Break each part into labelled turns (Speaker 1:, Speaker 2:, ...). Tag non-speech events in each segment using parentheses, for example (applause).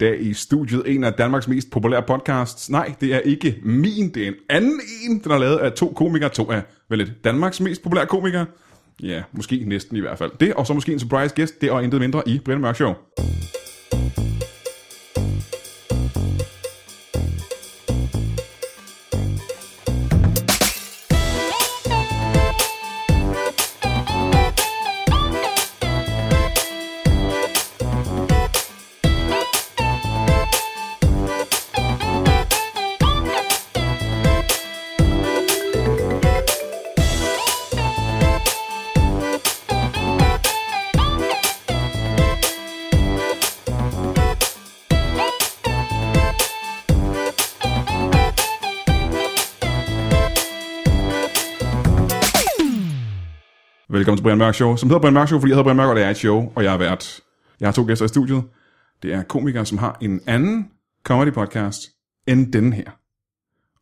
Speaker 1: dag i studiet en af Danmarks mest populære podcasts. Nej, det er ikke min, det er en anden en, den er lavet af to komikere, to af vel et Danmarks mest populære komikere. Ja, måske næsten i hvert fald. Det, og så måske en surprise gæst, det og intet mindre i Brian Mørk Show. Velkommen til Brian Mørk Show, som hedder Brian Mørk Show, fordi jeg hedder Brian Mørk, og det er et show, og jeg er vært. Jeg har to gæster i studiet. Det er komikere, som har en anden comedy podcast end den her.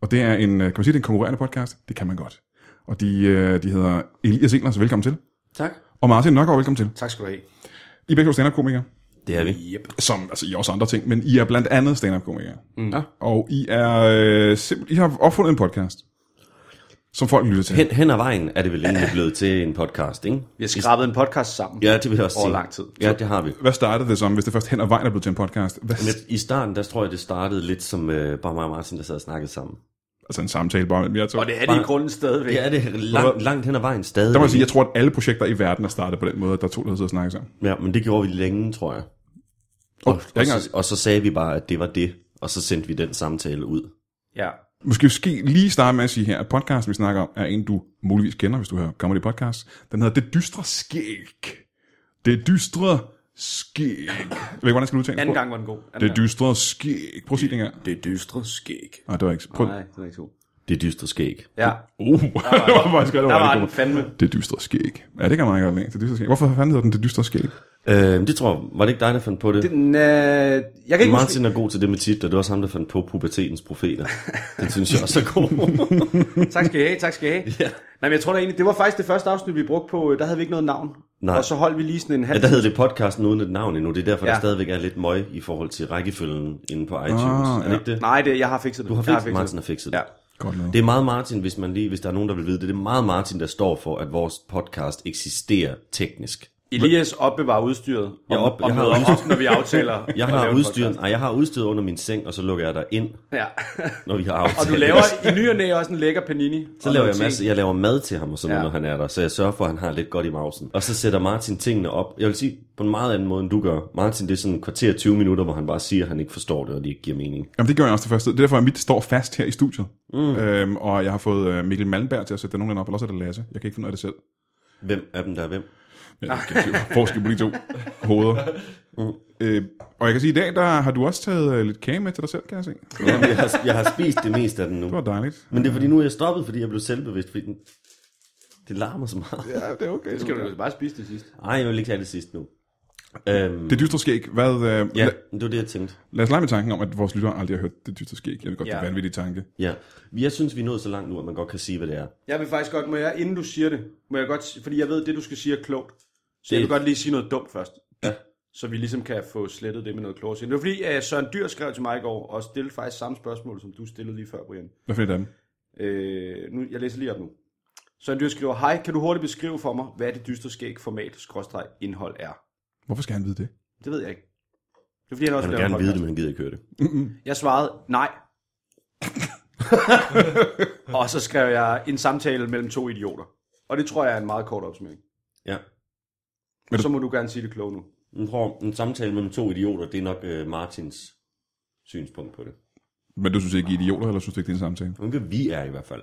Speaker 1: Og det er en, øh, kan man sige, det er en konkurrerende podcast? Det kan man godt. Og de, øh, de hedder Elias Ehlers, velkommen til.
Speaker 2: Tak.
Speaker 1: Og Martin Nørgaard, velkommen til.
Speaker 2: Tak skal du have.
Speaker 1: I er begge to stand-up-komikere,
Speaker 3: Det er vi.
Speaker 2: Yep.
Speaker 1: som, altså I er også andre ting, men I er blandt andet stand-up-komikere.
Speaker 2: Mm. Ja.
Speaker 1: Og I er øh, simpelthen, I har opfundet en podcast, som folk lytter til.
Speaker 3: Hen, hen ad vejen er det vel (laughs) egentlig blevet til en podcast, ikke?
Speaker 2: Vi har skrabet en podcast sammen.
Speaker 3: Ja, det vil jeg også
Speaker 2: Over
Speaker 3: sige.
Speaker 2: lang tid.
Speaker 3: Ja, det har vi.
Speaker 1: Hvad startede det som, hvis det først hen ad vejen er blevet til en podcast? Hvad,
Speaker 3: Men I starten, der tror jeg, det startede lidt som øh, bare mig og Martin, der sad og snakkede sammen.
Speaker 1: altså en samtale bare mellem jer to.
Speaker 2: Og det er det i grunden stadigvæk.
Speaker 3: Ja, det er langt, langt hen ad vejen stadig.
Speaker 1: Der må jeg sige, jeg tror, at alle projekter i verden er startet på den måde, at der er to, der sidder og snakker sammen.
Speaker 3: Ja, men det gjorde vi længe, tror jeg.
Speaker 1: Oh,
Speaker 3: Og så, og så sagde vi bare, at det var det, og så sendte vi den samtale ud.
Speaker 2: ja.
Speaker 1: Måske måske lige starte med at sige her, at podcasten, vi snakker om, er en, du muligvis kender, hvis du hører comedy podcast. Den hedder Det Dystre Skæg. Det Dystre Skæg. Jeg ved ikke, hvordan jeg skal udtale
Speaker 2: Anden
Speaker 1: det.
Speaker 2: gang var den god. Anden
Speaker 1: Det Dystre Skæg. Prøv at sige det engang.
Speaker 2: det dystre skæg.
Speaker 1: Nej, det var ikke. Prøv.
Speaker 2: Nej, det er ikke god.
Speaker 3: Det dystre skæg.
Speaker 2: Ja,
Speaker 1: Uh, (laughs) det var faktisk det var
Speaker 2: der var
Speaker 1: rigtig
Speaker 2: den
Speaker 1: godt.
Speaker 2: fandme.
Speaker 1: Det Dystre Skæg. Ja, det kan man ikke godt lide. Det Dystre Skæg. Hvorfor fanden hedder den Det Dystre Skæg?
Speaker 3: Øh, det tror jeg, var det ikke dig, der fandt på det?
Speaker 2: Den, øh, jeg kan ikke
Speaker 3: Martin er god til det med titler, det var også ham, der fandt på pubertetens (laughs) profeter. Det synes jeg også er god.
Speaker 2: huske. Tak skal I have, tak skal I (laughs) have.
Speaker 3: Ja.
Speaker 2: Nej, men jeg tror da egentlig, det var faktisk det første afsnit, vi brugte på, øh, der havde vi ikke noget navn.
Speaker 3: Nej.
Speaker 2: Og så holdt vi lige sådan en halv...
Speaker 3: Ja, der hedder det podcasten uden et navn endnu. Det er derfor, ja.
Speaker 2: Ja.
Speaker 3: der stadigvæk er lidt møg i forhold til rækkefølgen inde på iTunes.
Speaker 1: Ah,
Speaker 3: Ah, er det ikke det?
Speaker 2: Nej, det, jeg har fikset det.
Speaker 3: Du har
Speaker 2: Jeg
Speaker 3: fikset, det. Martin har fikset det.
Speaker 2: Ja.
Speaker 1: Godt lavet.
Speaker 3: Det er meget Martin, hvis, man lige, hvis der er nogen, der vil vide det. Det er meget Martin, der står for, at vores podcast eksisterer teknisk.
Speaker 2: Elias opbevarer udstyret.
Speaker 3: Jeg
Speaker 2: om-
Speaker 3: op-
Speaker 2: om
Speaker 3: jeg har
Speaker 2: noget
Speaker 3: udstyret.
Speaker 2: op, når vi (laughs) aftaler.
Speaker 3: Jeg
Speaker 2: at
Speaker 3: har,
Speaker 2: lave en
Speaker 3: udstyret, nej, jeg har udstyret under min seng, og så lukker jeg dig ind,
Speaker 2: podcast. (laughs) Ja.
Speaker 3: når vi har
Speaker 2: Og
Speaker 3: aftalt.
Speaker 2: du laver i ny og næ også en lækker panini.
Speaker 3: (laughs) Så laver jeg, masse, jeg laver mad til ham og sådan
Speaker 2: Ja.
Speaker 3: ja. noget, når han er der, så jeg sørger for, at han har lidt godt i mausen. Og så sætter Martin tingene op. Jeg vil sige, på en meget anden måde, end du gør. Martin, det er sådan en kvarter 20 minutter, hvor han bare siger, at han ikke forstår det, og det ikke giver mening.
Speaker 1: Jamen, det gør jeg også det første. Det er derfor, at mit står fast her i studiet. Mm. Øhm, og jeg har fået øh, Mikkel Malmberg til at sætte det nogenlunde op, eller også er det Lasse. Jeg kan ikke finde ud af det selv.
Speaker 3: Hvem er dem, der er hvem?
Speaker 1: Men Jeg kan ikke forske på de (laughs) to hoveder. Øh, og jeg kan sige, at i dag der har du også taget øh, lidt kage med til dig selv, kan jeg se. Det
Speaker 3: Jamen, jeg, har, jeg har spist det meste af den nu.
Speaker 1: var dejligt.
Speaker 3: Men det er fordi, nu er jeg stoppet, fordi jeg blev selvbevidst, fordi den, det larmer så meget.
Speaker 1: Ja, det er okay. Det,
Speaker 2: Skal du bare spise det sidste?
Speaker 3: Ej, jeg vil ikke have det sidst nu. Øhm,
Speaker 1: det dystre skæg. Hvad, øh, ja.
Speaker 3: ja, det var det, jeg tænkte.
Speaker 1: Lad os lege med tanken om, at vores lyttere aldrig har hørt det dystre skæg. Jeg ved godt, ja. det er en
Speaker 2: Ja.
Speaker 1: vanvittig tanke.
Speaker 3: Ja. Jeg synes, vi er nået så langt nu, at man godt kan sige, hvad det er.
Speaker 2: Jeg vil faktisk godt, må jeg, inden du siger det, må jeg godt, s- fordi jeg ved, det du skal sige er klogt. Så
Speaker 3: Det-
Speaker 2: jeg vil godt lige sige noget dumt først. Ja. Så vi ligesom kan få slettet det med noget klogt. Det var fordi, uh, Søren Dyr skrev til mig i går, og stillede faktisk samme spørgsmål, som du stillede lige før, Brian.
Speaker 1: Hvad finder dem?
Speaker 2: Øh, nu, jeg læser lige op nu. Søren Dyr skriver, Hej, kan du hurtigt beskrive for mig, hvad det dystre skæg format, skråstreg, indhold er?
Speaker 1: Hvorfor skal han vide det?
Speaker 2: Det ved jeg ikke. Det er fordi, han også
Speaker 3: Han vil
Speaker 2: laver en
Speaker 3: gerne vide
Speaker 2: podcast.
Speaker 3: det, men han gider ikke høre det.
Speaker 2: Jeg svarede, nej. (laughs) og så skrev jeg en samtale mellem to idioter. Og det tror jeg er en meget kort opsummering.
Speaker 3: Ja.
Speaker 1: Men du-
Speaker 2: Så må du gerne sige det kloge nu.
Speaker 3: Men prøv, en samtale mellem to idioter, det er nok øh, Martins synspunkt på det.
Speaker 1: Men du synes ikke, I er idioter, eller synes du ikke, det er en samtale?
Speaker 3: Ikke vi er i hvert fald.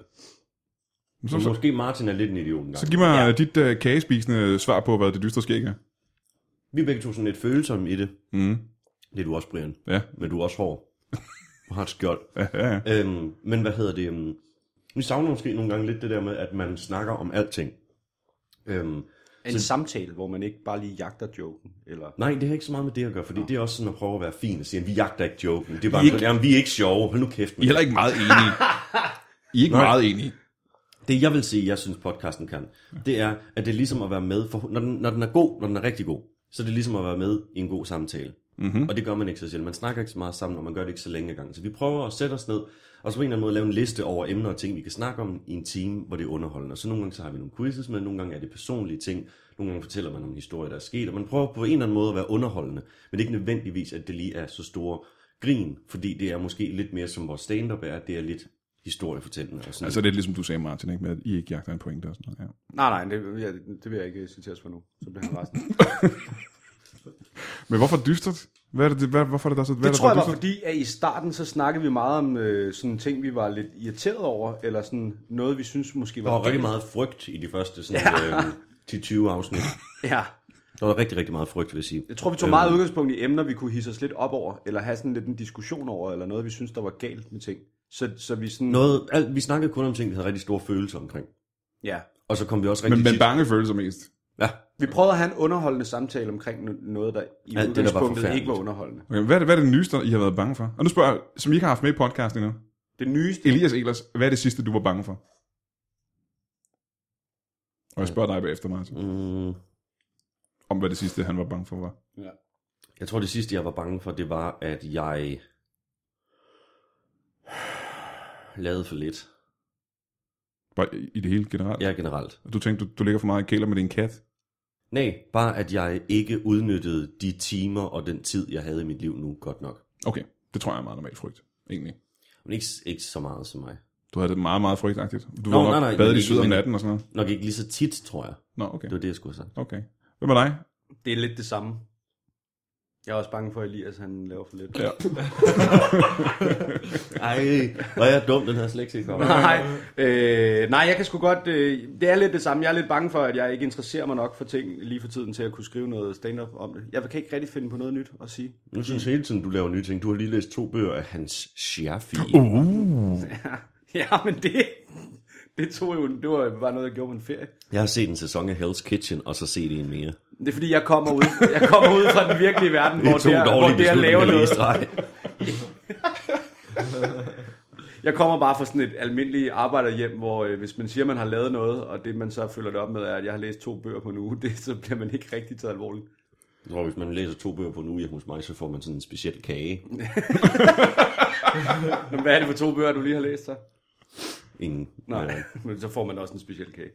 Speaker 1: Men Så,
Speaker 3: Så,
Speaker 1: så,
Speaker 3: måske Martin er lidt en idiot engang.
Speaker 1: så giv mig ja. dit øh, kagespisende svar på, hvad det dystre skæg er.
Speaker 3: Vi er begge to sådan lidt følsomme i det.
Speaker 1: Mm.
Speaker 3: Det er du også, Brian.
Speaker 1: Ja.
Speaker 3: Men du er også (laughs) hård. Du har et skjold.
Speaker 1: Ja, ja, ja.
Speaker 3: Øhm, men hvad hedder det? øhm, Vi savner måske nogle gange lidt det der med, at man snakker om alting. Øhm,
Speaker 2: En så... samtale, hvor man ikke bare lige jagter joken. Eller...
Speaker 3: nej, det har ikke så meget med det at gøre, fordi det er også sådan at prøve at være fin og sige, at vi jagter ikke joken. Det er bare, ikke... Jamen, vi er ikke sjove. Hold nu kæft
Speaker 1: I er
Speaker 3: med det.
Speaker 1: heller ikke meget enige. I er ikke
Speaker 3: Nej.
Speaker 1: meget enige.
Speaker 3: Det jeg vil sige, jeg synes podcasten kan, det er, at det er ligesom at være med, for, når, den, når den er god, når den er rigtig god, så er det ligesom at være med i en god samtale. Mm-hmm. Og det gør man ikke så sjældent. Man snakker ikke så meget sammen, og man gør det ikke så længe ad gangen. Så vi prøver at sætte os ned, og så på en eller anden måde lave en liste over emner og ting, vi kan snakke om i en time, hvor det er underholdende. Og så nogle gange så har vi nogle quizzes med, nogle gange er det personlige ting, nogle gange fortæller man om en historie, der er sket, og man prøver på en eller anden måde at være underholdende, men ikke nødvendigvis, at det lige er så store grin, fordi det er måske lidt mere som vores stand-up er, at det er lidt historiefortællende. Og sådan
Speaker 1: Altså det er ligesom du sagde, Martin, ikke? med at I ikke jagter en pointe og sådan noget. Ja.
Speaker 2: Nej, nej, det, ja, det vil jeg ikke citeres for nu. Så bliver han resten.
Speaker 1: Men hvorfor dystert? Hvad er det, hvad, hvorfor er det, der er så, hvad
Speaker 2: Det
Speaker 1: er
Speaker 2: tror
Speaker 1: der,
Speaker 2: jeg
Speaker 1: der
Speaker 2: var fordi, at i starten så snakkede vi meget om øh, sådan ting, vi var lidt irriteret over, eller sådan noget, vi synes måske var...
Speaker 3: Der var rigtig meget frygt i de første sådan, ja. øh, 10-20 afsnit.
Speaker 2: Ja,
Speaker 3: Der var rigtig, rigtig meget frygt, vil jeg sige. Øhm,
Speaker 2: jeg tror, vi tog meget udgangspunkt i emner, vi kunne hisse os lidt op over, eller have sådan lidt en diskussion over, eller noget, vi synes, der var galt med ting. Så, så vi sådan...
Speaker 3: Noget, alt, vi snakkede kun om ting, vi havde rigtig store følelser omkring.
Speaker 2: Ja.
Speaker 3: Og så kom vi også
Speaker 1: Men,
Speaker 3: rigtig
Speaker 1: men
Speaker 3: tit-
Speaker 1: bange følelser mest.
Speaker 3: Ja,
Speaker 2: Vi prøvede at have en underholdende samtale omkring no- noget, der i
Speaker 3: der var
Speaker 2: Alt udgangspunktet
Speaker 3: forfærdeligt.
Speaker 2: ikke var underholdende.
Speaker 1: Okay, hvad, er det, hvad er det nyeste, I har været bange for? Og nu spørger jeg, som I ikke har haft med i podcasten endnu.
Speaker 2: Det nyeste...
Speaker 1: Elias Elers, hvad er det sidste, du var bange for? Og jeg spørger dig bagefter, Martin,
Speaker 3: mm,
Speaker 1: om hvad det sidste, han var bange for var.
Speaker 2: Ja.
Speaker 3: jeg tror det sidste, jeg var bange for, det var, at jeg lavede for lidt.
Speaker 1: Bare i- i det hele generelt.
Speaker 3: Ja, generelt.
Speaker 1: Du tænkte, du, du ligger for meget i kælder med din kat.
Speaker 3: Nej, bare at jeg ikke udnyttede de timer og den tid, jeg havde i mit liv nu godt nok.
Speaker 1: Okay, det tror jeg er meget normal frygt, egentlig.
Speaker 3: Men ikke, ikke så meget som mig.
Speaker 1: Du havde det meget, meget frygtagtigt. Du
Speaker 3: Nå,
Speaker 1: var
Speaker 3: nej,
Speaker 1: nok
Speaker 3: nej,
Speaker 1: badet i
Speaker 3: ikke,
Speaker 1: syd om
Speaker 3: men-
Speaker 1: natten og sådan noget.
Speaker 3: Nok ikke lige så tit, tror jeg.
Speaker 1: Nå, okay.
Speaker 3: Det var det, jeg skulle have sagt.
Speaker 1: okay. Hvad med dig?
Speaker 2: Det er lidt det samme. Jeg er også bange for, at Elias han laver for lidt. Ja.
Speaker 3: Ej, hvor er jeg dum, den her slektiker.
Speaker 2: Nej, øh, nej, jeg kan sgu godt... Øh, det er lidt det samme. Jeg er lidt bange for, at jeg ikke interesserer mig nok for ting lige for tiden til at kunne skrive noget stand-up om det. Jeg kan ikke rigtig finde på noget nyt at sige.
Speaker 3: Nu synes jeg hele tiden, du laver nye ting. Du har lige læst to bøger af Hans Scherfi.
Speaker 1: Uh.
Speaker 2: (laughs) Ja, men det... Det tog jo... Det var bare noget, jeg gjorde på en ferie.
Speaker 3: Jeg har set en sæson af Hell's Kitchen, og så set en mere.
Speaker 2: Det er fordi, jeg kommer ud, jeg kommer ud fra den virkelige verden, hvor det, er, hvor det er at lave noget. Jeg kommer bare fra sådan et almindeligt arbejderhjem, hvor øh, hvis man siger, man har lavet noget, og det man så følger det op med, er, at jeg har læst to bøger på en uge, (laughs) det, så bliver man ikke rigtig taget alvorligt.
Speaker 3: Jeg tror, hvis man læser to bøger på en uge hjemme hos mig, så får man sådan en speciel kage.
Speaker 2: Men hvad er det for to bøger, du lige har læst så?
Speaker 3: En,
Speaker 2: Nej,
Speaker 3: Ja,
Speaker 2: (laughs) men så får man også en speciel kage.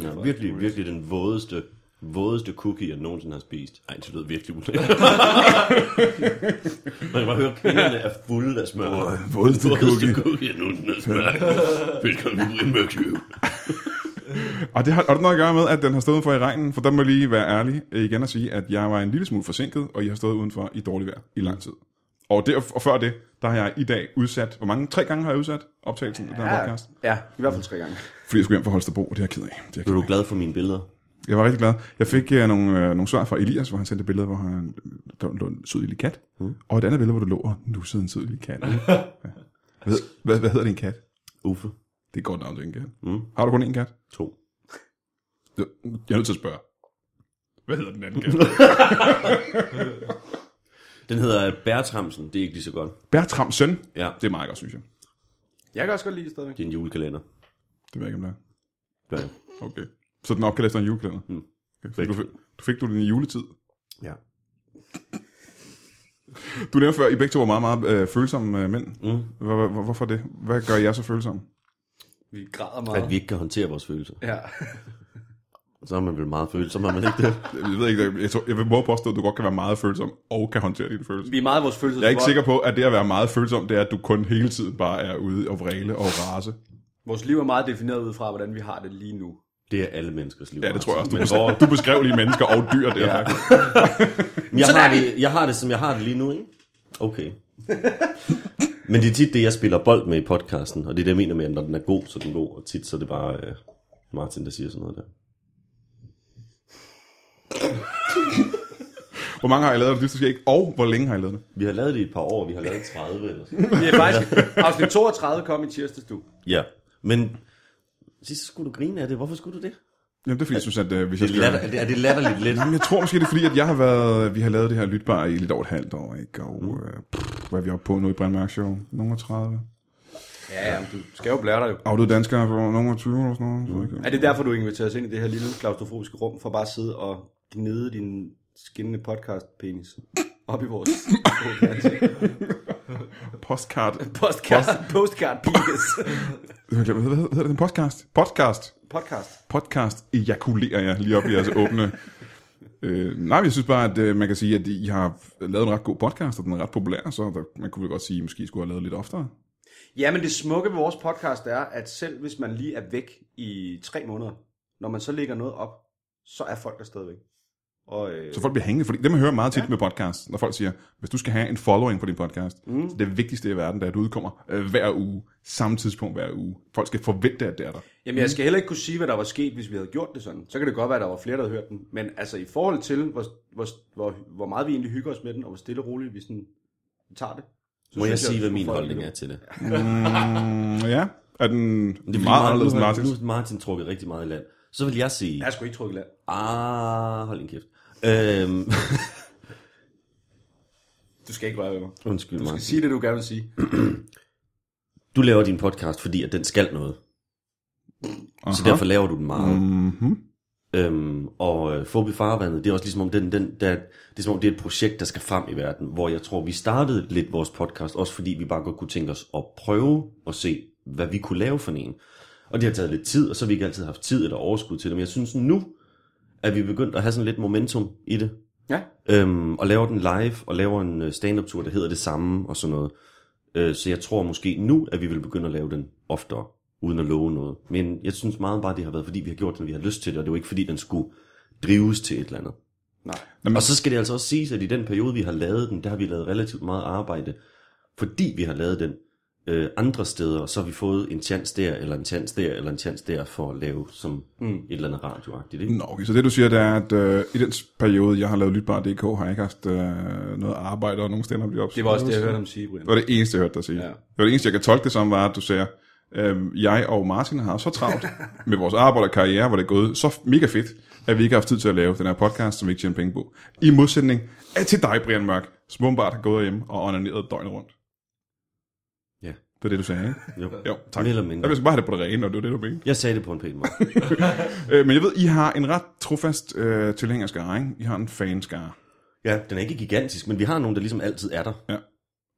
Speaker 3: ja, virkelig, virkelig den vådeste, vådeste cookie, jeg nogensinde har spist. Ej, det lyder virkelig ulækkert. (laughs) man kan bare høre, at kvinderne er fulde af smør.
Speaker 1: vådeste
Speaker 3: Vådeste cookie, jeg nogensinde har smør. Velkommen til Mexico.
Speaker 1: Og det har, og det har noget at gøre med, at den har stået udenfor i regnen, for der må jeg lige være ærlig øh, igen og sige, at jeg var en lille smule forsinket, og I har stået udenfor i dårligt vejr i
Speaker 3: Mm.
Speaker 1: lang tid. Og, det, og før det, der har jeg i dag udsat, hvor mange? Tre gange har jeg udsat optagelsen af den her podcast.
Speaker 2: ja, i hvert fald tre gange.
Speaker 1: Fordi jeg skulle hjem fra Holstebro, og det er jeg ked af. Det er jeg,
Speaker 3: Er
Speaker 1: ked
Speaker 3: du
Speaker 1: af.
Speaker 3: glad for mine billeder?
Speaker 1: jeg var rigtig glad. Jeg fik øh, nogle, øh, nogle svar fra Elias, hvor han sendte billeder, hvor han, der lå en sød lille kat. Mm. Og et andet billede, hvor du lå og nussede en sød lille kat. (laughs) ja. hvad, hvad, hvad hedder din kat?
Speaker 3: Uffe.
Speaker 1: Det er et godt navn til en kat. Mm. Har du kun én kat?
Speaker 3: To.
Speaker 1: Jeg er nødt til at spørge. Hvad hedder den anden (laughs) kat?
Speaker 3: Den hedder Bertramsen. Det er ikke lige så godt.
Speaker 1: Bertram Søn.
Speaker 3: Ja.
Speaker 1: Det er meget godt, synes jeg.
Speaker 2: Jeg kan også godt lide det stadigvæk.
Speaker 3: Det er en julekalender.
Speaker 1: Det ved jeg ikke, om det er.
Speaker 3: Ja.
Speaker 1: Okay. Så den opkaldes efter en julekalender?
Speaker 3: Mm.
Speaker 1: Okay, så du, fik- du fik du den i juletid.
Speaker 3: ja.
Speaker 1: Du nævnte før, I begge to var meget, meget øh, følsomme øh, mænd. Mm. Hvor, hvor, hvorfor det? Hvad gør jeg så følsomme?
Speaker 2: Vi græder
Speaker 3: At
Speaker 2: meget.
Speaker 3: vi ikke kan håndtere vores følelser.
Speaker 2: Ja.
Speaker 3: Så er man vel meget følsom, er man ikke det?
Speaker 1: Jeg ved ikke, jeg, jeg, tror, jeg vil prøve at påstå, at du godt kan være meget følsom og kan håndtere dine følelser.
Speaker 2: Vi er meget vores følelses
Speaker 1: Jeg er ikke sikker på, at det at være meget følsom, det er, at du kun hele tiden bare er ude og vræle og rase.
Speaker 2: Vores liv er meget defineret ud fra, hvordan vi har det lige nu.
Speaker 3: Det er alle menneskers liv.
Speaker 1: Ja, det tror jeg også. Du,
Speaker 3: Men hvor,
Speaker 1: beskrev, du beskrev lige mennesker og dyr der. Ja.
Speaker 3: jeg, har det, jeg har det, som jeg har det lige nu, ikke? Okay. Men det er tit det, jeg spiller bold med i podcasten, og det er det, jeg mener med, at når den er god, så er den god, og tit så er det bare øh, Martin, der siger sådan noget der.
Speaker 1: Hvor mange har I lavet af det dystre skæg, og hvor længe har I lavet det?
Speaker 3: Vi har lavet det i et par år, vi har lavet 30 eller sådan (laughs)
Speaker 2: Det er (laughs) faktisk... Afsnit 32 kom i tirsdags, du.
Speaker 3: Ja, men sidst så skulle du grine af det. Hvorfor skulle du det?
Speaker 1: Jamen, det er fordi, jeg synes, at øh, hvis jeg
Speaker 3: Det er,
Speaker 1: skal...
Speaker 3: latter, er, det, er det latterligt lidt?
Speaker 1: Jamen, jeg tror måske, det er fordi, at jeg har været, vi har lavet det her lytbar i lidt over et halvt år, ikke? Og
Speaker 3: Mm.
Speaker 1: øh, pff, hvad er vi oppe på nu i Brandmark Show? Nogle 30.
Speaker 2: Ja, ja, men du skal jo blære dig jo.
Speaker 1: Afdøde danskere på nogle 20 eller sådan noget. så ikke?
Speaker 2: Er det derfor, du inviterer os ind i det her lille klaustrofobiske rum, for bare at sidde og gnide din skinnende podcast-penis? op i vores (laughs)
Speaker 1: Postcard.
Speaker 2: postcard, postcard penis.
Speaker 1: Jeg har glemt, Hvad hedder hvad hedder den podcast? Podcast.
Speaker 2: podcast.
Speaker 1: Podcast ejakulerer jeg lige op i jeres åbne. Øh, nej, men jeg synes bare, at øh, man kan sige, at I har lavet en ret god podcast, og den er ret populær, så der, man kunne vel godt sige, at I måske skulle have lavet lidt oftere.
Speaker 2: Ja, men det smukke ved vores podcast er, at selv hvis man lige er væk i tre måneder, når man så lægger noget op, så er folk der stadigvæk. Og, øh,
Speaker 1: Så folk bliver hængende, fordi det man hører meget tit ja. med podcast, når folk siger, hvis du skal have en following på din podcast, mm. så det vigtigste i verden, det er, at du udkommer øh, hver uge, samme tidspunkt hver uge. Folk skal forvente, at det er der.
Speaker 2: Jamen,
Speaker 3: Mm.
Speaker 2: jeg skal heller ikke kunne sige, hvad der var sket, hvis vi havde gjort det sådan. Så kan det godt være, at der var flere, der havde hørt den. Men altså, i forhold til, hvor, hvor, hvor, hvor meget vi egentlig hygger os med den, og hvor stille og roligt vi sådan tager det. Så
Speaker 3: Må jeg
Speaker 2: synes
Speaker 3: sige, hvad
Speaker 2: at
Speaker 3: min
Speaker 2: folk-
Speaker 3: holdning er til det?
Speaker 1: Mm, ja, er den
Speaker 3: Det er fordi,
Speaker 1: meget anderledes end
Speaker 3: Martin, nu, har-
Speaker 1: Martins?
Speaker 3: nu er Martin trukket rigtig meget i land. Så vil jeg sige...
Speaker 2: Jeg er sgu ikke trukket i land.
Speaker 3: Ah, hold din kæft. Øhm, (laughs)
Speaker 2: Du skal ikke røre ved mig.
Speaker 3: undskyld
Speaker 2: Du
Speaker 3: mig.
Speaker 2: skal sige det, du gerne vil sige.
Speaker 3: Du laver din podcast, fordi at den skal noget. Så derfor laver du den meget.
Speaker 1: Mm-hmm.
Speaker 3: Øhm, og øh, Fobi Farvandet, det er også ligesom om, den, den, der, det er, som om det er et projekt, der skal frem i verden, hvor jeg tror, vi startede lidt vores podcast, også fordi vi bare godt kunne tænke os at prøve og se, hvad vi kunne lave for en. Og det har taget lidt tid, og så har vi ikke altid haft tid eller overskud til det, men jeg synes nu, at vi er begyndt at have sådan lidt momentum i det.
Speaker 2: Ja.
Speaker 3: Øhm, og laver den live, og laver en øh, stand-up-tur, der hedder det samme, og sådan noget. Øh, så jeg tror måske nu, at vi vil begynde at lave den oftere, uden at love noget. Men jeg synes meget bare, det har været, fordi vi har gjort den, vi har lyst til det, og det var ikke, fordi den skulle drives til et eller andet.
Speaker 2: Nej.
Speaker 3: Og så skal det altså også siges, at i den periode, vi har lavet den, der har vi lavet relativt meget arbejde, fordi vi har lavet den øh, andre steder, og så har vi fået en chance der, eller en chance der, eller en chance der, for at lave som mm. et eller andet radioagtigt. Ikke?
Speaker 1: Nå, okay, så det du siger, det er, at øh, i den periode, jeg har lavet Lytbar.dk, har jeg ikke haft øh, noget arbejde og nogen stand-up jobs.
Speaker 2: Det var også det, jeg hørte ham sige, Brian.
Speaker 1: Det var det eneste, jeg hørte dig sige.
Speaker 2: Ja.
Speaker 1: Ja. Det var det eneste, jeg kan tolke det som, var, at du sagde, øh, jeg og Martin har så travlt med vores arbejde og karriere, hvor det er gået så mega fedt, at vi ikke har haft tid til at lave den her podcast, som vi ikke tjener penge på. I modsætning af til dig, Brian Mørk, som åbenbart har gået hjem og onaneret døgnet rundt.
Speaker 3: Ja.
Speaker 1: Det var det, du sagde, ikke?
Speaker 3: Jo.
Speaker 1: Jo, tak.
Speaker 3: Mere eller
Speaker 1: Jeg
Speaker 3: mindre.
Speaker 1: vil bare have det på det rene, og det var det, du mente.
Speaker 3: Jeg sagde det på en pæn måde.
Speaker 1: Øh, men jeg ved, I har en ret trofast øh, tilhængerskare, ikke? I har en fanskare.
Speaker 3: Ja, den er ikke gigantisk, men vi har nogen, der ligesom altid er der. Øh.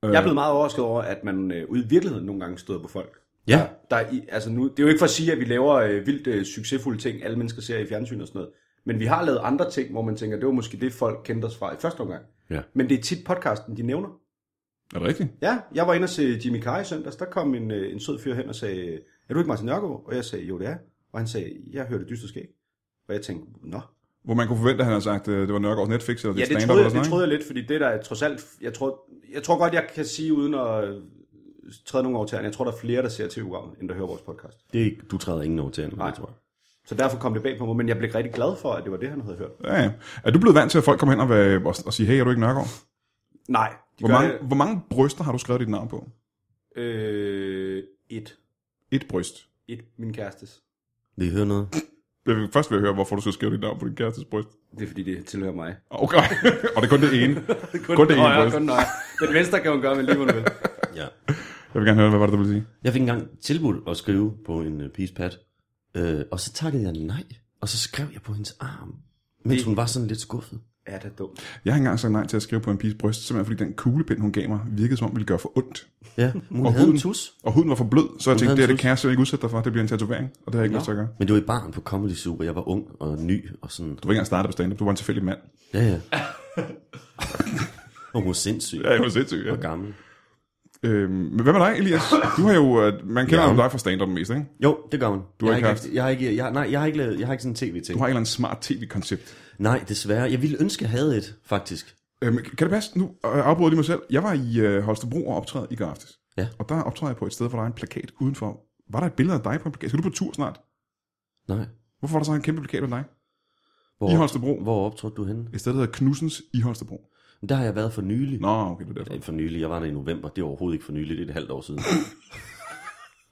Speaker 2: Jeg er blevet meget overrasket over, at man øh, ude i virkeligheden nogle gange støder på folk.
Speaker 3: Ja.
Speaker 2: Der, der er, i- altså nu, det er jo ikke for at sige, at vi laver øh, vildt øh, succesfulde ting, alle mennesker ser i fjernsyn og sådan noget. Men vi har lavet andre ting, hvor man tænker, det var måske det, folk kendte os fra i første omgang.
Speaker 3: Ja.
Speaker 2: Men det er tit podcasten, de nævner.
Speaker 1: Er det rigtigt?
Speaker 2: Ja, jeg var inde og se Jimmy Carr i søndags. Der kom en, øh, en sød fyr hen og sagde, er du ikke Martin Nørgaard? Og jeg sagde, jo det er. jeg." Og han sagde, jeg hørte dyster skæg. Og jeg tænkte, nå.
Speaker 1: Hvor man kunne forvente, at han havde sagt, øh, det var Nørgaards Netflix, eller
Speaker 2: Ja,
Speaker 1: det, er
Speaker 2: det
Speaker 1: stand-up
Speaker 2: troede,
Speaker 1: eller
Speaker 2: jeg,
Speaker 1: sådan
Speaker 2: det
Speaker 1: noget,
Speaker 2: troede jeg lidt, fordi det der er trods alt... Jeg tror, jeg tror godt, jeg kan sige uden at øh, træde nogen over tæerne. Jeg tror, der er flere, der ser tv-programmet, end der hører vores podcast.
Speaker 3: Det er ikke, du træder ingen over til hende,
Speaker 2: Nej.
Speaker 3: det tror jeg.
Speaker 2: Så derfor kom det bag på mig, men jeg blev rigtig glad for, at det var det, han havde hørt.
Speaker 1: ikke? Ja, ja. Er du blevet vant til, at folk kommer hen og, være- og, og siger, hey, er du ikke Nørgaard?
Speaker 2: Nej, de
Speaker 1: Hvor
Speaker 2: gør
Speaker 1: mange, hvor mange bryster har du skrevet dit navn på?
Speaker 2: det. Øh, et.
Speaker 1: Et bryst.
Speaker 2: Et, min kærestes.
Speaker 3: Vil I høre noget?
Speaker 1: Jeg vil først vil jeg høre, hvorfor du skal skrive dit navn på din kærestes bryst.
Speaker 2: Det er fordi, det tilhører mig.
Speaker 1: Okay, (laughs) og det er kun det ene. kun det
Speaker 2: Nå,
Speaker 1: ene
Speaker 2: ja,
Speaker 1: bryst.
Speaker 2: (laughs) kun nej. Den venstre kan man gøre med lige, hvor man vil.
Speaker 3: Ja.
Speaker 1: Jeg vil gerne høre, hvad var det, du ville sige?
Speaker 3: Jeg fik engang tilbudt at skrive på en uh, pad, øh, og så takkede jeg nej, og så skrev jeg på hendes arm, mens hun var sådan lidt skuffet.
Speaker 2: Ja, det (laughs) er dumt.
Speaker 1: Jeg har engang sagt nej til at skrive på en piges bryst, simpelthen fordi den kuglepind, hun gav mig, virkede som om, den ville gøre for ondt.
Speaker 3: Ja, hun
Speaker 1: Og
Speaker 3: og havde
Speaker 1: huden.
Speaker 3: en tus.
Speaker 1: Og huden var for blød, så jeg tænkte,
Speaker 3: havde
Speaker 1: det her,
Speaker 3: en
Speaker 1: det kan jeg simpelthen ikke udsætte dig for, det bliver en tatovering, og det har jeg ikke lyst til at gøre.
Speaker 3: Men det var i barn på Comedy Zoo, og jeg var ung og ny og sådan.
Speaker 1: Du var ikke engang startet på stand-up, du var en tilfældig mand.
Speaker 3: Ja, ja. og hun var sindssyg
Speaker 1: Ja, jeg var sindssyg, ja.
Speaker 3: og gammel.
Speaker 1: Øhm, men hvad med dig, Elias?
Speaker 3: (laughs)
Speaker 1: Du har jo, øh, man kender
Speaker 3: Ja.
Speaker 1: jo dig fra stand-up mest, ikke?
Speaker 3: Jo, det gør man. Du
Speaker 1: har
Speaker 3: jeg
Speaker 1: ikke haft-
Speaker 3: haft... Jeg har ikke, jeg, nej, jeg har ikke, lavet, jeg har ikke sådan en
Speaker 1: Du
Speaker 3: tv-ting.
Speaker 1: har
Speaker 3: Har...
Speaker 1: et eller andet smart tv-koncept.
Speaker 3: Nej, desværre. Jeg ville ønske, jeg havde et, faktisk.
Speaker 1: Øhm, kan det passe? Nu øh, afbryder jeg lige mig selv. Jeg var i øh, Holstebro og optræde i går aftes.
Speaker 3: Ja.
Speaker 1: Og der optræder jeg på et sted, hvor der er en plakat udenfor. Var der et billede af dig på en plakat? Skal du på tur snart?
Speaker 3: Nej.
Speaker 1: Hvorfor var der så en kæmpe plakat af dig?
Speaker 3: Hvor,
Speaker 1: I Holstebro.
Speaker 3: Hvor optrådte du henne?
Speaker 1: Et sted, der hedder Knudsens i Holstebro.
Speaker 3: Der har jeg været for nylig.
Speaker 1: Nå, okay, det er derfor.
Speaker 3: Øh, For nylig, jeg var der i november, det er overhovedet ikke for nylig, det er et halvt år siden.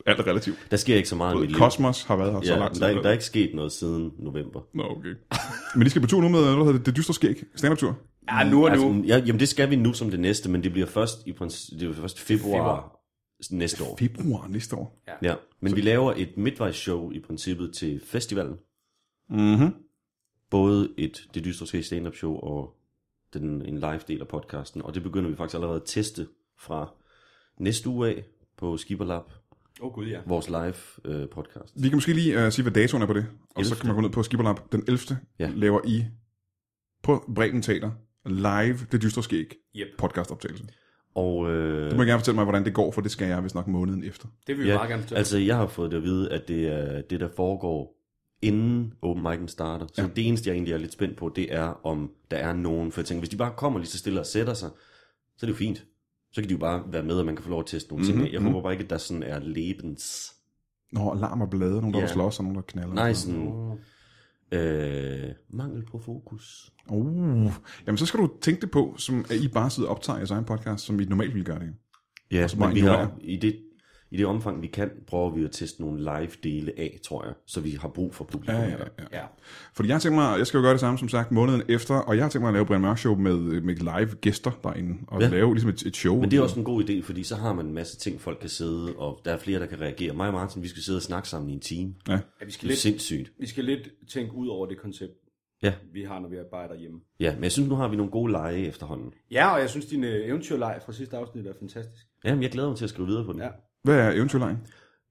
Speaker 1: Alt er relativt.
Speaker 3: Der sker ikke så meget i mit liv.
Speaker 1: Kosmos har været her så
Speaker 3: ja,
Speaker 1: lang tid.
Speaker 3: der, er, ikke- der er ikke sket noget siden november.
Speaker 1: Nå, okay. Men de skal på tur nu med noget, der hedder Det Dystre Skæg. Stand-up-tur.
Speaker 2: Ja, nu og nu.
Speaker 3: Altså, ja, jamen det skal vi nu som det næste, men det bliver først i prins- det bliver først februar, februar. næste år.
Speaker 1: Februar næste år.
Speaker 3: Ja, men vi laver et midtvejsshow i princippet til festivalen.
Speaker 1: Mhm.
Speaker 3: Både et Det Dystre Skæg stand-up show og den, en live del af podcasten, og det begynder vi faktisk allerede at teste fra næste uge af på Skiberlab,
Speaker 2: Åh oh, gud, ja.
Speaker 3: vores live øh, podcast.
Speaker 1: Vi kan måske lige uh, sige, hvad datoen er på det. Og 11. så
Speaker 3: 11..
Speaker 1: kan man gå ned på Skibberlab den 11.
Speaker 3: Ja.
Speaker 1: Laver I på Bremen Teater live det dystre skæg
Speaker 2: Yep.
Speaker 1: podcastoptagelse.
Speaker 3: Og øh,
Speaker 1: Du må gerne fortælle mig, hvordan det går, for det skal jeg vist nok måneden efter.
Speaker 2: Det vil vi
Speaker 3: Ja,
Speaker 2: meget gerne fortælle.
Speaker 3: altså jeg har fået det at vide, at det er det, der foregår inden open mic'en starter. Så ja. det eneste, jeg egentlig er lidt spændt på, det er, om der er nogen. For jeg tænker, hvis de bare kommer lige så stille og sætter sig, så er det jo fint. Så kan de jo bare være med, og man kan få lov at teste nogle mm-hmm. ting. af. Jeg håber bare ikke, at der sådan er lebens...
Speaker 1: Nå, alarm og blade, nogen der
Speaker 3: Ja.
Speaker 1: yeah. slås og nogen der knaller.
Speaker 3: Nej,
Speaker 2: Mm.
Speaker 3: sådan... Øh, mangel på fokus.
Speaker 1: Uh. Jamen, så skal du tænke det på, som at I bare sidder og optager jeres egen podcast, som vi normalt ville gøre det.
Speaker 3: Ja,
Speaker 1: bare
Speaker 3: Altså, men vi har,
Speaker 1: ignorere.
Speaker 3: i, det, i det omfang, vi kan, prøver vi at teste nogle live-dele af, tror jeg. Så vi har brug for publikum.
Speaker 1: Ja, ja,
Speaker 3: her.
Speaker 1: ja.
Speaker 2: Ja.
Speaker 1: Fordi jeg har tænkt mig, jeg skal jo gøre det samme, som sagt, måneden efter, og jeg har tænkt mig at lave Brian Mørk Show med, med live gæster derinde, og ja.
Speaker 3: Ja.
Speaker 1: lave ligesom et, et show.
Speaker 3: Men det er også en god idé, fordi så har man en masse ting, folk kan sidde, og der er flere, der kan reagere. Mig og Martin, vi skal sidde og snakke sammen i en time.
Speaker 1: Ja.
Speaker 2: ja, vi, skal
Speaker 3: Det er
Speaker 2: lidt,
Speaker 3: sindssygt.
Speaker 2: vi skal lidt tænke ud over det koncept,
Speaker 3: Ja.
Speaker 2: vi har, når vi arbejder hjemme.
Speaker 3: ja, men jeg synes, nu har vi nogle gode lege efterhånden.
Speaker 2: Ja, og jeg synes, din øh, eventyrleg fra sidste afsnit er fantastisk.
Speaker 3: Jamen, jeg glæder mig til at skrive videre på den.
Speaker 2: Ja.
Speaker 1: Hvad er eventyrlejen?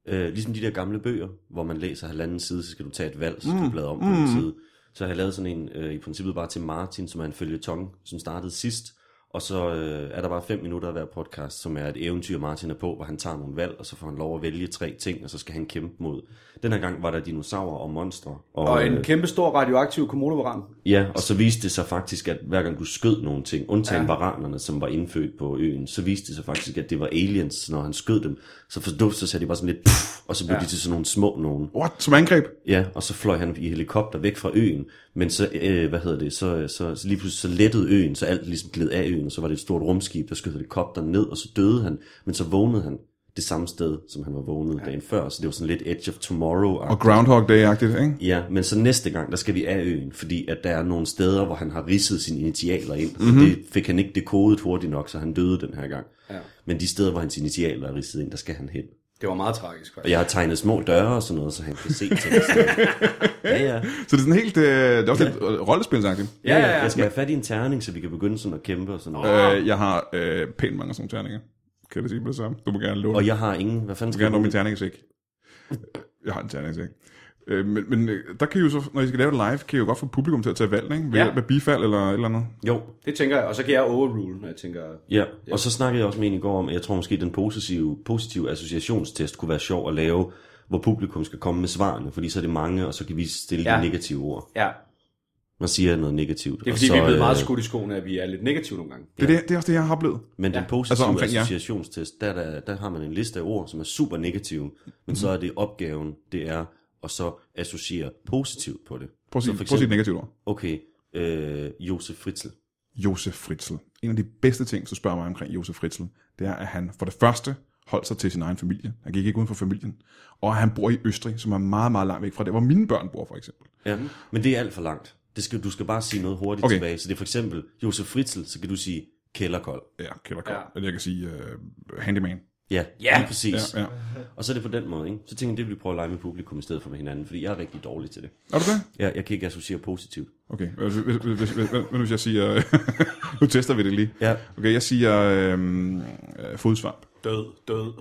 Speaker 3: Øh, ligesom de der gamle bøger, hvor man læser halvanden side, så skal du tage et valg, så skal du bladre om på mm. en side. Så har jeg lavet sådan en, øh, i princippet bare til Martin, som er en følgetong, som startede sidst. Og så øh, er der bare fem minutter af hver podcast, som er et eventyr, Martin er på, hvor han tager nogle valg, og så får han lov at vælge tre ting, og så skal han kæmpe mod. Den her gang var der dinosaurer og monstre.
Speaker 2: Og øh, en kæmpe stor radioaktiv komodovaran.
Speaker 3: Ja, og så viste det sig faktisk, at hver gang du skød nogle ting, undtagen ja. varanerne, som var indfødt på øen, så viste det sig faktisk, at det var aliens, når han skød dem. Så forduft, så sagde de bare sådan lidt, puff, og så blev ja. de til sådan nogle små nogen.
Speaker 1: What? Som angreb?
Speaker 3: Ja, og så fløj han i helikopter væk fra øen, men så, øh, hvad hedder det, så, så, så lige pludselig så lettede øen, så alt ligesom gled af øen, og så var det et stort rumskib, der skød helikopteren ned, og så døde han, men så vågnede han det samme sted, som han var vågnet ja. dagen før, så det var sådan lidt Edge of Tomorrow.
Speaker 1: Og Groundhog Day-agtigt, ikke?
Speaker 3: Ja, men så næste gang, der skal vi af øen, fordi at der er nogle steder, hvor han har ridset sine initialer ind. Mm-hmm. Det fik han ikke dekodet hurtigt nok, så han døde den her gang.
Speaker 2: Mhm. Ja.
Speaker 3: Men de steder, hvor hans initialer er ridset ind, der skal han hen.
Speaker 2: Det var meget tragisk,
Speaker 3: Og
Speaker 2: faktisk.
Speaker 3: jeg har tegnet små døre og sådan noget, så han kan se ting.
Speaker 2: (laughs)
Speaker 3: sådan. ja, ja.
Speaker 1: Så det er sådan helt, øh, det er også ja. lidt øh, rollespilsagtigt.
Speaker 2: Ja, ja, ja.
Speaker 3: Jeg skal have fat i en terning, så vi kan begynde sådan at kæmpe og sådan noget.
Speaker 1: Øh, jeg har øh, pænt mange sådan terninger. Kan jeg da sige på det samme? Du må gerne låne.
Speaker 3: Og jeg har ingen... Hvad fanden
Speaker 1: Du
Speaker 3: skal
Speaker 1: må gerne
Speaker 3: jeg
Speaker 1: låne min
Speaker 3: bruge-
Speaker 1: terningsæk. Jeg har en terningsæk. Øh, men, men øh, der kan I jo så, når I skal lave det live, kan I jo godt få publikum til at tage valg, ikke? Ved
Speaker 2: Ja.
Speaker 1: ja. bifald eller et eller andet.
Speaker 3: Jo,
Speaker 2: Det tænker jeg, og så kan jeg overrule, når jeg tænker...
Speaker 3: Ja, og så snakkede jeg også med en i går om, at jeg tror måske, den positive, positive associationstest kunne være sjov at lave, hvor publikum skal komme med svarene, fordi så er det mange, og så kan vi stille ja.
Speaker 2: Ja.
Speaker 3: de negative ord.
Speaker 2: Ja,
Speaker 3: Man siger noget negativt.
Speaker 2: det er
Speaker 3: og
Speaker 2: fordi,
Speaker 3: så,
Speaker 2: vi er blevet meget
Speaker 3: øh,
Speaker 2: skudt i skoene, at vi er lidt negative nogle gange.
Speaker 1: Det, er det, det er også det, jeg har oplevet.
Speaker 3: Men den
Speaker 2: Ja.
Speaker 3: positive
Speaker 1: Altså
Speaker 3: altså
Speaker 1: omkring jer.
Speaker 3: associationstest, der, der, der har man en liste af ord, som er super negative, men mm-hmm. så er det opgaven, det er at så associere positivt på det.
Speaker 1: Prøv at sige,
Speaker 3: Så for
Speaker 1: prøv at sige et
Speaker 3: eksempel-
Speaker 1: negativt ord.
Speaker 3: Okay, øh, Josef Fritzl.
Speaker 1: Josef Fritzl. En af de bedste ting, du spørger mig omkring Josef Fritzl, det er, at han for det første holdt sig til sin egen familie. Han gik ikke uden for familien. Og han bor i Østrig, som er meget, meget langt væk fra der, hvor mine børn bor, for eksempel.
Speaker 3: Ja, men det er alt for langt. Det skal, du skal bare sige noget hurtigt
Speaker 1: Okay.
Speaker 3: okay. tilbage. Så det er for eksempel Josef Fritzl, så kan du sige kælderkold.
Speaker 1: Ja, kælder ja.
Speaker 2: Ja.
Speaker 1: Eller jeg kan sige uh, handyman.
Speaker 3: Ja,
Speaker 2: Ja.
Speaker 3: ja. lige præcis.
Speaker 1: Ja,
Speaker 3: Ja,
Speaker 1: ja.
Speaker 3: ja. Og så er det på den måde, ikke? Så tænker jeg, det vil vi prøve at lege med publikum i stedet for med hinanden, fordi jeg er rigtig dårlig til det.
Speaker 1: Er du det?
Speaker 3: Ja, jeg kan ikke associere positivt.
Speaker 1: Okay. Hvad hvis, hvis, hvis, hvis, hvis, hvis jeg siger... nu tester vi det lige.
Speaker 3: Ja.
Speaker 1: Okay, jeg siger øhm, øh, fodsvamp.
Speaker 2: Død, død.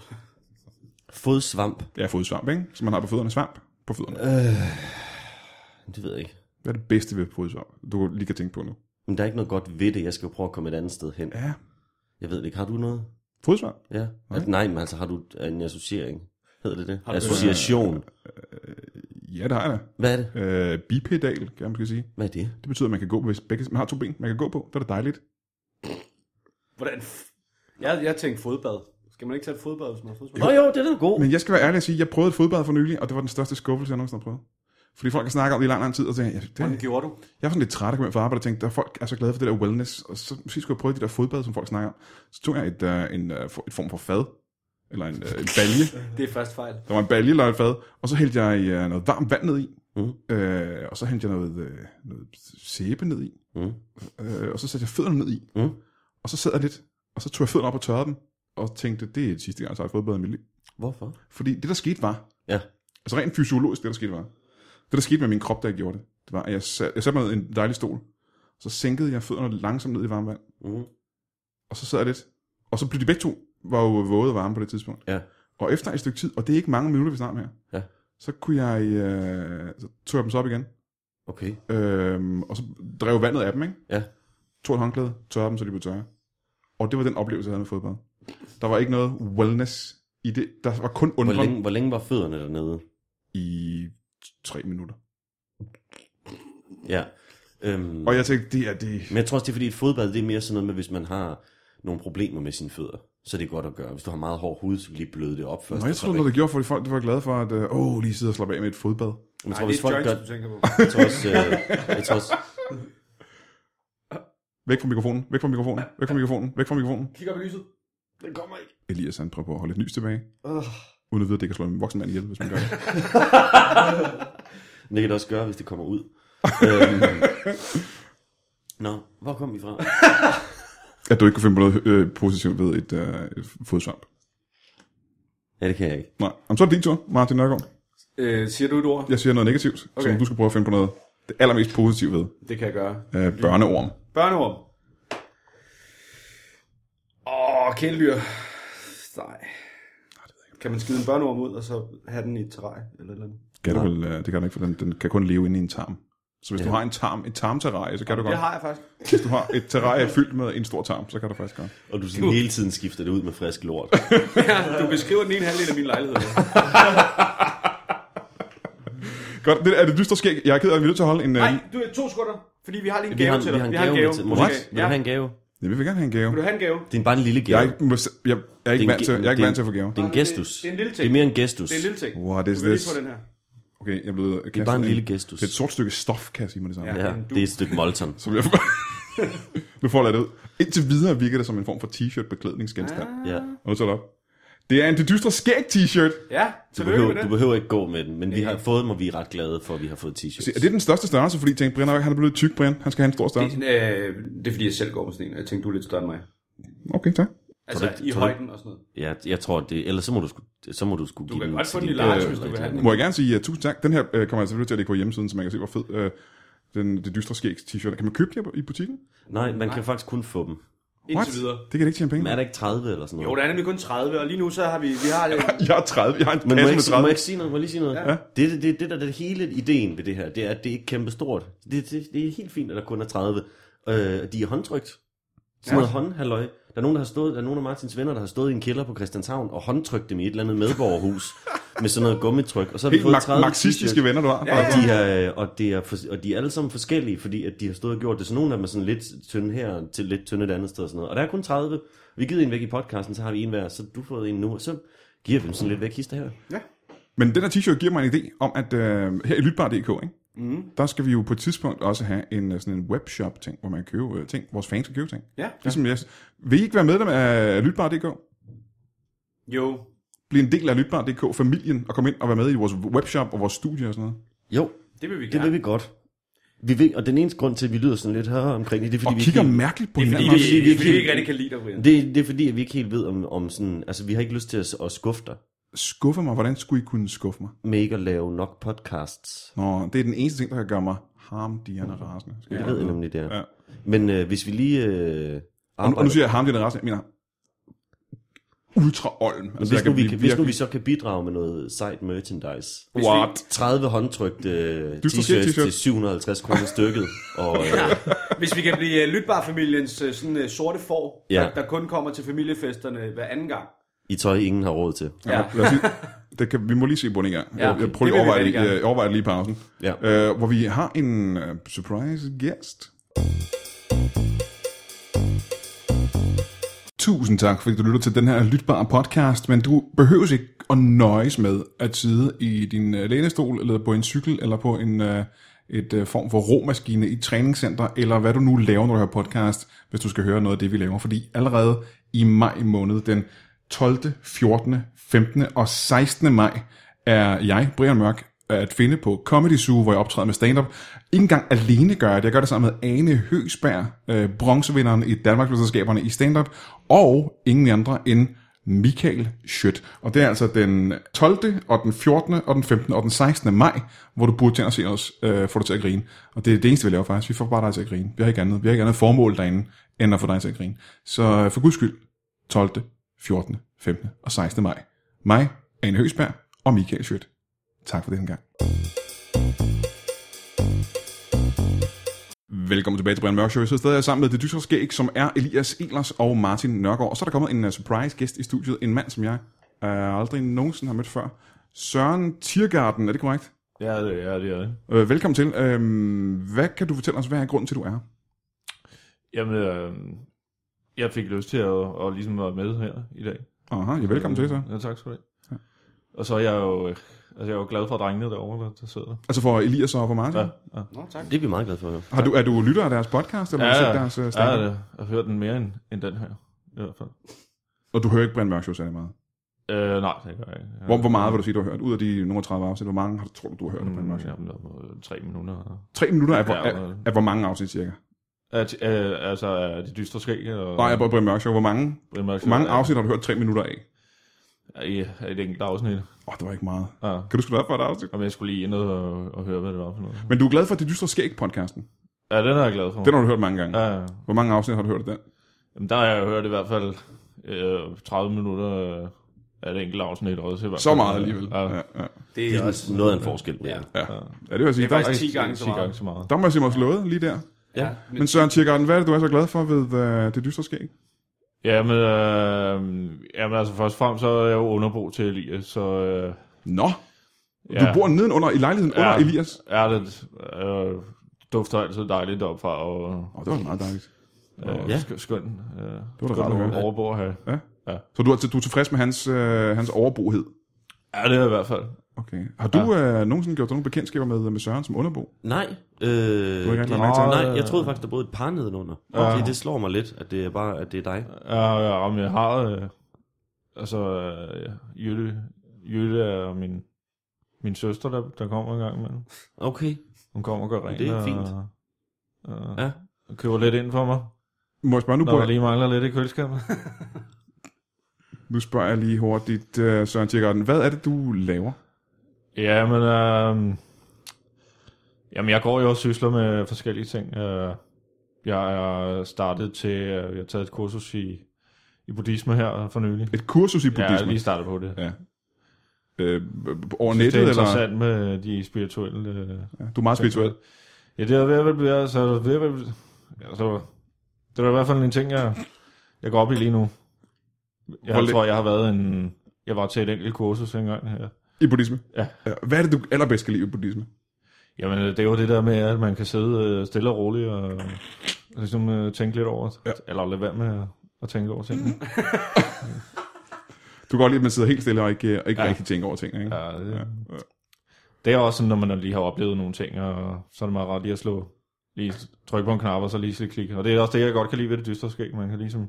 Speaker 3: Fodsvamp,
Speaker 1: Ja, fodsvamp, ikke? Som man har på fødderne. Svamp på fødderne.
Speaker 3: det ved jeg ikke.
Speaker 1: Hvad er det bedste ved fodsvamp, du lige kan tænke på nu?
Speaker 3: Men der er ikke noget godt ved det, jeg skal jo prøve at komme et andet sted hen.
Speaker 1: Ja,
Speaker 3: Jeg ved det ikke, har du noget?
Speaker 1: fodsvamp.
Speaker 3: Ja. At, nej, men altså har du en associering? Hedder det det?
Speaker 2: du-
Speaker 3: Association.
Speaker 1: Ja, det har jeg da.
Speaker 3: Hvad er det?
Speaker 1: Øh, bipedal, kan jeg måske sige.
Speaker 3: Hvad er det?
Speaker 1: Det betyder, at man kan gå, hvis begge, man har to ben, man kan gå på. Det er da dejligt.
Speaker 2: Hvordan? f- Jeg, jeg tænkte fodbad. Skal man ikke tage et fodbad, hvis man har fodbad?
Speaker 3: Nå jo, det er da god.
Speaker 1: Men jeg skal være ærlig og sige, at jeg prøvede et fodbad for nylig, og det var den største skuffelse, jeg nogensinde har prøvet. Fordi folk har snakket om det i lang, lang tid, og så tænker jeg, ja,
Speaker 2: Hvordan
Speaker 1: det,
Speaker 2: gjorde du?
Speaker 1: jeg var sådan lidt træt af at komme hjem fra arbejde, og tænkte, der er folk er så glade for det der wellness, og så måske skulle jeg prøve de der fodbad, som folk snakker om. Så tog jeg et, uh, en, uh, et form for fad, eller en, uh, en balje,
Speaker 2: Det er første fejl.
Speaker 1: Der var en balje eller et fad, og så hældte jeg øh, noget varmt vand ned i.
Speaker 3: Mhm.
Speaker 1: Mm. Øh, og så hældte jeg noget, øh, noget sæbe ned i.
Speaker 3: Mhm.
Speaker 1: Øh, og så satte jeg fødderne ned i.
Speaker 3: Mhm.
Speaker 1: Og så sad jeg lidt, og så tog jeg fødderne op og tørrede dem, og tænkte, det er sidste gang, jeg har fodbad i mit liv.
Speaker 3: Hvorfor?
Speaker 1: Fordi det, der skete var,
Speaker 3: Ja.
Speaker 1: altså rent fysiologisk, det der skete var, det der skete med min krop, da jeg gjorde det, det var, at jeg, sat, jeg satte mig ned i en dejlig stol, Så sænkede jeg fødderne langsomt ned i varmt vand.
Speaker 3: Mm.
Speaker 1: Og så sad jeg lidt. Og så blev de begge to var jo våde og varme på det tidspunkt.
Speaker 3: Ja.
Speaker 1: Og efter et stykke tid, og det er ikke mange minutter, vi snakker om her,
Speaker 3: Ja.
Speaker 1: så, kunne jeg, øh, så tog jeg dem så op igen.
Speaker 3: Okay.
Speaker 1: Øhm, og så drev vandet af dem, ikke?
Speaker 3: Ja.
Speaker 1: Tog et håndklæde, tørrede dem, så de blev tørre. Og det var den oplevelse, jeg havde med fodbold. Der var ikke noget wellness i det. Der var kun
Speaker 3: Hvor
Speaker 1: undren
Speaker 3: længe, hvor længe var fødderne dernede?
Speaker 1: i tre minutter.
Speaker 3: Ja. Øhm,
Speaker 1: Og jeg tænkte, det er det...
Speaker 3: Men jeg tror også, det er fordi, et fodbad, det er mere sådan noget med, hvis man har nogle problemer med sine fødder, så er det godt at gøre. Hvis du har meget hård hud, så kan du lige bløde det op først.
Speaker 1: Nå, jeg
Speaker 3: og så
Speaker 1: troede,
Speaker 3: rigtig-
Speaker 1: noget, det gjorde, fordi folk de var glade for, at øh, åh, lige sidde og slappe af med et fodbad.
Speaker 3: Men jeg
Speaker 2: Nej,
Speaker 3: tror,
Speaker 2: det
Speaker 3: hvis
Speaker 2: er
Speaker 3: folk gør
Speaker 2: joints, du tænker på.
Speaker 3: (laughs) jeg tror også, øh, jeg tror også,
Speaker 1: Væk fra mikrofonen, væk fra mikrofonen, væk fra mikrofonen, væk fra mikrofonen.
Speaker 2: Kig op i lyset. Den kommer ikke.
Speaker 1: Elias han prøver på at holde et nys tilbage,
Speaker 2: Oh.
Speaker 1: uden at vide, at det kan slå en voksen mand ihjel, hvis man gør det. (laughs)
Speaker 3: men det kan det også gøre, hvis det kommer ud. øhm. Nå, hvor kom vi fra?
Speaker 1: At du ikke kunne finde på noget øh, positivt ved et, øh, et fodsvamp.
Speaker 3: Ja, det kan jeg ikke.
Speaker 1: Nej, Jamen, så er det din tur, Martin Nørgaard.
Speaker 2: Øh, siger du et ord?
Speaker 1: Jeg siger noget negativt, okay.
Speaker 2: Okay.
Speaker 1: som du skal prøve at finde på noget det allermest positive ved.
Speaker 2: Det kan jeg gøre.
Speaker 1: Øh, børneorm.
Speaker 2: Børneorm. Åh, kæledyr. Nej. Kan man skide en børneorm ud, og så have den i et terrarie eller et eller andet?
Speaker 1: Kan du vel, øh, det kan du ikke, for den, den kan kun leve inde i en tarm. Så hvis ja. du har en tarm, et tarmterrarie, så kan du
Speaker 2: Det
Speaker 1: godt.
Speaker 2: har jeg faktisk.
Speaker 1: Hvis du har et
Speaker 2: (laughs)
Speaker 1: terrarie fyldt med en stor tarm, så kan du faktisk godt.
Speaker 3: Og du sådan hele tiden skifter det ud med frisk lort.
Speaker 2: Du beskriver den ene halvdel af min lejlighed.
Speaker 1: Godt, det er det dystre skæg. Jeg er ked af, at vi er nødt til at holde en... øh,
Speaker 2: Nej, du er to sekunder, fordi vi har lige en
Speaker 3: Vi
Speaker 2: gave
Speaker 3: har,
Speaker 2: til
Speaker 3: vi
Speaker 2: dig.
Speaker 3: har en gave. Med til. Må du,
Speaker 1: What?
Speaker 3: vil du
Speaker 2: Ja.
Speaker 3: have en gave?
Speaker 1: Jeg vil gerne have en gave.
Speaker 2: Vil du have en gave?
Speaker 3: Det er bare en lille
Speaker 1: Jeg
Speaker 3: gave.
Speaker 1: er ikke, jeg, jeg er ikke,
Speaker 3: Det er en
Speaker 1: vant, til,
Speaker 3: ge-
Speaker 1: jeg er ikke
Speaker 3: det er
Speaker 1: vant til at få gaver.
Speaker 3: Det er en
Speaker 2: Nej, det-
Speaker 3: gestus.
Speaker 2: det er en lille ting.
Speaker 3: Det er mere en gestus.
Speaker 2: Det er en lille ting.
Speaker 1: What is
Speaker 2: du kan lige
Speaker 1: this?
Speaker 2: få den her.
Speaker 1: Okay, jeg er blevet Det
Speaker 3: bare en lille gestus.
Speaker 1: Det er et sort stykke stof, kan jeg sige mig det samme.
Speaker 2: Ja.
Speaker 1: Ja.
Speaker 3: Ja, det er et stykke molton.
Speaker 2: (laughs)
Speaker 1: Så jeg (laughs) nu får jeg det ud. Indtil videre virker det som en form for t-shirt beklædningsgenstand. Ja.
Speaker 3: Ja.
Speaker 1: Og nu tager det op. Det er en det dystre skæg t-shirt.
Speaker 2: Ja,
Speaker 3: Du
Speaker 2: tillykke
Speaker 3: behøver,
Speaker 2: med
Speaker 3: du
Speaker 2: det.
Speaker 3: behøver ikke gå med den, men vi har fået dem, og vi er ret glade for, at vi har fået t-shirts.
Speaker 1: Se,
Speaker 2: Altså,
Speaker 1: Er det den største størrelse? Fordi jeg tænkte, Brian, han er blevet tyk, Brian. Han skal have en stor størrelse.
Speaker 2: Det, øh, det er fordi, jeg selv går med sådan en, og jeg tænkte, du er lidt større end mig.
Speaker 1: Okay, tak.
Speaker 2: Altså,
Speaker 3: Tror du ikke-
Speaker 2: i
Speaker 3: tror du
Speaker 2: højden og sådan noget.
Speaker 3: Ja, jeg tror, det, ellers så må du, sku- så må du skulle
Speaker 2: Du kan
Speaker 3: den
Speaker 2: godt
Speaker 3: til
Speaker 2: få den
Speaker 3: din
Speaker 2: i large,
Speaker 3: dame
Speaker 2: hvis du
Speaker 3: eller
Speaker 2: vil
Speaker 3: et
Speaker 2: have
Speaker 3: eller
Speaker 2: den.
Speaker 1: Må jeg gerne sige uh, tusind tak. Den her uh, kommer jeg selvfølgelig til at lægge på hjemmesiden, så man kan se, hvor fed uh, den, det dystre skæg t-shirt. er. Kan man købe det her i butikken?
Speaker 3: andet. Nej, man kan faktisk kun få dem.
Speaker 2: Indtil videre.
Speaker 1: Det kan det ikke tjene penge.
Speaker 3: Men
Speaker 1: på.
Speaker 3: er der ikke 30 eller sådan noget?
Speaker 2: Jo, der er nemlig kun 30, og lige nu så har vi... vi har,
Speaker 1: Jeg er 30. Jeg har en
Speaker 3: Men må jeg,
Speaker 1: kasse med
Speaker 3: ikke, må
Speaker 1: 30.
Speaker 3: jeg ikke sige noget? Må jeg lige sige noget? Ja. Det, det, det, det, der, det hele ideen ved det her, det er, at det er ikke kæmpe stort. Det, det, det er helt fint, at der kun er 30. Øh, de er håndtrykt. Sådan noget håndhalløj. Der er nogen, der har stået, der er nogen af Martins venner, der har stået i en kælder på Christianshavn og håndtrykt dem i et eller andet
Speaker 1: (laughs)
Speaker 3: medborgerhus med sådan noget gummitryk. Og så har vi
Speaker 1: Helt
Speaker 3: fået
Speaker 1: mar-
Speaker 3: 30
Speaker 1: marxistiske
Speaker 3: t-shirts.
Speaker 1: venner, du har.
Speaker 3: Og de, er, og, det er for, og de er alle sammen forskellige, fordi at de har stået og gjort det. Så nogle af dem er sådan lidt tynde her, til lidt tynde et andet sted og sådan noget. Og der er kun 30. Vi giver en væk i podcasten, så har vi en hver, så du får en nu, og så giver vi dem sådan lidt væk hister her.
Speaker 1: Men den her t-shirt giver mig en idé om, at øh, her i Lytbar.dk, ikke? Mm. der skal vi jo på et tidspunkt også have en øh, sådan en webshop-ting, hvor man kan købe øh, ting. Vores fans kan købe ting.
Speaker 2: ja.
Speaker 1: Ligesom jeg. Vil I ikke være medlem af Lytbar.dk?
Speaker 2: Jo.
Speaker 1: Bliv en del af Lytbar.dk-familien og komme ind og være med i vores webshop og vores studie og sådan noget.
Speaker 3: Jo,
Speaker 2: Det vil vi
Speaker 3: det
Speaker 2: gerne.
Speaker 3: ja. vil vi godt. Vi ved, og den eneste grund til, at vi lyder sådan lidt her omkring det, det er,
Speaker 1: Og
Speaker 3: fordi, vi
Speaker 1: kigger
Speaker 3: ikke,
Speaker 1: mærkeligt på
Speaker 2: Det er fordi,
Speaker 1: hinanden.
Speaker 2: vi,
Speaker 1: også.
Speaker 2: vi, vi,
Speaker 3: vi-
Speaker 2: ikke rigtig kan lide dig, Brian.
Speaker 3: helt, det, det er fordi, at vi ikke helt ved om, om sådan... Altså, vi har ikke lyst til at, at skuffe dig
Speaker 1: Skuffer mig. Hvordan skulle I kunne skuffe mig?
Speaker 3: med ikke at lave nok podcasts.
Speaker 1: Nå, det er den eneste ting, der kan gøre mig harmdirrende rasende. Skal
Speaker 3: Det
Speaker 1: jeg
Speaker 3: ved jeg
Speaker 1: godt vide.
Speaker 3: nemlig, det er.
Speaker 1: Ja.
Speaker 3: Ja. Men øh, hvis vi lige... Øh,
Speaker 1: Og nu, og nu
Speaker 3: arbejder-
Speaker 1: siger jeg harmdirrende rasende. Jeg mener ultra olm. Altså, jeg
Speaker 3: Men hvis, nu
Speaker 1: kan
Speaker 3: vi,
Speaker 1: blive
Speaker 3: kan, hvis
Speaker 1: virkelig-
Speaker 3: nu vi så kan bidrage med noget sejt merchandise. Hvis
Speaker 1: What?
Speaker 3: Vi 30 håndtrykte øh,
Speaker 1: Du skal se
Speaker 3: t-shirts
Speaker 1: t-shirt.
Speaker 3: til 750 kroner stykket.
Speaker 1: (laughs)
Speaker 3: Og, øh,
Speaker 2: Hvis vi kan blive uh, lytbarfamiliens uh, sådan, uh, sorte får, ja.
Speaker 3: Ja.
Speaker 2: der, der kun kommer til familiefesterne hver anden gang.
Speaker 3: I tøj, ingen har råd til.
Speaker 2: Ja.
Speaker 1: Ja. Lad os lige, det kan, vi må lige se på den en gang.
Speaker 2: Ja,
Speaker 1: Ja,
Speaker 2: okay.
Speaker 1: jeg prøver
Speaker 2: Det vil vi
Speaker 1: lige at overveje,
Speaker 2: rigtig
Speaker 1: det,
Speaker 2: gerne.
Speaker 1: øh, overveje det lige i pausen.
Speaker 3: Ja.
Speaker 1: Øh, hvor vi har en øh, surprise gæst. Tusind tak, fordi du lytter til den her lytbare podcast, men du behøver ikke at nøjes med at sidde i din øh, lænestol, eller på en cykel, eller på en øh, et øh, form for romaskine i et træningscenter, eller hvad du nu laver, når du hører podcast, hvis du skal høre noget af det, vi laver. Fordi allerede i maj måned, den 12., 14., 15. og 16. maj, er jeg, Brian Mørk, at finde på Comedy Zoo, hvor jeg optræder med stand-up. Ikke engang alene gør jeg det. Jeg gør det sammen med Ane Høsberg, øh, bronzevinderen i Danmarksmesterskaberne i stand-up, og ingen andre end Michael Schødt. Og det er altså den 12., og den 14., og den 15. og den 16. maj, hvor du burde tænke og se os, øh, få dig til at grine. Og det er det eneste, vi laver faktisk. Vi får bare dig til at grine. Vi har ikke andet, vi har ikke andet formål derinde, end at få dig til at grine. Så øh, for guds skyld, 12., 14., 15. og 16. maj. Mig, Ane Høsberg og Michael Schødt. Tak for den gang. Velkommen tilbage til Brian Mørk Show. Så stadig er jeg sammen med det dystre skæg, som er Elias Elers og Martin Nørgaard. Og så er der kommet en uh, surprise gæst i studiet. En mand, som jeg uh, aldrig nogensinde har mødt før. Søren Tiergarten, er det korrekt?
Speaker 4: Ja, det, ja, det er det.
Speaker 1: Uh, velkommen til. Uh, hvad kan du fortælle os, hvad er grunden til, du er her?
Speaker 4: Jamen, øh, jeg fik lyst til at, at ligesom være med her i dag.
Speaker 1: Aha, ja, velkommen til så.
Speaker 4: Ja, tak skal du have. Og så er jeg jo, øh, altså jeg er jo glad for drengene derovre, der, der sidder.
Speaker 1: Altså for Elias og for Martin.
Speaker 4: Ja,
Speaker 1: Ja.
Speaker 4: ja.
Speaker 2: Nå, tak.
Speaker 3: Det er vi meget glade for at høre.
Speaker 1: Har du, er du lytter af deres podcast, eller ja, har du set deres uh,
Speaker 4: ja, ja,
Speaker 1: ja,
Speaker 4: det. jeg har hørt den mere end, end den her, i hvert fald.
Speaker 1: Og du hører ikke Brian Mørk Show særlig meget?
Speaker 4: Øh, nej, det gør jeg ikke. Jeg-
Speaker 1: Hvor, hvor meget vil du sige, du har hørt? Ud af de nogle 30 afsnit, hvor mange har du, tror du, du har hørt af Brian
Speaker 4: Mm,
Speaker 1: Mørk Show?
Speaker 4: jamen, der var tre minutter.
Speaker 1: Tre minutter af, hvor,
Speaker 4: Mm. Ja,
Speaker 1: af,
Speaker 4: og-
Speaker 1: af, hvor mange afsnit cirka?
Speaker 4: At, øh, altså, er det dystre skæg? Og,
Speaker 1: Nej, af Brian Mørk Show, hvor mange, hvor mange afsnit har du hørt tre minutter af?
Speaker 4: Ja, et enkelt afsnit.
Speaker 1: Åh, oh, det var ikke meget.
Speaker 4: Ja.
Speaker 1: Kan du sgu da op for et afsnit?
Speaker 4: Jamen, jeg skulle lige ind og, og høre, hvad det var for noget.
Speaker 1: Men du er glad for, at det dystre skæg podcasten.
Speaker 4: Ja, den er jeg glad for.
Speaker 1: Den har du hørt mange gange. Ja.
Speaker 4: Ja, ja.
Speaker 1: Hvor mange afsnit har du hørt af den?
Speaker 4: Jamen, der har jeg hørt i hvert fald øh, 30 minutter øh, af det enkelte afsnit også. I hvert
Speaker 1: Så
Speaker 4: fald.
Speaker 1: meget alligevel. Ja,
Speaker 4: Ja,
Speaker 1: ja. ja.
Speaker 2: Det
Speaker 3: Det
Speaker 2: er
Speaker 3: er
Speaker 2: også...
Speaker 3: noget af en forskel. Ja.
Speaker 1: ja det vil jeg sige.
Speaker 2: Det er
Speaker 1: Der,
Speaker 2: faktisk 10 gange så
Speaker 4: 10 gange
Speaker 2: meget.
Speaker 4: så meget.
Speaker 1: der må jeg sige mig slået lige der.
Speaker 3: ja.
Speaker 1: Men Søren Tiergarten, hvad er det, du er så glad for ved uh, det dystre skæg?
Speaker 4: Jamen, øh, jamen, altså først og fremmest, så er jeg jo underbo til Elias, så... Øh,
Speaker 1: Nå, du bor nedenunder i lejligheden under
Speaker 4: Ja.
Speaker 1: Elias.
Speaker 4: Ja, det øh, dufter altid dejligt deroppe fra, og
Speaker 1: Åh, oh, det var meget dejligt.
Speaker 4: øh,
Speaker 3: Ja.
Speaker 4: ja. sk- skøn, øh, det
Speaker 1: var da
Speaker 4: skøn
Speaker 1: rart at høre.
Speaker 4: overbo at have.
Speaker 1: Så du er, altså, du er tilfreds med hans, øh, hans overbohed?
Speaker 4: Ja, det er jeg i hvert fald.
Speaker 1: Okay. Har du øh, nogensinde gjort dig nogle bekendtskaber med, med Søren som underbo?
Speaker 3: Nej.
Speaker 1: lagt
Speaker 3: Øh, det-
Speaker 1: mærke til
Speaker 4: det?
Speaker 3: Nej, jeg troede faktisk, der boede et par nedenunder. Ja. Det, det slår mig lidt, at det er bare at det er dig.
Speaker 4: Ja, ja, om jeg har... Øh, altså, øh, ja, Jytte, Jytte er min, min søster, der, der kommer en gang imellem.
Speaker 3: Okay.
Speaker 4: Hun kommer og gør rent.
Speaker 3: Det er
Speaker 4: og-
Speaker 3: fint.
Speaker 4: Og,
Speaker 3: Ja.
Speaker 4: og køber lidt ind for mig,
Speaker 1: Må jeg spørge nu
Speaker 4: når
Speaker 1: på
Speaker 4: der lige mangler lidt i køleskabet. (laughs)
Speaker 1: Nu spørger jeg lige hurtigt, uh, Søren Tiergarten, hvad er det, du laver?
Speaker 4: Ja, men øh, jamen, jeg går jo og sysler med forskellige ting. Øh, Jeg er startet til, øh, jeg har taget et kursus i, i buddhisme her for nylig.
Speaker 1: Et kursus i
Speaker 4: Ja, jeg er
Speaker 1: buddhisme?
Speaker 4: lige startet på det.
Speaker 1: Ja. øh, b- over
Speaker 4: Jeg synes,
Speaker 1: nettet?
Speaker 4: det er
Speaker 1: eller?
Speaker 4: interessant med de spirituelle... øh,
Speaker 1: Ja, du er meget spirituel.
Speaker 4: Ja, det er ved at blive, altså, det er ved at være- altså, det er i hvert fald en ting, jeg, jeg går op i lige nu. Jeg
Speaker 1: Hvor lidt-
Speaker 4: tror, jeg har været en, jeg var til et enkelt kursus engang her.
Speaker 1: I buddhisme?
Speaker 4: Ja.
Speaker 1: Hvad er det, du allerbedst kan lide i buddhisme?
Speaker 4: Jamen, øh, det er jo det der med, at man kan sidde øh, stille og roligt og, og ligesom øh, tænke lidt over,
Speaker 1: Ja.
Speaker 4: ja. eller lade være med at, at tænke over tingene.
Speaker 1: Du kan godt lide, at man sidder helt stille og ikke, og ikke ja.
Speaker 4: Ja.
Speaker 1: rigtig tænker over tingene, ikke?
Speaker 4: Ja,
Speaker 1: Ja.
Speaker 4: det, det er også sådan, når man lige har oplevet nogle ting, og så er det meget rart lige at slå, lige trykke på en knap, og så lige klikke. Og det er også det, jeg godt kan lide ved det dystre skæg. Man kan ligesom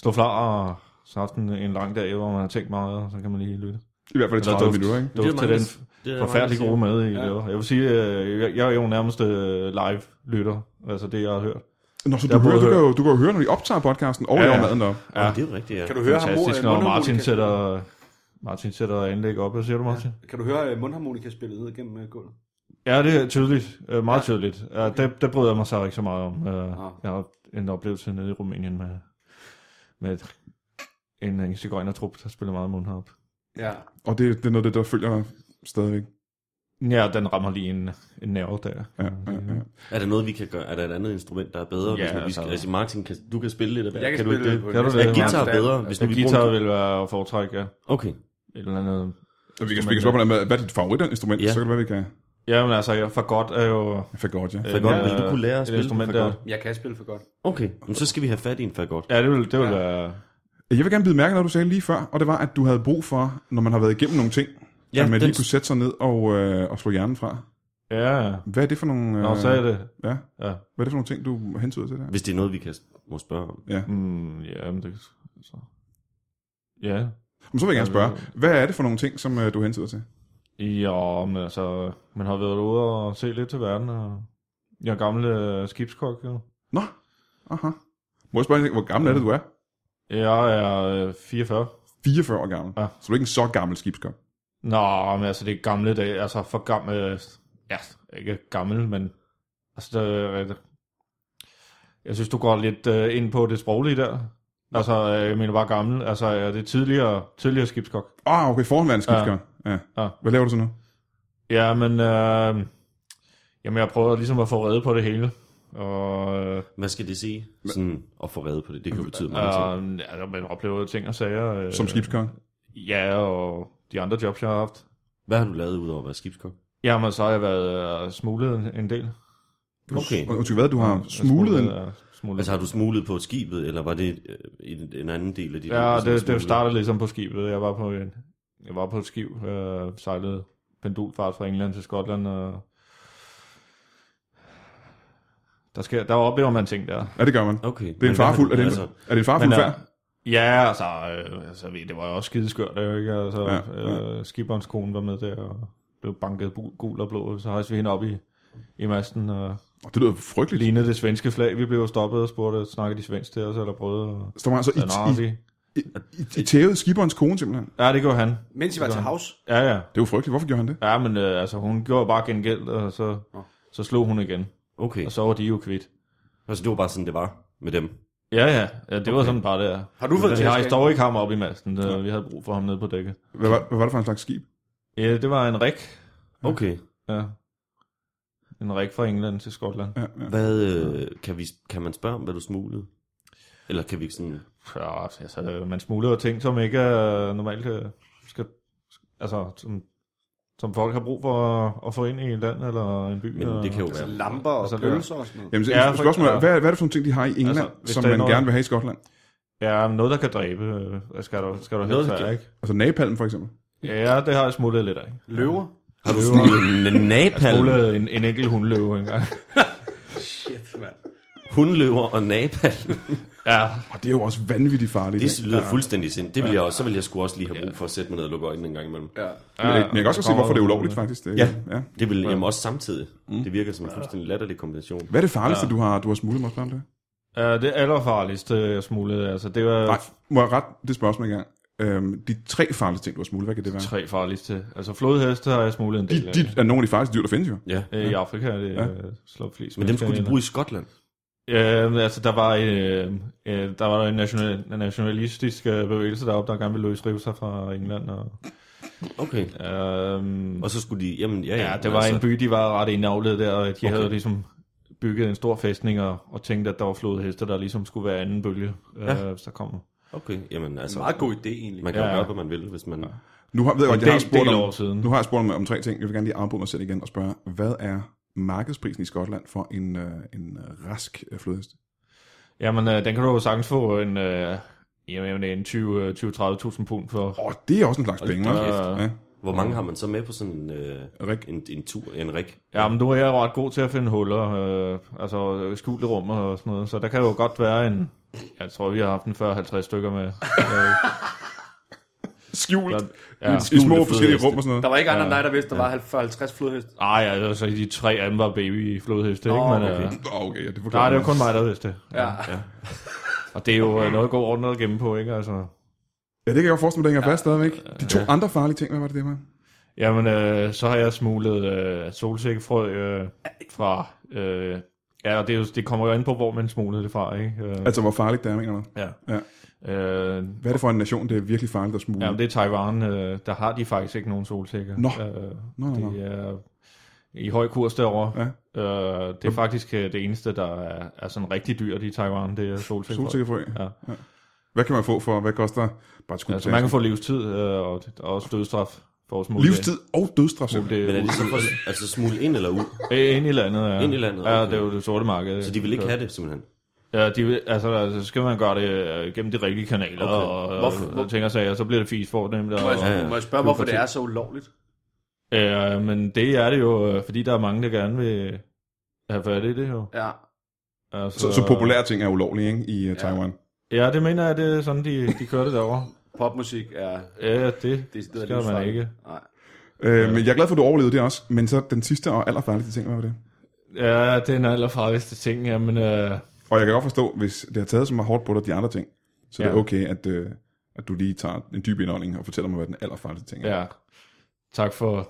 Speaker 4: slå flar og så har haft en, en lang dag, hvor man har tænkt meget, og så kan man lige lytte.
Speaker 1: I hvert fald i 30
Speaker 4: duft.
Speaker 1: minutter, ikke?
Speaker 4: Det var til
Speaker 3: mange,
Speaker 4: den
Speaker 3: der- det er der
Speaker 4: forfærdelig
Speaker 3: mange, der
Speaker 4: gode mad, I
Speaker 2: Ja.
Speaker 4: ja. Jeg vil sige, øh, jeg, jeg er jo nærmest øh, live-lytter, altså det, jeg har hørt.
Speaker 1: Nå, så
Speaker 4: Der
Speaker 1: du,
Speaker 4: er
Speaker 1: hører, du,
Speaker 4: både-
Speaker 1: kan jo, du kan jo høre, når de optager podcasten, og
Speaker 4: Ja,
Speaker 1: ja, laver
Speaker 4: ja.
Speaker 1: maden derop.
Speaker 3: siger. Ja. Det er jo rigtigt, ja.
Speaker 2: Kan du høre ham
Speaker 4: Fantastisk,
Speaker 2: bruge, øh,
Speaker 4: når Martin
Speaker 2: mundharmonika?
Speaker 4: sætter, Martin sætter anlæg op. Hvad siger du, Martin?
Speaker 2: Kan du høre øh, mundharmonikaspillet ned gennem øh, gulvet?
Speaker 4: Ja, det er tydeligt. Øh, meget ja. tydeligt. Ja, det, det bryder jeg mig så ikke så meget om. Øh,
Speaker 2: Ah.
Speaker 4: Jeg har en oplevelse nede i Rumænien med, med et, en, en cigøjnertrup, der spiller meget mundharp.
Speaker 2: Ja.
Speaker 1: Og det, det er noget af det, der følger dig stadigvæk.
Speaker 4: Ja, den rammer lige en, en nerve der.
Speaker 1: Ja, ja, ja.
Speaker 4: Mm-hmm.
Speaker 3: Er der noget, vi kan gøre? Er der et andet instrument, der er bedre?
Speaker 4: Ja,
Speaker 3: hvis nu, vi
Speaker 4: altså-
Speaker 3: skal, altså, Martin, kan, du kan spille lidt af hver.
Speaker 2: Jeg kan,
Speaker 3: du
Speaker 2: spille
Speaker 3: ikke
Speaker 2: det på
Speaker 4: Kan du
Speaker 2: næsten
Speaker 4: det?
Speaker 3: Er
Speaker 2: enhver
Speaker 3: guitar
Speaker 2: dag.
Speaker 3: bedre, hvis nu
Speaker 4: Så
Speaker 3: vi
Speaker 4: guitar
Speaker 3: bruger...
Speaker 4: vil være at foretrække, ja. Et
Speaker 3: Okay.
Speaker 4: eller andet.
Speaker 1: Og vi kan spille spørge på den med, hvad er dit favoritinstrument? Ja.
Speaker 3: Ja.
Speaker 1: Så kan det være, vi kan...
Speaker 4: Jamen altså, jeg for godt er jo...
Speaker 1: Jeg fik godt, ja.
Speaker 4: øh,
Speaker 3: Fagot,
Speaker 4: ja,
Speaker 3: vil du kunne lære at
Speaker 4: et
Speaker 3: spille
Speaker 4: instrument
Speaker 3: fagot?
Speaker 4: der.
Speaker 2: Jeg kan spille for godt.
Speaker 3: Okay, men så skal vi have fat i en fagot.
Speaker 4: Ja, det vil, det vil
Speaker 2: Ja.
Speaker 4: være...
Speaker 1: Jeg vil gerne bide mærke, når du sagde lige før, og det var, at du havde brug for, når man har været igennem nogle ting, ja,
Speaker 3: Ja,
Speaker 1: at man lige
Speaker 3: den-
Speaker 1: kunne sætte sig ned og, øh, og slå hjernen fra.
Speaker 4: Ja,
Speaker 1: Hvad er det for nogle... Øh,
Speaker 4: Nå, så er det.
Speaker 1: Ja,
Speaker 4: Ja.
Speaker 1: hvad er det for nogle ting, du hentyder til der?
Speaker 3: Hvis det er noget, vi kan må spørge om.
Speaker 1: Ja.
Speaker 4: Mm, ja, men det... Så. Ja,
Speaker 1: Men så vil jeg gerne spørge, hvad er det for nogle ting, som øh, du hentyder til?
Speaker 4: Ja, men altså, man har været ude og se lidt til verden, og jeg er gammel øh, skibskok, jo.
Speaker 1: Nå, aha. Må jeg spørge, en ting? hvor gammel er det, du er?
Speaker 4: Jeg er øh, 44.
Speaker 1: 44 år gammel.
Speaker 4: Ja.
Speaker 1: Så du er ikke en så gammel skibskop.
Speaker 4: Nå, men altså det er gamle dage, altså for gammel, ja, ikke gammel, men altså det, jeg synes, du går lidt øh, ind på det sproglige der. Altså, øh, jeg mener bare gammel, altså er det tidligere, tidligere skibskok?
Speaker 1: Åh, oh, okay, forhåndværende skibskop. Ja.
Speaker 4: Ja.
Speaker 1: ja. Hvad laver du så nu?
Speaker 4: Ja, men øh, jamen, jeg prøver ligesom at få redde på det hele. Og øh,
Speaker 3: Hvad skal det sige? Sådan at få reddet på det. Det kan jo betyde mange ting.
Speaker 4: og, Øhm, ja, man oplever ting og sager. Øh,
Speaker 1: Som skibskok?
Speaker 4: Ja, og de andre jobs, jeg har haft.
Speaker 3: Hvad har du lavet udover at være skibskok?
Speaker 4: Jamen, så har jeg været øh, smuglet en, en del.
Speaker 3: Okay.
Speaker 1: Og Undskyld, hvad? Du har smuglet en...
Speaker 4: Ja, smuglet.
Speaker 3: Altså har du smuglet på skibet, eller var det øh, en, en anden del af dit
Speaker 4: Ja,
Speaker 3: liv, du
Speaker 4: det, det
Speaker 3: smuglede?
Speaker 4: startede ligesom på skibet. Jeg var på, en, jeg var på et skib, øh, sejlede pendulfart fra England til Skotland, og der, sker, der oplever man ting der.
Speaker 1: Ja, det gør man.
Speaker 3: Okay.
Speaker 1: Det er en farfuld... Er det en, er det en farfuld
Speaker 4: Men, øh,
Speaker 1: færd?
Speaker 4: Ja, altså, øh, altså ved- det var jo også skideskørt, øh, ikke? Altså,
Speaker 1: Ja,
Speaker 4: ja, ja. skibberens kone var med der, og blev banket bu- gul og blå, så hejste vi hende op i, i masten, og
Speaker 1: Åh, Det lyder frygteligt.
Speaker 4: lignede det svenske flag. Vi blev stoppet og spurgte, snakkede de svensk til os, eller prøvede at...
Speaker 1: Står man altså i,
Speaker 4: Ja, nå,
Speaker 1: i,
Speaker 4: de-
Speaker 1: i, i tævet skibberens kone simpelthen?
Speaker 4: Ja, det gjorde han.
Speaker 2: Mens I var til havs.
Speaker 4: Ja, ja.
Speaker 1: Det er jo frygteligt. Hvorfor gjorde han det?
Speaker 4: Ja, men øh, altså, hun gjorde bare gengæld, og så,
Speaker 2: Nå.
Speaker 4: så slog hun igen.
Speaker 3: Okay,
Speaker 4: Og så var de jo kvidt.
Speaker 3: altså det var bare sådan, det var med dem.
Speaker 4: Ja, ja. ja det okay. var sådan bare det, ja.
Speaker 2: Har du fået
Speaker 4: Vi har
Speaker 2: tæsk? af?
Speaker 4: historik ham oppe i masten. Ja. Vi havde brug for ham nede på dækket.
Speaker 1: Hvad var, hvad var det for en slags skib?
Speaker 4: Ja, det var en rik.
Speaker 3: Okay,
Speaker 4: Ja. En rik fra England til Skotland.
Speaker 1: Ja, ja.
Speaker 3: hvad, øh, kan, vi, kan man spørge om, hvad du smuglede? Eller kan vi ikke sådan...
Speaker 4: Ja, altså, øh, man smugler jo ting, som ikke øh, normalt øh, skal... Altså, som, som folk har brug for at, at få ind i et land eller en by.
Speaker 3: Men
Speaker 4: eller,
Speaker 3: det kan jo
Speaker 2: Altså
Speaker 3: være...
Speaker 2: lamper og
Speaker 4: Altså, det er-
Speaker 2: pølser og sådan noget.
Speaker 1: Jamen, så,
Speaker 4: Ja, for-
Speaker 1: spørgsmålet er,
Speaker 4: ja.
Speaker 1: hvad, hvad er det for nogle ting, de har i England,
Speaker 4: Altså, hvis
Speaker 1: altså, som
Speaker 4: der er
Speaker 1: man
Speaker 4: noget-
Speaker 1: gerne vil have i Skotland?
Speaker 4: Ja, men noget, der kan dræbe, øh, skal du, skal du
Speaker 3: Noget,
Speaker 4: helst
Speaker 3: der
Speaker 4: have, ikke?
Speaker 1: Altså napalm for eksempel?
Speaker 4: Ja, det har jeg smuglet lidt af.
Speaker 2: Løver?
Speaker 3: Har du smuglet en napalm?
Speaker 4: Smuglet en, en enkelt hundløve engang.
Speaker 2: Shit, mand.
Speaker 3: Hundløver og
Speaker 4: (laughs)
Speaker 3: napalm?
Speaker 4: Ja,
Speaker 1: Og det er jo også vanvittigt farligt. ikke?
Speaker 3: Det lyder fuldstændig sind. Det vil jeg også, så vil jeg sgu også lige have brug for at sætte mig ned og lukke øjnene en gang imellem.
Speaker 2: Ja.
Speaker 1: Men, jeg- men jeg kan også godt se, hvorfor det er ulovligt faktisk. Det,
Speaker 3: Ja.
Speaker 1: ja.
Speaker 3: Det vil jamen også samtidig.
Speaker 4: Mm.
Speaker 3: Det virker som en fuldstændig latterlig kombination.
Speaker 1: Hvad er det farligste, du har, du har smuglet mig spørge om det?
Speaker 4: Ja, det allerfarligste, jeg smuglede, altså, det var
Speaker 1: Nej, må jeg rette det spørgsmål engang? Øhm, de tre farligste ting, du har smuglet, hvad kan det være?
Speaker 4: tre farligste. Altså, flodheste har jeg smuglet en
Speaker 1: De,
Speaker 4: del af.
Speaker 1: de er nogle af de farligste dyr, der findes jo.
Speaker 3: Ja.
Speaker 4: Øh, I Afrika er det
Speaker 1: Ja.
Speaker 4: ja. slået flest.
Speaker 3: Men dem skulle de bruge i Skotland.
Speaker 4: Ja, men altså, der var, øh, øh, der var en national, en nationalistisk øh, bevægelse deroppe, der gerne ville løsrive sig fra England. Og,
Speaker 3: Okay.
Speaker 4: øh,
Speaker 3: Og så skulle de... Jamen, ja, Altså-
Speaker 4: ja, det var en by, de var ret indavlet der, og de okay.
Speaker 3: Okay.
Speaker 4: havde ligesom bygget en stor fæstning og, og tænkte, at der var flodheste, der ligesom skulle være anden bølge, øh,
Speaker 3: Ja.
Speaker 4: hvis der kom.
Speaker 3: Okay, jamen altså...
Speaker 2: Meget god idé, egentlig.
Speaker 3: Man kan jo
Speaker 4: Ja.
Speaker 3: gøre, hvad man vil, hvis man...
Speaker 1: Nu har, ved jeg
Speaker 4: En
Speaker 1: godt, jeg har
Speaker 4: del,
Speaker 1: spurgt
Speaker 4: del
Speaker 1: om,
Speaker 4: år siden.
Speaker 1: nu har jeg spurgt om, om tre ting. Jeg vil gerne lige afbryde mig selv igen og spørge, hvad er markedsprisen i Skotland for en, øh, en øh, rask øh, flodhest?
Speaker 4: Jamen, øh, den kan du jo sagtens få en, øh, jamen, en 20, øh, 20-30.000 pund for.
Speaker 1: Åh, det er også en slags penge,
Speaker 4: da
Speaker 1: hva'?
Speaker 4: kæft.
Speaker 1: Ja,
Speaker 3: Hvor mange har man så med på sådan en, øh,
Speaker 1: Rik.
Speaker 3: en, en tur, en rig?
Speaker 4: Ja, men nu er jeg ret god til at finde huller, øh, altså øh, skjulte rum og sådan noget, så der kan jo godt være en, jeg tror, vi har haft en 40-50 stykker med. Øh,
Speaker 1: Skjult
Speaker 4: så- ja.
Speaker 1: i små
Speaker 3: skjulte
Speaker 1: forskellige
Speaker 3: flodheste.
Speaker 1: rum og sådan
Speaker 2: Der
Speaker 1: noget.
Speaker 2: var ikke andre end dig, der vidste, der var 50 flodheste.
Speaker 4: Ej, altså de tre af dem var baby flodheste, ikke?
Speaker 2: Nå,
Speaker 4: Men,
Speaker 3: okay.
Speaker 4: øh,
Speaker 1: Åh, okay, ja, det forklarer
Speaker 4: nej, det var
Speaker 1: mig.
Speaker 4: kun mig, der vidste det.
Speaker 2: Ja.
Speaker 4: Og det er jo øh, noget god ordnet at gemme på, ikke? Altså,
Speaker 1: Ja, det kan jeg godt forestille mig, at den hænger fast stadigvæk. De to andre farlige ting, hvad var det, det var?
Speaker 4: jamen, øh, så har jeg smuglet øh, solsikkefrø øh, fra... Øh, ja, og det, er jo, det kommer jo an på, hvor man smuglede det fra, ikke? Øh,
Speaker 1: Altså, hvor farligt det er, mener du?
Speaker 4: ja.
Speaker 1: ja.
Speaker 4: Øh,
Speaker 1: Hvad er det for en nation, det er virkelig farligt at smule?
Speaker 4: Ja, men det er Taiwan. Øh, der har de faktisk ikke nogen solsikker.
Speaker 1: Mm. Nå.
Speaker 4: Øh,
Speaker 1: Nå, nå, nå.
Speaker 4: Det er i høj kurs derovre.
Speaker 1: Ja.
Speaker 4: Øh, det er faktisk øh, det eneste, der er, er sådan rigtig dyrt i Taiwan, det er solsikker.
Speaker 1: Solsikkerfrø?
Speaker 4: Ja.
Speaker 1: ja. Hvad kan man få for, hvad koster bare et skud
Speaker 4: Altså, man kan få livstid øh, og, og også dødstraf for at smule
Speaker 1: Livstid og dødsstraf,
Speaker 4: Det,
Speaker 1: simpelthen.
Speaker 4: det,
Speaker 3: Men er
Speaker 4: det,
Speaker 3: det så for, altså smule ind eller ud?
Speaker 4: Øh, ind i landet, ja.
Speaker 3: Ind i landet,
Speaker 4: Ja,
Speaker 3: okay.
Speaker 4: det er jo det sorte marked.
Speaker 3: Så de vil ikke have det, simpelthen.
Speaker 4: Ja, de vil, altså, altså, så skal man gøre det øh, gennem de rigtige kanaler
Speaker 3: Okay.
Speaker 4: og, og,
Speaker 2: Hvorfor-
Speaker 4: og ting og sager, så bliver det fisk for dem. Der,
Speaker 2: Må jeg,
Speaker 4: og,
Speaker 3: ja.
Speaker 2: må jeg spørge, hvorfor det er så ulovligt?
Speaker 4: Ja, Øh, men det er det jo, øh, fordi der er mange, der gerne vil øh, have fat i det jo.
Speaker 2: Ja.
Speaker 4: Altså,
Speaker 1: Så, så populære ting er ulovlige, ikke, i uh, Taiwan?
Speaker 4: Ja, det mener jeg, det er sådan, de, de kører det derovre.
Speaker 2: Popmusik er...
Speaker 4: Ja, det,
Speaker 2: Det
Speaker 4: det
Speaker 2: er stadig
Speaker 4: skal man
Speaker 2: livsfarligt.
Speaker 4: ikke.
Speaker 2: Nej.
Speaker 1: Øh, men jeg er glad for, at du overlevede det også. Men så den sidste og allerfarligste ting, hvad var det?
Speaker 4: Ja, det er den allerfarligste ting, jamen... Øh,
Speaker 1: Og jeg kan godt forstå, hvis det har taget så meget hårdt på dig, de andre ting. Så ja. det er
Speaker 4: Ja.
Speaker 1: okay, at, øh, at du lige tager en dyb indånding og fortæller mig, hvad den allerfarligste ting er.
Speaker 4: Ja. Tak for,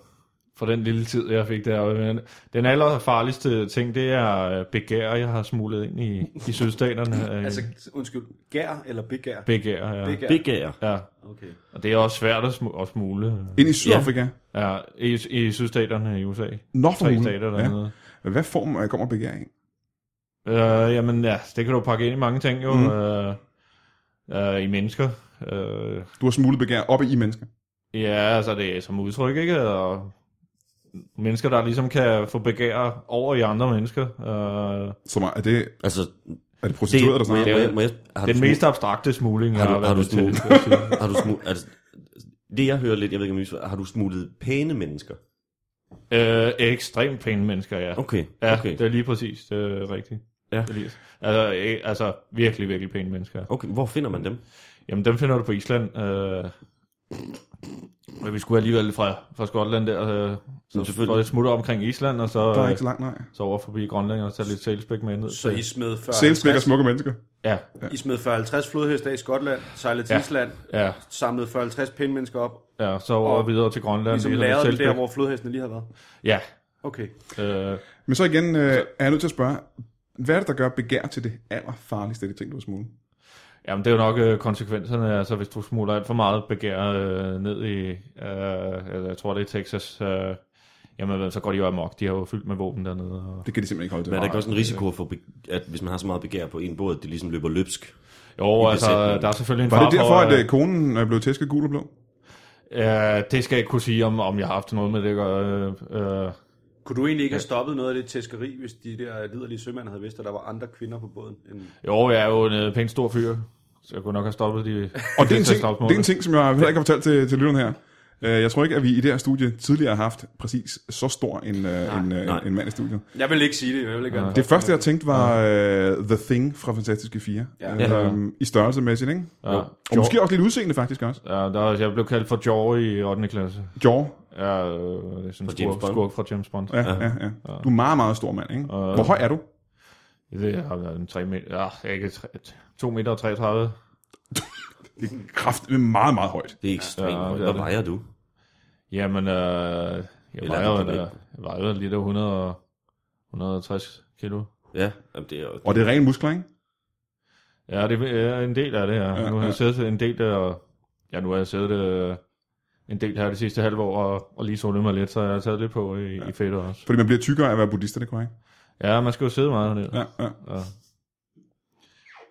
Speaker 4: for den lille tid, jeg fik derude. Men Den allerfarligste ting, det er øh, begær, jeg har smuglet ind i,
Speaker 2: (laughs)
Speaker 4: i sydstaterne. Øh,
Speaker 2: Altså,
Speaker 4: altså,
Speaker 2: undskyld, gær eller begær?
Speaker 4: begær, ja.
Speaker 2: Begær.
Speaker 3: Begær.
Speaker 4: ja.
Speaker 2: Okay.
Speaker 4: Og det er også svært at, smu- at smule.
Speaker 1: Ind i Sydafrika? Ja.
Speaker 4: Ja, i, i sydstaterne i USA.
Speaker 1: Nå for
Speaker 4: Tre
Speaker 1: hulen.
Speaker 4: stater dernede. Ja.
Speaker 1: Ja. Hvad form øh, kommer begær i?
Speaker 4: Øh, jamen ja, det kan du pakke ind i mange ting jo.
Speaker 1: Mm.
Speaker 4: Mm. Øh, øh, I mennesker. Øh,
Speaker 1: Du har smuglet begær op i mennesker.
Speaker 4: ja, altså det er som udtryk, ikke? Og mennesker, der ligesom kan få begær over i andre mennesker. Øh,
Speaker 1: Som er, er, det,
Speaker 3: Altså,
Speaker 1: er det prostitueret, der
Speaker 3: må
Speaker 1: snakker?
Speaker 3: jeg, må jeg, må jeg, har
Speaker 4: den
Speaker 3: du smug-
Speaker 4: mest abstrakte smugling,
Speaker 3: Har
Speaker 4: jeg
Speaker 3: du-
Speaker 4: har
Speaker 3: har
Speaker 4: været
Speaker 3: du
Speaker 4: med til.
Speaker 3: smuglet? (laughs) Har du smug, altså, det jeg hører lidt, jeg ved ikke om jeg misforstår- har du smuglet pæne mennesker?
Speaker 4: øh, ekstremt pæne mennesker, ja.
Speaker 3: Okay,
Speaker 4: Ja,
Speaker 3: okay.
Speaker 4: det er lige præcis det er rigtigt.
Speaker 3: Ja.
Speaker 4: Elias. Altså, øh, altså, virkelig, virkelig pæne mennesker.
Speaker 3: Okay, hvor finder man dem?
Speaker 4: Jamen, dem finder du på Island. Øh, men vi skulle alligevel fra, fra Skotland der, øh, så
Speaker 3: Men selvfølgelig.
Speaker 4: selvfølgelig. smutter omkring Island, og
Speaker 1: Der
Speaker 4: så,
Speaker 1: er
Speaker 4: øh,
Speaker 1: ikke så langt, nej.
Speaker 4: så over forbi Grønland og tage lidt salesbæk med ned.
Speaker 2: Så I smed 40,
Speaker 1: Salesmæk og
Speaker 2: 50,
Speaker 1: smukke mennesker.
Speaker 4: Ja,
Speaker 2: I smed 40-50 flodheste af i Skotland, sejlede til
Speaker 4: Ja.
Speaker 2: ja. Island,
Speaker 4: ja,
Speaker 2: samlede 40-50 pindmennesker op,
Speaker 4: ja, så over
Speaker 2: Og
Speaker 4: og videre til Grønland.
Speaker 2: ligesom
Speaker 4: lidt
Speaker 2: lærede det
Speaker 4: Salisbury.
Speaker 2: der, hvor flodhestene lige havde været.
Speaker 4: Ja,
Speaker 2: Okay.
Speaker 4: øh,
Speaker 1: Men så igen øh, er jeg nødt til at spørge, hvad er det, der gør begær til det allerfarligste af de ting, du har smuglet?
Speaker 4: Jamen, det er jo nok øh, konsekvenserne, altså hvis du smutter alt for meget begær øh, ned i, øh, eller jeg tror det er Texas, øh, jamen så går de jo amok, de har jo fyldt med våben dernede. Og...
Speaker 1: Det kan de simpelthen ikke holde til.
Speaker 3: Men er der ikke også en risiko for, be- at hvis man har så meget begær på en båd, at det ligesom løber løbsk?
Speaker 4: Jo,
Speaker 3: I
Speaker 4: altså
Speaker 3: besætningen.
Speaker 4: der er selvfølgelig en
Speaker 1: Var det
Speaker 4: far
Speaker 1: derfor,
Speaker 4: for,
Speaker 1: at øh, konen øh, blev tæsket gul og blå?
Speaker 4: øh, øh, det skal jeg ikke kunne sige, om, om jeg har haft noget med det at gøre. Øh, øh,
Speaker 2: Kunne du egentlig ikke have stoppet noget af det tæskeri, hvis de der liderlige sømænd havde vidst, at der var andre kvinder på båden? End...
Speaker 4: jo, jeg er jo en øh, pænt stor fyr, så jeg kunne nok have stoppet de...
Speaker 1: Og det er, en ting, det er en ting, som jeg heller ikke har fortalt til, til lytterne her. Øh, Jeg tror ikke, at vi i det her studie tidligere har haft præcis så stor en, nej, en, nej.
Speaker 3: nej.
Speaker 1: en mand i studiet.
Speaker 2: Jeg vil ikke sige det, jeg vil ikke gøre
Speaker 1: Det første, jeg tænkte, var uh, The Thing fra Fantastiske 4. Ja.
Speaker 4: Ja.
Speaker 1: Øhm, I størrelsemæssigt, ikke?
Speaker 4: Ja, jo.
Speaker 1: Og måske også lidt udseende, faktisk også.
Speaker 4: ja, der, er- jeg blev kaldt for Jory i 8. klasse.
Speaker 1: Jaw.
Speaker 4: Ja, øh, det er sådan
Speaker 3: Fra
Speaker 4: en
Speaker 3: James
Speaker 4: skurk,
Speaker 3: Bond.
Speaker 4: skurk fra James Bond.
Speaker 1: Ja, ja, ja. Du er meget, meget stor mand, ikke? Hvor høj er du?
Speaker 4: Det har været en 3 meter, ja, jeg er ikke 3, 2 meter og 33.
Speaker 1: Det er kraft med meget, meget højt.
Speaker 3: Det er ekstremt. Ja,
Speaker 4: Ja, det er
Speaker 3: Hvad
Speaker 4: det.
Speaker 3: vejer du?
Speaker 4: Jamen, øh, jeg
Speaker 3: Eller
Speaker 4: vejer,
Speaker 3: er det
Speaker 4: jo-
Speaker 3: det?
Speaker 4: jeg vejer jo lidt af 100, og- 160 kilo.
Speaker 3: Ja, jamen, det er jo...
Speaker 1: Og det er ren muskler, ikke?
Speaker 4: Ja, det er en del af det, ja.
Speaker 1: Ja,
Speaker 4: ja nu har
Speaker 1: ja.
Speaker 4: jeg siddet en del, og ja, nu har jeg siddet øh, en del her det sidste halve år, og, og lige solet mig lidt, så jeg har taget lidt på i, ja. i fedt også.
Speaker 1: Fordi man bliver tykkere af at være buddhist, er det korrekt?
Speaker 4: Ja, man skal jo sidde meget hernede.
Speaker 1: Ja, ja.
Speaker 4: Ja.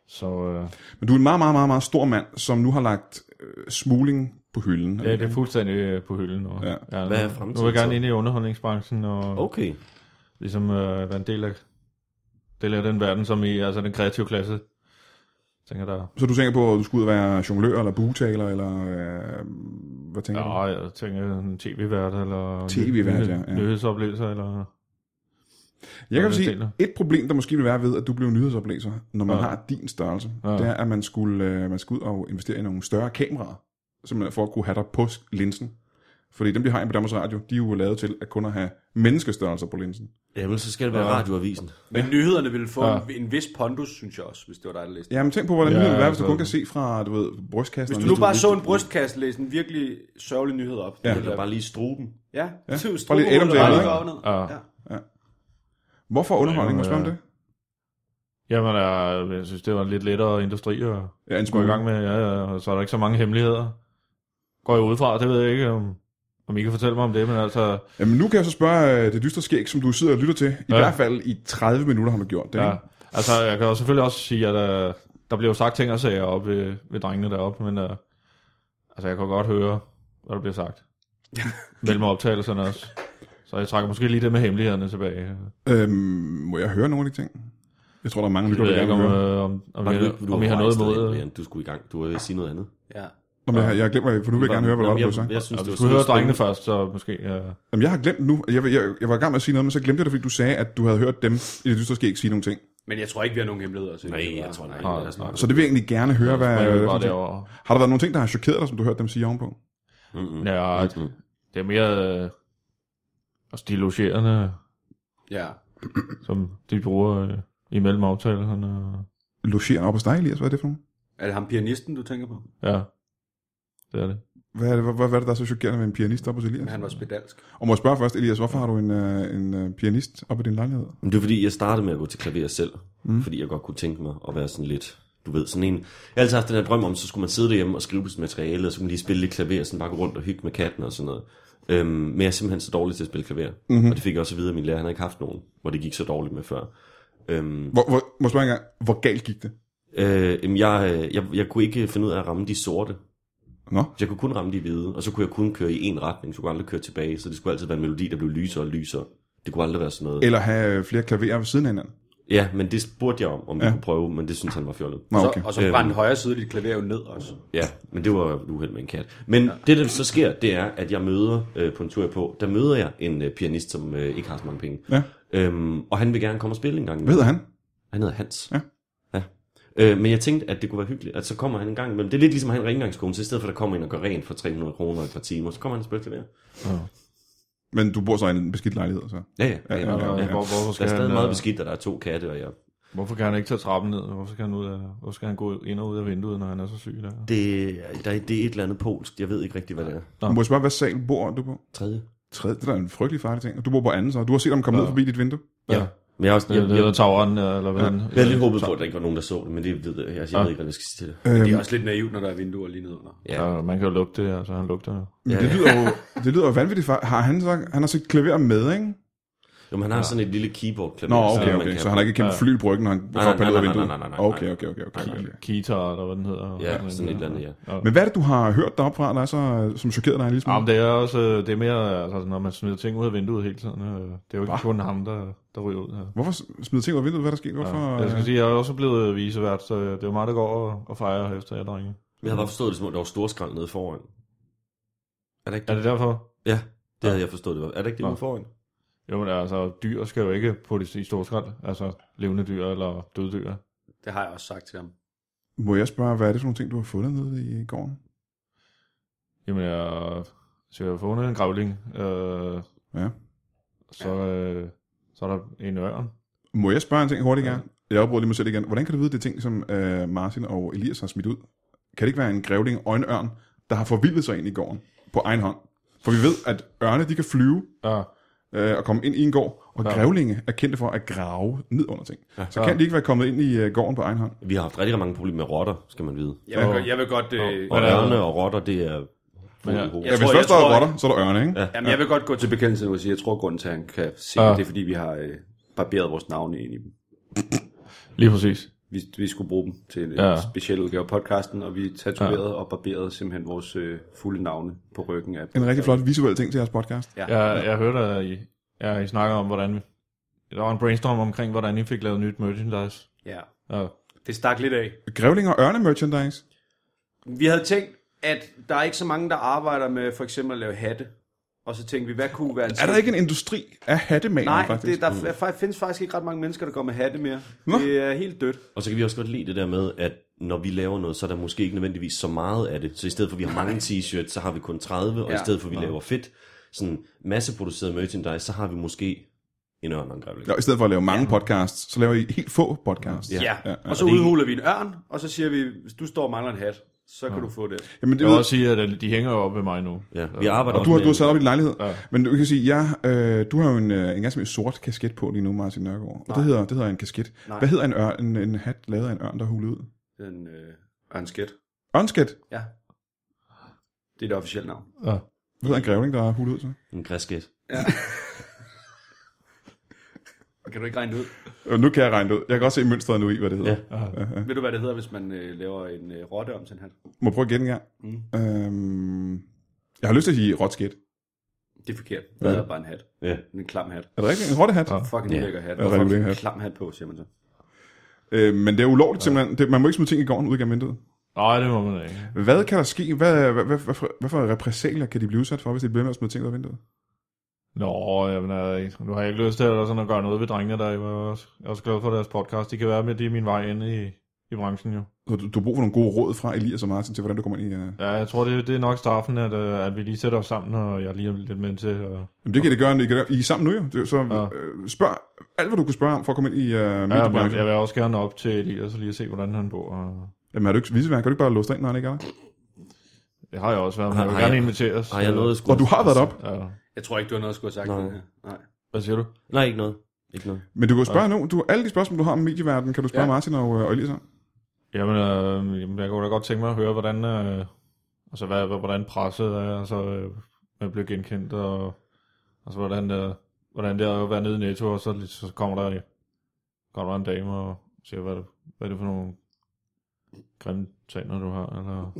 Speaker 4: Så øh,
Speaker 1: Men du er en meget, meget, meget, meget stor mand, som nu har lagt øh, smugling på hylden.
Speaker 4: ja, det er fuldstændig øh, på hylden nu.
Speaker 1: Ja.
Speaker 4: Ja,
Speaker 3: Hvad er
Speaker 4: nu- Nu
Speaker 3: fremtiden
Speaker 4: er jeg
Speaker 3: så?
Speaker 4: gerne inde i underholdningsbranchen, og okay.
Speaker 3: Okay.
Speaker 4: ligesom øh, være en del af, del af den verden, som i, altså den kreative klasse, Jeg tænker der.
Speaker 1: Så du tænker på, at du skulle ud og være jonglør, eller bugetaler, eller øh, hvad tænker ja. du?
Speaker 4: Ja, jeg tænker en tv-vært, eller
Speaker 1: TV-vært,
Speaker 4: nyhe-
Speaker 1: ja, ja.
Speaker 4: nyhedsoplevelser, eller...
Speaker 1: Jeg kan
Speaker 4: Hvad
Speaker 1: sige,
Speaker 4: deler?
Speaker 1: et problem, der måske vil være ved, at du blev nyhedsoplæser, når man ja.
Speaker 4: Ja.
Speaker 1: har din størrelse, ja.
Speaker 4: Ja.
Speaker 1: det er, at man skulle, øh, man skulle ud og investere i nogle større kameraer, simpelthen for at kunne have dig på s- linsen. Fordi dem, de har inde på Danmarks Radio, de er jo lavet til at kun at have menneskestørrelser på linsen.
Speaker 3: Jamen, så skal det være
Speaker 4: Ja.
Speaker 3: radioavisen.
Speaker 2: Men nyhederne ville få
Speaker 4: Ja.
Speaker 2: en, en vis pondus, synes jeg også, hvis det var dig, der læste.
Speaker 1: Jamen tænk på, hvordan
Speaker 4: Ja,
Speaker 1: ja, det vil være, hvis du
Speaker 4: altså-
Speaker 1: kun kan se fra, du ved, brystkassen.
Speaker 2: Hvis du nu bare så en brystkast læse en virkelig sørgelig nyhed op. Ja,
Speaker 3: Eller bare lige struben.
Speaker 2: ja. ja. det er jo
Speaker 1: Bare lidt Adam
Speaker 2: strubehovedet, der
Speaker 1: Driver,
Speaker 2: ligger
Speaker 1: ikke?
Speaker 2: op og ned.
Speaker 4: Ja.
Speaker 2: Ja.
Speaker 1: Hvorfor underholdning? Må jeg spørge om
Speaker 4: Ja.
Speaker 1: det?
Speaker 4: Jamen, jeg, jeg synes, det var en lidt lettere industri at
Speaker 1: Ja, en
Speaker 4: gå i
Speaker 1: smule.
Speaker 4: gang med. Ja, ja, og så er der ikke så mange hemmeligheder. Går jeg ud fra, det ved jeg ikke, om, om I kan fortælle mig om det, men altså...
Speaker 1: Jamen nu kan jeg så spørge øh, det dystre skæg, som du sidder og lytter til. I ja.
Speaker 4: Ja.
Speaker 1: hvert fald i 30 minutter har man gjort det.
Speaker 4: Ja,
Speaker 1: Ja.
Speaker 4: altså, jeg kan jo selvfølgelig også sige, at øh, der blev sagt ting og sager op ved, ved drengene deroppe, men øh, altså, jeg kan godt høre, hvad der bliver sagt. Mellem optagelserne også. Så jeg trækker måske lige det med hemmelighederne tilbage.
Speaker 1: Øhm, må jeg høre nogle af de ting? Jeg tror, der er mange
Speaker 4: Det
Speaker 1: lytter,
Speaker 4: ved
Speaker 1: der
Speaker 4: jeg ikke,
Speaker 1: gerne vil
Speaker 4: om,
Speaker 1: høre.
Speaker 4: øh, om, om,
Speaker 3: Var
Speaker 4: I,
Speaker 3: du, ikke- du
Speaker 4: om I har
Speaker 3: var
Speaker 4: noget
Speaker 3: rejst derhen,
Speaker 4: imod. øh,
Speaker 3: Brian. Du skulle i gang. Du ville sige noget andet.
Speaker 2: ja.
Speaker 1: Nå, men jeg, jeg har glemt, hvad- for nu vil jeg gerne høre, hvad der var, der blev
Speaker 3: Jamen,
Speaker 1: sagt.
Speaker 3: jeg, jeg synes,
Speaker 4: Og
Speaker 3: det
Speaker 4: vi
Speaker 3: var
Speaker 4: skulle høre
Speaker 3: super
Speaker 4: drengene
Speaker 3: spændende.
Speaker 4: først, så måske... Øh,
Speaker 1: Jamen, jeg har glemt nu. Jeg, jeg, jeg var i gang med at sige noget, men så glemte jeg det, fordi du sagde, at du havde hørt dem i det dystre skæg sige nogle ting.
Speaker 2: Men jeg tror ikke, vi har nogen hemmeligheder. Så
Speaker 3: Nej, jeg tror
Speaker 4: nej,
Speaker 3: ikke.
Speaker 4: nej.
Speaker 1: Så det vil jeg egentlig gerne høre, hvad...
Speaker 4: jeg
Speaker 1: hvad
Speaker 4: var
Speaker 1: sådan-
Speaker 4: derovre.
Speaker 1: Har der været nogle ting, der har chokeret dig, som du hørte dem sige ovenpå?
Speaker 3: Mm-mm.
Speaker 4: Ja,
Speaker 3: Mm-mm.
Speaker 4: det er mere øh, også de logerende,
Speaker 2: Ja.
Speaker 4: som de bruger øh, imellem aftalerne.
Speaker 1: Logerer op hos dig, Elias, hvad er det for nogen?
Speaker 2: Er det ham pianisten, du tænker på?
Speaker 4: Ja, det er det.
Speaker 1: Hvad er det, hvad, hvad, hvad er det der er så chokerende med en pianist op hos Elias?
Speaker 2: Men han var spedalsk.
Speaker 1: Og må jeg spørge først, Elias, hvorfor har du en, øh, en øh, pianist op i din lejlighed?
Speaker 3: Men det er fordi, jeg startede med at gå til klaver selv, mm. fordi jeg godt kunne tænke mig at være sådan lidt, du ved, sådan en... Jeg har altid haft den her drøm om, så skulle man sidde derhjemme og skrive sit materiale, og så kunne man lige spille lidt klaver, sådan bare gå rundt og hygge med katten og sådan noget. Øhm, men jeg er simpelthen så dårlig til at spille klaver,
Speaker 1: Mhm.
Speaker 3: mm-hmm. og det fik jeg også at vide af min lærer, han har ikke haft nogen, hvor det gik så dårligt med før. Øhm,
Speaker 1: Hvor, hvor, må jeg spørge engang, hvor galt gik det?
Speaker 3: øh, jamen, jeg, øh, jeg, jeg kunne ikke finde ud af at ramme de sorte,
Speaker 1: Nå?
Speaker 3: så jeg kunne kun ramme de hvide, og så kunne jeg kun køre i en retning, så kunne jeg aldrig køre tilbage, så det skulle altid være en melodi, der blev lysere og lysere. Det kunne aldrig være sådan noget.
Speaker 1: Eller have øh, flere klaverer ved siden af hinanden?
Speaker 3: Ja, men det spurgte jeg om, om vi ja. kunne prøve, men det synes han var fjollet.
Speaker 1: Nå,
Speaker 2: Så,
Speaker 1: okay.
Speaker 2: og så brændte højre side af dit klaver jo ned også.
Speaker 3: Ja, men det var et uheld med en kat. Men ja. det, der så sker, det er, at jeg møder øh, på en tur jeg er på, der møder jeg en øh, pianist, som øh, ikke har så mange penge.
Speaker 1: Ja.
Speaker 3: Øhm, og han vil gerne komme og spille en gang.
Speaker 1: Hvad
Speaker 3: imellem.
Speaker 1: hedder han?
Speaker 3: Han hedder Hans.
Speaker 1: Ja.
Speaker 3: ja. Øh, men jeg tænkte, at det kunne være hyggeligt, at så kommer han en gang imellem. Det er lidt ligesom, at han er rengøringskone, så i stedet for, at der kommer en og gør rent for 300 kroner i et par timer, så kommer han og spiller klaver.
Speaker 1: Men du bor så i en beskidt lejlighed, så?
Speaker 3: Ja, ja. ja, ja, ja,
Speaker 4: Hvor,
Speaker 3: ja.
Speaker 4: hvorfor,
Speaker 3: Der
Speaker 4: skal
Speaker 3: er stadig
Speaker 4: han,
Speaker 3: meget
Speaker 4: meget
Speaker 3: beskidt, og der er to katte, og jeg
Speaker 4: hvorfor kan han ikke tage trappen ned? Hvorfor skal han, ud af, hvorfor skal han gå ind og ud af vinduet, når han er så syg? Der?
Speaker 3: det, der, er- det er et eller andet polsk. Jeg ved ikke rigtig, hvad det er.
Speaker 4: Nå.
Speaker 1: Må jeg spørge, hvad sal bor du på?
Speaker 3: Tredje.
Speaker 1: Tredje, det er da en frygtelig farlig ting. Og du bor på anden, så du har set ham komme ned forbi dit vindue.
Speaker 3: Ja. Men jeg er også,
Speaker 4: Det er
Speaker 3: jeg,
Speaker 4: det, der
Speaker 3: jeg,
Speaker 4: tager over den, eller hvad? den-
Speaker 3: jeg havde lige håbet på, at der ikke var nogen, der så det, men det ved jeg, altså, jeg ved ikke, hvad jeg skal sige til det.
Speaker 2: Det
Speaker 1: Øhm,
Speaker 2: er også lidt naivt, når der er vinduer lige nedenunder.
Speaker 3: Ja.
Speaker 4: Ja, man kan jo lugte det, altså han lugter det.
Speaker 1: men det lyder jo, det lyder jo vanvittigt. far- Har han så, han har set klaver med, ikke?
Speaker 3: Jo, men han har sådan et lille keyboard klaver.
Speaker 1: Nå, okay, okay. Så han har ikke kæmpet fly i bryggen, når han
Speaker 3: nej,
Speaker 1: får pandet ud af
Speaker 3: nej, nej,
Speaker 1: vinduet?
Speaker 3: nej, nej, nej, nej.
Speaker 1: Okay, okay, okay, okay. okay.
Speaker 4: Kitar, eller hvad den hedder.
Speaker 3: Ja, sådan et eller andet, ja.
Speaker 1: Men hvad er det, du har hørt deroppe fra, der er så, øh, som chokerede dig en lille
Speaker 4: Ja,
Speaker 1: smule?
Speaker 4: men det er også, øh, det er mere, altså, når man smider ting ud af vinduet hele tiden. øh, Det er jo ikke kun ham, der, der ryger ud. Ja.
Speaker 1: Hvorfor smider ting ud af vinduet? Hvad er der sket? Hvorfor?
Speaker 4: Jeg skal sige, jeg er også blevet visevært, så øh, det er jo mig, der går og, og fejrer efter jer, drenge.
Speaker 3: Jeg havde bare forstået det som, om der var storskrald nede foran. Er det ikke
Speaker 4: Er
Speaker 3: det?
Speaker 4: det derfor?
Speaker 3: Ja, det havde jeg forstået. Det var. Er det ikke det, ude foran?
Speaker 4: Jo, men altså, dyr skal jo ikke puttes i storskrald. Altså, levende dyr eller døde dyr.
Speaker 2: Det har jeg også sagt til ham.
Speaker 1: øh, Må jeg spørge, hvad er det for nogle ting, du har fundet nede i gården?
Speaker 4: Jamen, jeg, så jeg har fundet en gravling. Øh,
Speaker 1: Ja.
Speaker 4: så, øh, så er der en ørn.
Speaker 1: Må jeg spørge en ting hurtigt gerne? Jeg afbryder lige mig selv igen. Hvordan kan du vide, det er ting, som øh, Martin og Elias har smidt ud? Kan det ikke være en grævling og en ørn, der har forvildet sig ind i gården på egen hånd? For vi ved, at ørne de kan flyve
Speaker 4: Ja,
Speaker 1: øh, og komme ind i en gård, og ja.
Speaker 4: Ja.
Speaker 1: grævlinge er kendte for at grave ned under ting. Ja. Så kan de ikke være kommet ind i øh, gården på egen hånd?
Speaker 3: Vi har haft rigtig mange problemer med rotter, skal man vide.
Speaker 2: Jeg vil, godt- jeg vil godt... Øh,
Speaker 3: Og
Speaker 4: Ja.
Speaker 3: ørne og rotter, det er...
Speaker 4: Men ja.
Speaker 1: Ja, hvis
Speaker 2: tror-
Speaker 1: først der
Speaker 2: jeg
Speaker 1: er
Speaker 2: tror-
Speaker 1: rotter, så er der ørne, ikke? Ja.
Speaker 2: Jamen, jeg vil godt gå til bekendelse nu og sige, jeg tror, grunden til, at han kan se, ja.
Speaker 1: Ah.
Speaker 4: Ja.
Speaker 2: det er, fordi vi har øh, barberet vores navne ind i dem.
Speaker 4: lige præcis.
Speaker 2: Vi, vi skulle bruge dem til en ja.
Speaker 1: Ah.
Speaker 4: Ja.
Speaker 2: speciel udgave af podcasten, og vi tatoverede ja. og barberede simpelthen vores øh, fulde navne på ryggen af
Speaker 1: En rigtig flot visuel ting til jeres podcast.
Speaker 4: Jeg, jeg hørte, at I, ja, I snakker om, hvordan... Der var en brainstorm omkring, hvordan I fik lavet nyt merchandise.
Speaker 2: Ja.
Speaker 4: Ja.
Speaker 2: Det stak lidt af.
Speaker 1: Grævling og ørne merchandise.
Speaker 2: Vi havde tænkt, at der er ikke så mange, der arbejder med for eksempel at lave hatte. Og så tænkte vi, hvad kunne være en
Speaker 1: Er der ikke en industri af hattemager,
Speaker 2: Nej,
Speaker 1: faktisk? Mm.
Speaker 2: det, der f- f- findes faktisk ikke ret mange mennesker, der går med hatte mere.
Speaker 1: Nå.
Speaker 2: Det er helt dødt.
Speaker 3: Og så kan vi også godt lide det der med, at når vi laver noget, så er der måske ikke nødvendigvis så meget af det. Så i stedet for, at vi har mange t-shirts, så har vi kun 30, og
Speaker 2: Ja.
Speaker 3: i stedet for, at vi laver fedt, sådan masseproduceret merchandise, så har vi måske en ørn og en grævling.
Speaker 1: Ja, I stedet for at lave mange ja. podcasts, så laver I helt få podcasts.
Speaker 2: Ja. ja.
Speaker 1: ja.
Speaker 2: ja. Og så udhuler vi en ørn, og så siger vi, hvis du står og mangler en hat, så kan du få det.
Speaker 1: Jamen, det
Speaker 4: Jeg
Speaker 1: ved,
Speaker 4: vil også sige, at de hænger jo op ved mig nu.
Speaker 3: Ja, vi arbejder
Speaker 1: du har, du har
Speaker 3: med-
Speaker 1: sat op i din lejlighed. Ja. Men du kan sige, ja, øh, du har jo en, øh, en ganske mere sort kasket på lige nu, Martin Nørgaard. Og det hedder, det hedder en kasket. Nej. Hvad hedder en, ør, en, en hat lavet af en ørn, der hulet ud?
Speaker 2: Den øh, ørnsket.
Speaker 1: Ørnskat?
Speaker 2: Ja. Det er det officielle navn.
Speaker 4: Ja.
Speaker 1: Hvad hedder en grævling, der er hulet ud? Så?
Speaker 3: en græsket.
Speaker 2: Kan du ikke regne det ud?
Speaker 1: Øh, nu kan jeg regne det ud. Jeg kan godt se mønstret nu i, hvad det hedder. Ja.
Speaker 2: Ved du, hvad det hedder, hvis man øh, laver en øh, rotte om til en hat?
Speaker 1: Må jeg prøve igen en gang? Mm. Øhm, jeg har lyst til at sige rotskat.
Speaker 2: Det er forkert. Det hedder bare en hat.
Speaker 3: Ja.
Speaker 2: En klam hat.
Speaker 1: Er det rigtigt? En rottehat? Ja.
Speaker 2: Fucking yeah. lækker hat.
Speaker 1: er rigtig
Speaker 2: Hvorfor har
Speaker 1: lækker
Speaker 2: man en
Speaker 1: hat.
Speaker 2: klam hat på, siger man så?
Speaker 1: Øh, men det er ulovligt simpelthen. Det, man må ikke smide ting i gården ud gennem vinduet.
Speaker 4: Nej, det må man ikke.
Speaker 1: Hvad kan der ske? Hvad, hvad, hvad, hvad, for- hvad for repressalier kan de blive udsat for, hvis de bliver ved med at smide ting ud af vinduet?
Speaker 4: Nå, jamen, jeg, nu har jeg ikke lyst til at, sådan at gøre noget ved drengene, der jeg var også, jeg er også glad for deres podcast. De kan være med, det er min vej ind i, i branchen jo.
Speaker 1: Så du, du har brug for nogle gode råd fra Elias og Martin til, hvordan du kommer ind i... Uh...
Speaker 4: Ja, jeg tror, det, det er nok straffen, at, øh, at vi lige sætter os sammen, og jeg lige er lidt med til. Og,
Speaker 1: Jamen, det kan det gøre, I, kan, I er sammen nu jo. Det, er jo så
Speaker 4: Ja.
Speaker 1: øh, spørg alt, hvad du kunne spørge om, for at komme ind i uh,
Speaker 4: ja, jeg,
Speaker 1: mediebranchen.
Speaker 4: jeg, vil også gerne op til Elias og lige at se, hvordan han bor. Og,
Speaker 1: Jamen er du ikke viseværk? Kan du ikke bare låse dig ind, når han ikke er der?
Speaker 4: Det har jeg også været, men
Speaker 3: Har-
Speaker 4: jeg vil
Speaker 3: har
Speaker 4: gerne
Speaker 3: jeg-
Speaker 4: inviteres.
Speaker 3: Ej, jeg nåede at
Speaker 1: Nå,
Speaker 3: skulle...
Speaker 1: du har været op.
Speaker 4: Ja.
Speaker 2: Jeg tror ikke, du har noget at skulle have sagt.
Speaker 3: Nej.
Speaker 2: til den her. Nej.
Speaker 4: Hvad siger du?
Speaker 3: Nej, ikke noget. Ikke noget.
Speaker 1: Men du kan jo spørge nu. Du, alle de spørgsmål, du har om medieverdenen, kan du spørge
Speaker 2: Ja.
Speaker 1: Martin og, øh, og Elisa. om.
Speaker 4: Jamen, øh, jamen, jeg kunne da godt tænke mig at høre, hvordan, øh, altså, hvad, hvad- hvordan presset er, altså, øh, man bliver genkendt, og altså, hvordan, øh, hvordan det er at være nede i Netto, og så, lige- så kommer, der, kommer der en dame og siger, hvad, er det- hvad er det for nogle grimme tænder, du har, eller...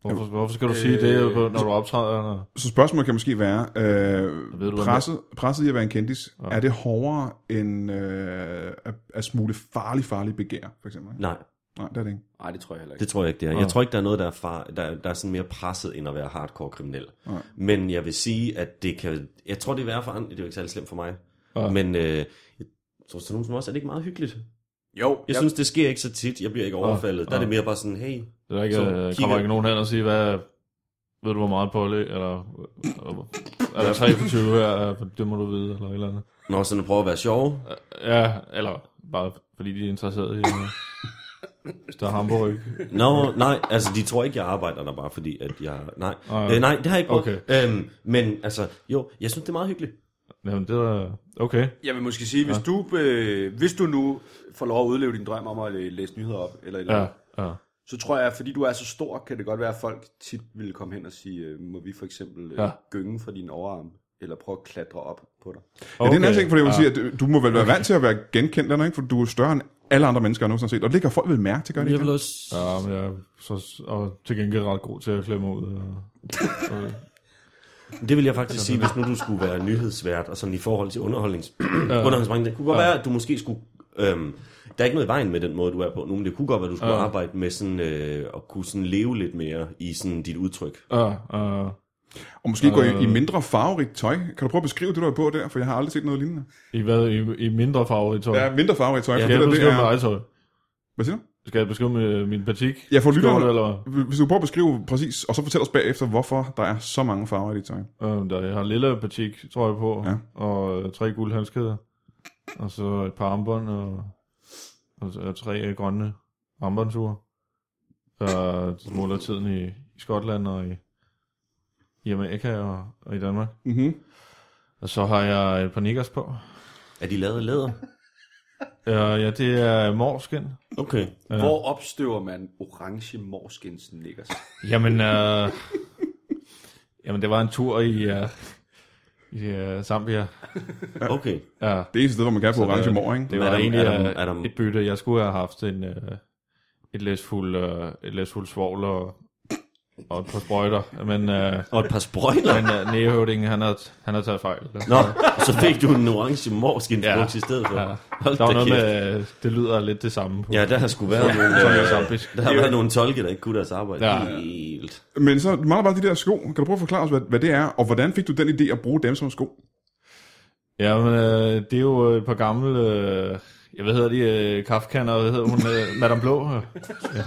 Speaker 4: Hvorfor, hvorfor skal du sige
Speaker 3: øh,
Speaker 4: det, når du optræder? Eller?
Speaker 1: Så spørgsmålet kan måske være,
Speaker 4: Ved du,
Speaker 1: øh,
Speaker 4: hvad
Speaker 1: presset, presset i at være en kendis,
Speaker 4: Ja.
Speaker 1: ja. er det hårdere end øh, at, at smule farlig, farlig begær, for eksempel? ikke?
Speaker 3: Nej,
Speaker 1: Nej, det er det ikke.
Speaker 2: Nej, det tror jeg heller ikke.
Speaker 3: det tror jeg ikke, det er.
Speaker 4: Nå.
Speaker 3: Jeg tror ikke, der er noget, der er, far, der, der er sådan mere presset, end at være hardcore kriminel.
Speaker 1: Nej.
Speaker 3: Men jeg vil sige, at det kan... Jeg tror, det er værre for andre. Det er jo ikke særlig slemt for mig.
Speaker 4: Ja.
Speaker 3: Men øh, jeg tror, til nogen som også, er det ikke meget hyggeligt?
Speaker 2: Jo,
Speaker 3: Jeg synes, det sker ikke så tit. Jeg bliver ikke overfaldet. Der er
Speaker 4: Ja.
Speaker 3: det mere bare sådan, hey,
Speaker 4: Det er ikke,
Speaker 3: Så
Speaker 4: øh, kommer
Speaker 3: kigger-
Speaker 4: ikke nogen hen og siger, hvad, ved du, hvor meget pålæg, eller øh,
Speaker 3: (laughs)
Speaker 4: er der 23 her, øh, det må du vide, eller et eller andet.
Speaker 3: når sådan at prøve at være sjov.
Speaker 4: Ja, eller bare fordi de er interesseret i,
Speaker 1: (laughs)
Speaker 4: øh, hvis der er hamburg.
Speaker 3: Nå, nej, altså de tror ikke, jeg arbejder der bare fordi, at jeg... Nej,
Speaker 4: Ah,
Speaker 3: øh, nej det har jeg ikke brugt.
Speaker 4: Okay.
Speaker 3: Øhm, men altså, jo, jeg synes, det er meget hyggeligt.
Speaker 4: Jamen, det er okay.
Speaker 2: Jeg vil måske sige, hvis, ja. du, øh, hvis du nu får lov at udleve din drøm om at øh, læse nyheder op, eller, et eller
Speaker 4: Ja,
Speaker 2: ja.
Speaker 4: ja.
Speaker 2: så tror jeg, fordi du er så stor, kan det godt være, at folk tit vil komme hen og sige, øh, må vi for eksempel øh,
Speaker 4: Ja.
Speaker 2: ja. gynge fra din overarm, eller prøve at klatre op på dig.
Speaker 1: Okay. Ja, det er en anden
Speaker 4: Okay,
Speaker 1: ting, fordi jeg vil sige,
Speaker 4: ja.
Speaker 1: at øh, du må vel være vant til at være genkendt, eller ikke? For du er større end alle andre mennesker, jeg nogensinde har set. Og det kan folk vel mærke til, gør det
Speaker 3: Jeg
Speaker 1: ikke?
Speaker 3: vil
Speaker 1: det?
Speaker 3: også...
Speaker 4: Ja, men jeg er så, og til gengæld ret god til at klemme ud. øh, Og, og,
Speaker 3: Det vil jeg faktisk sige, hvis nu du skulle være nyhedsvært, og sådan i forhold til
Speaker 4: (clears throat)
Speaker 3: underholdnings, underholdningsbranchen. Det kunne godt være, at du måske skulle... Øhm, der er ikke noget i vejen med den måde, du er på nu, men det kunne godt være, at du skulle
Speaker 4: Ja.
Speaker 3: arbejde med sådan, øh, at kunne sådan leve lidt mere i sådan dit udtryk.
Speaker 4: ja, ja.
Speaker 1: Og måske gå i, i
Speaker 4: Øh.
Speaker 1: mindre farverigt tøj. Kan du prøve at beskrive det, du har på der? For jeg har aldrig set noget lignende.
Speaker 4: I hvad? I, i mindre farve i tøj?
Speaker 1: Ja, mindre farverigt tøj.
Speaker 4: Skal
Speaker 1: for det,
Speaker 4: jeg
Speaker 1: der, det
Speaker 4: beskrive mit
Speaker 1: er,
Speaker 4: eget tøj?
Speaker 1: hvad siger du?
Speaker 4: Skal jeg beskrive min, min patik?
Speaker 1: Jeg får lytteren-
Speaker 4: Skjorte, Eller?
Speaker 1: Hvis du prøver at beskrive præcis, og så fortæl os bagefter, hvorfor der er så mange farver i dit tøj.
Speaker 4: Øh, der, jeg har en lille patik trøje på, ja.
Speaker 1: Ja.
Speaker 4: og øh, tre gule handskeder, og så et par armbånd, og, og, så- og tre øh, grønne armbåndsure. Og så måler tiden i, i Skotland og i, i Amerika og, og i Danmark.
Speaker 1: Mm-hmm.
Speaker 4: Og så har jeg et par nikkers på.
Speaker 3: Er de lavet af læder?
Speaker 4: Øh, ja, det er morskin.
Speaker 3: Okay.
Speaker 4: Ja.
Speaker 2: Ja. Hvor opstøver man orange morskins nikkers?
Speaker 4: Jamen, øh, jamen, det var en tur i, øh, i øh, Zambia.
Speaker 3: Okay.
Speaker 4: Ja,
Speaker 1: Det eneste sted, hvor man kan få
Speaker 4: Så det-
Speaker 1: orange mor, ikke?
Speaker 4: Det
Speaker 3: Men
Speaker 4: var
Speaker 3: er der-
Speaker 4: egentlig
Speaker 3: er der-
Speaker 4: øh,
Speaker 3: er der-
Speaker 4: et bytte. Jeg skulle have haft en, øh, et læsfuld, øh, et læsfuld svogl og, og et par sprøjter, men, øh,
Speaker 3: Og et par sprøjter.
Speaker 4: men øh, nægehøvdingen, han har, han har taget fejl.
Speaker 3: Nå, så fik du en orange morskin ja. i stedet for.
Speaker 4: Ja.
Speaker 3: Ja.
Speaker 4: Der
Speaker 3: Hold
Speaker 4: var
Speaker 3: da
Speaker 4: noget
Speaker 3: kæft.
Speaker 4: med, øh, det lyder lidt det samme på.
Speaker 3: Ja, der har sgu været nogle,
Speaker 4: Sådan
Speaker 3: øh,
Speaker 4: lidt zambisk.
Speaker 3: der har været nogle tolke, der ikke kunne deres arbejde
Speaker 4: Ja.
Speaker 3: ja. helt.
Speaker 1: Men så mangler bare de der sko. Kan du prøve at forklare os, hvad, hvad det er, og hvordan fik du den idé at bruge dem som sko?
Speaker 4: Jamen, øh, det er jo et par gamle, øh, ja, hvad hedder de, øh, kaffekanner, hvad hedder hun, øh, Madame Blå? øh. Ja.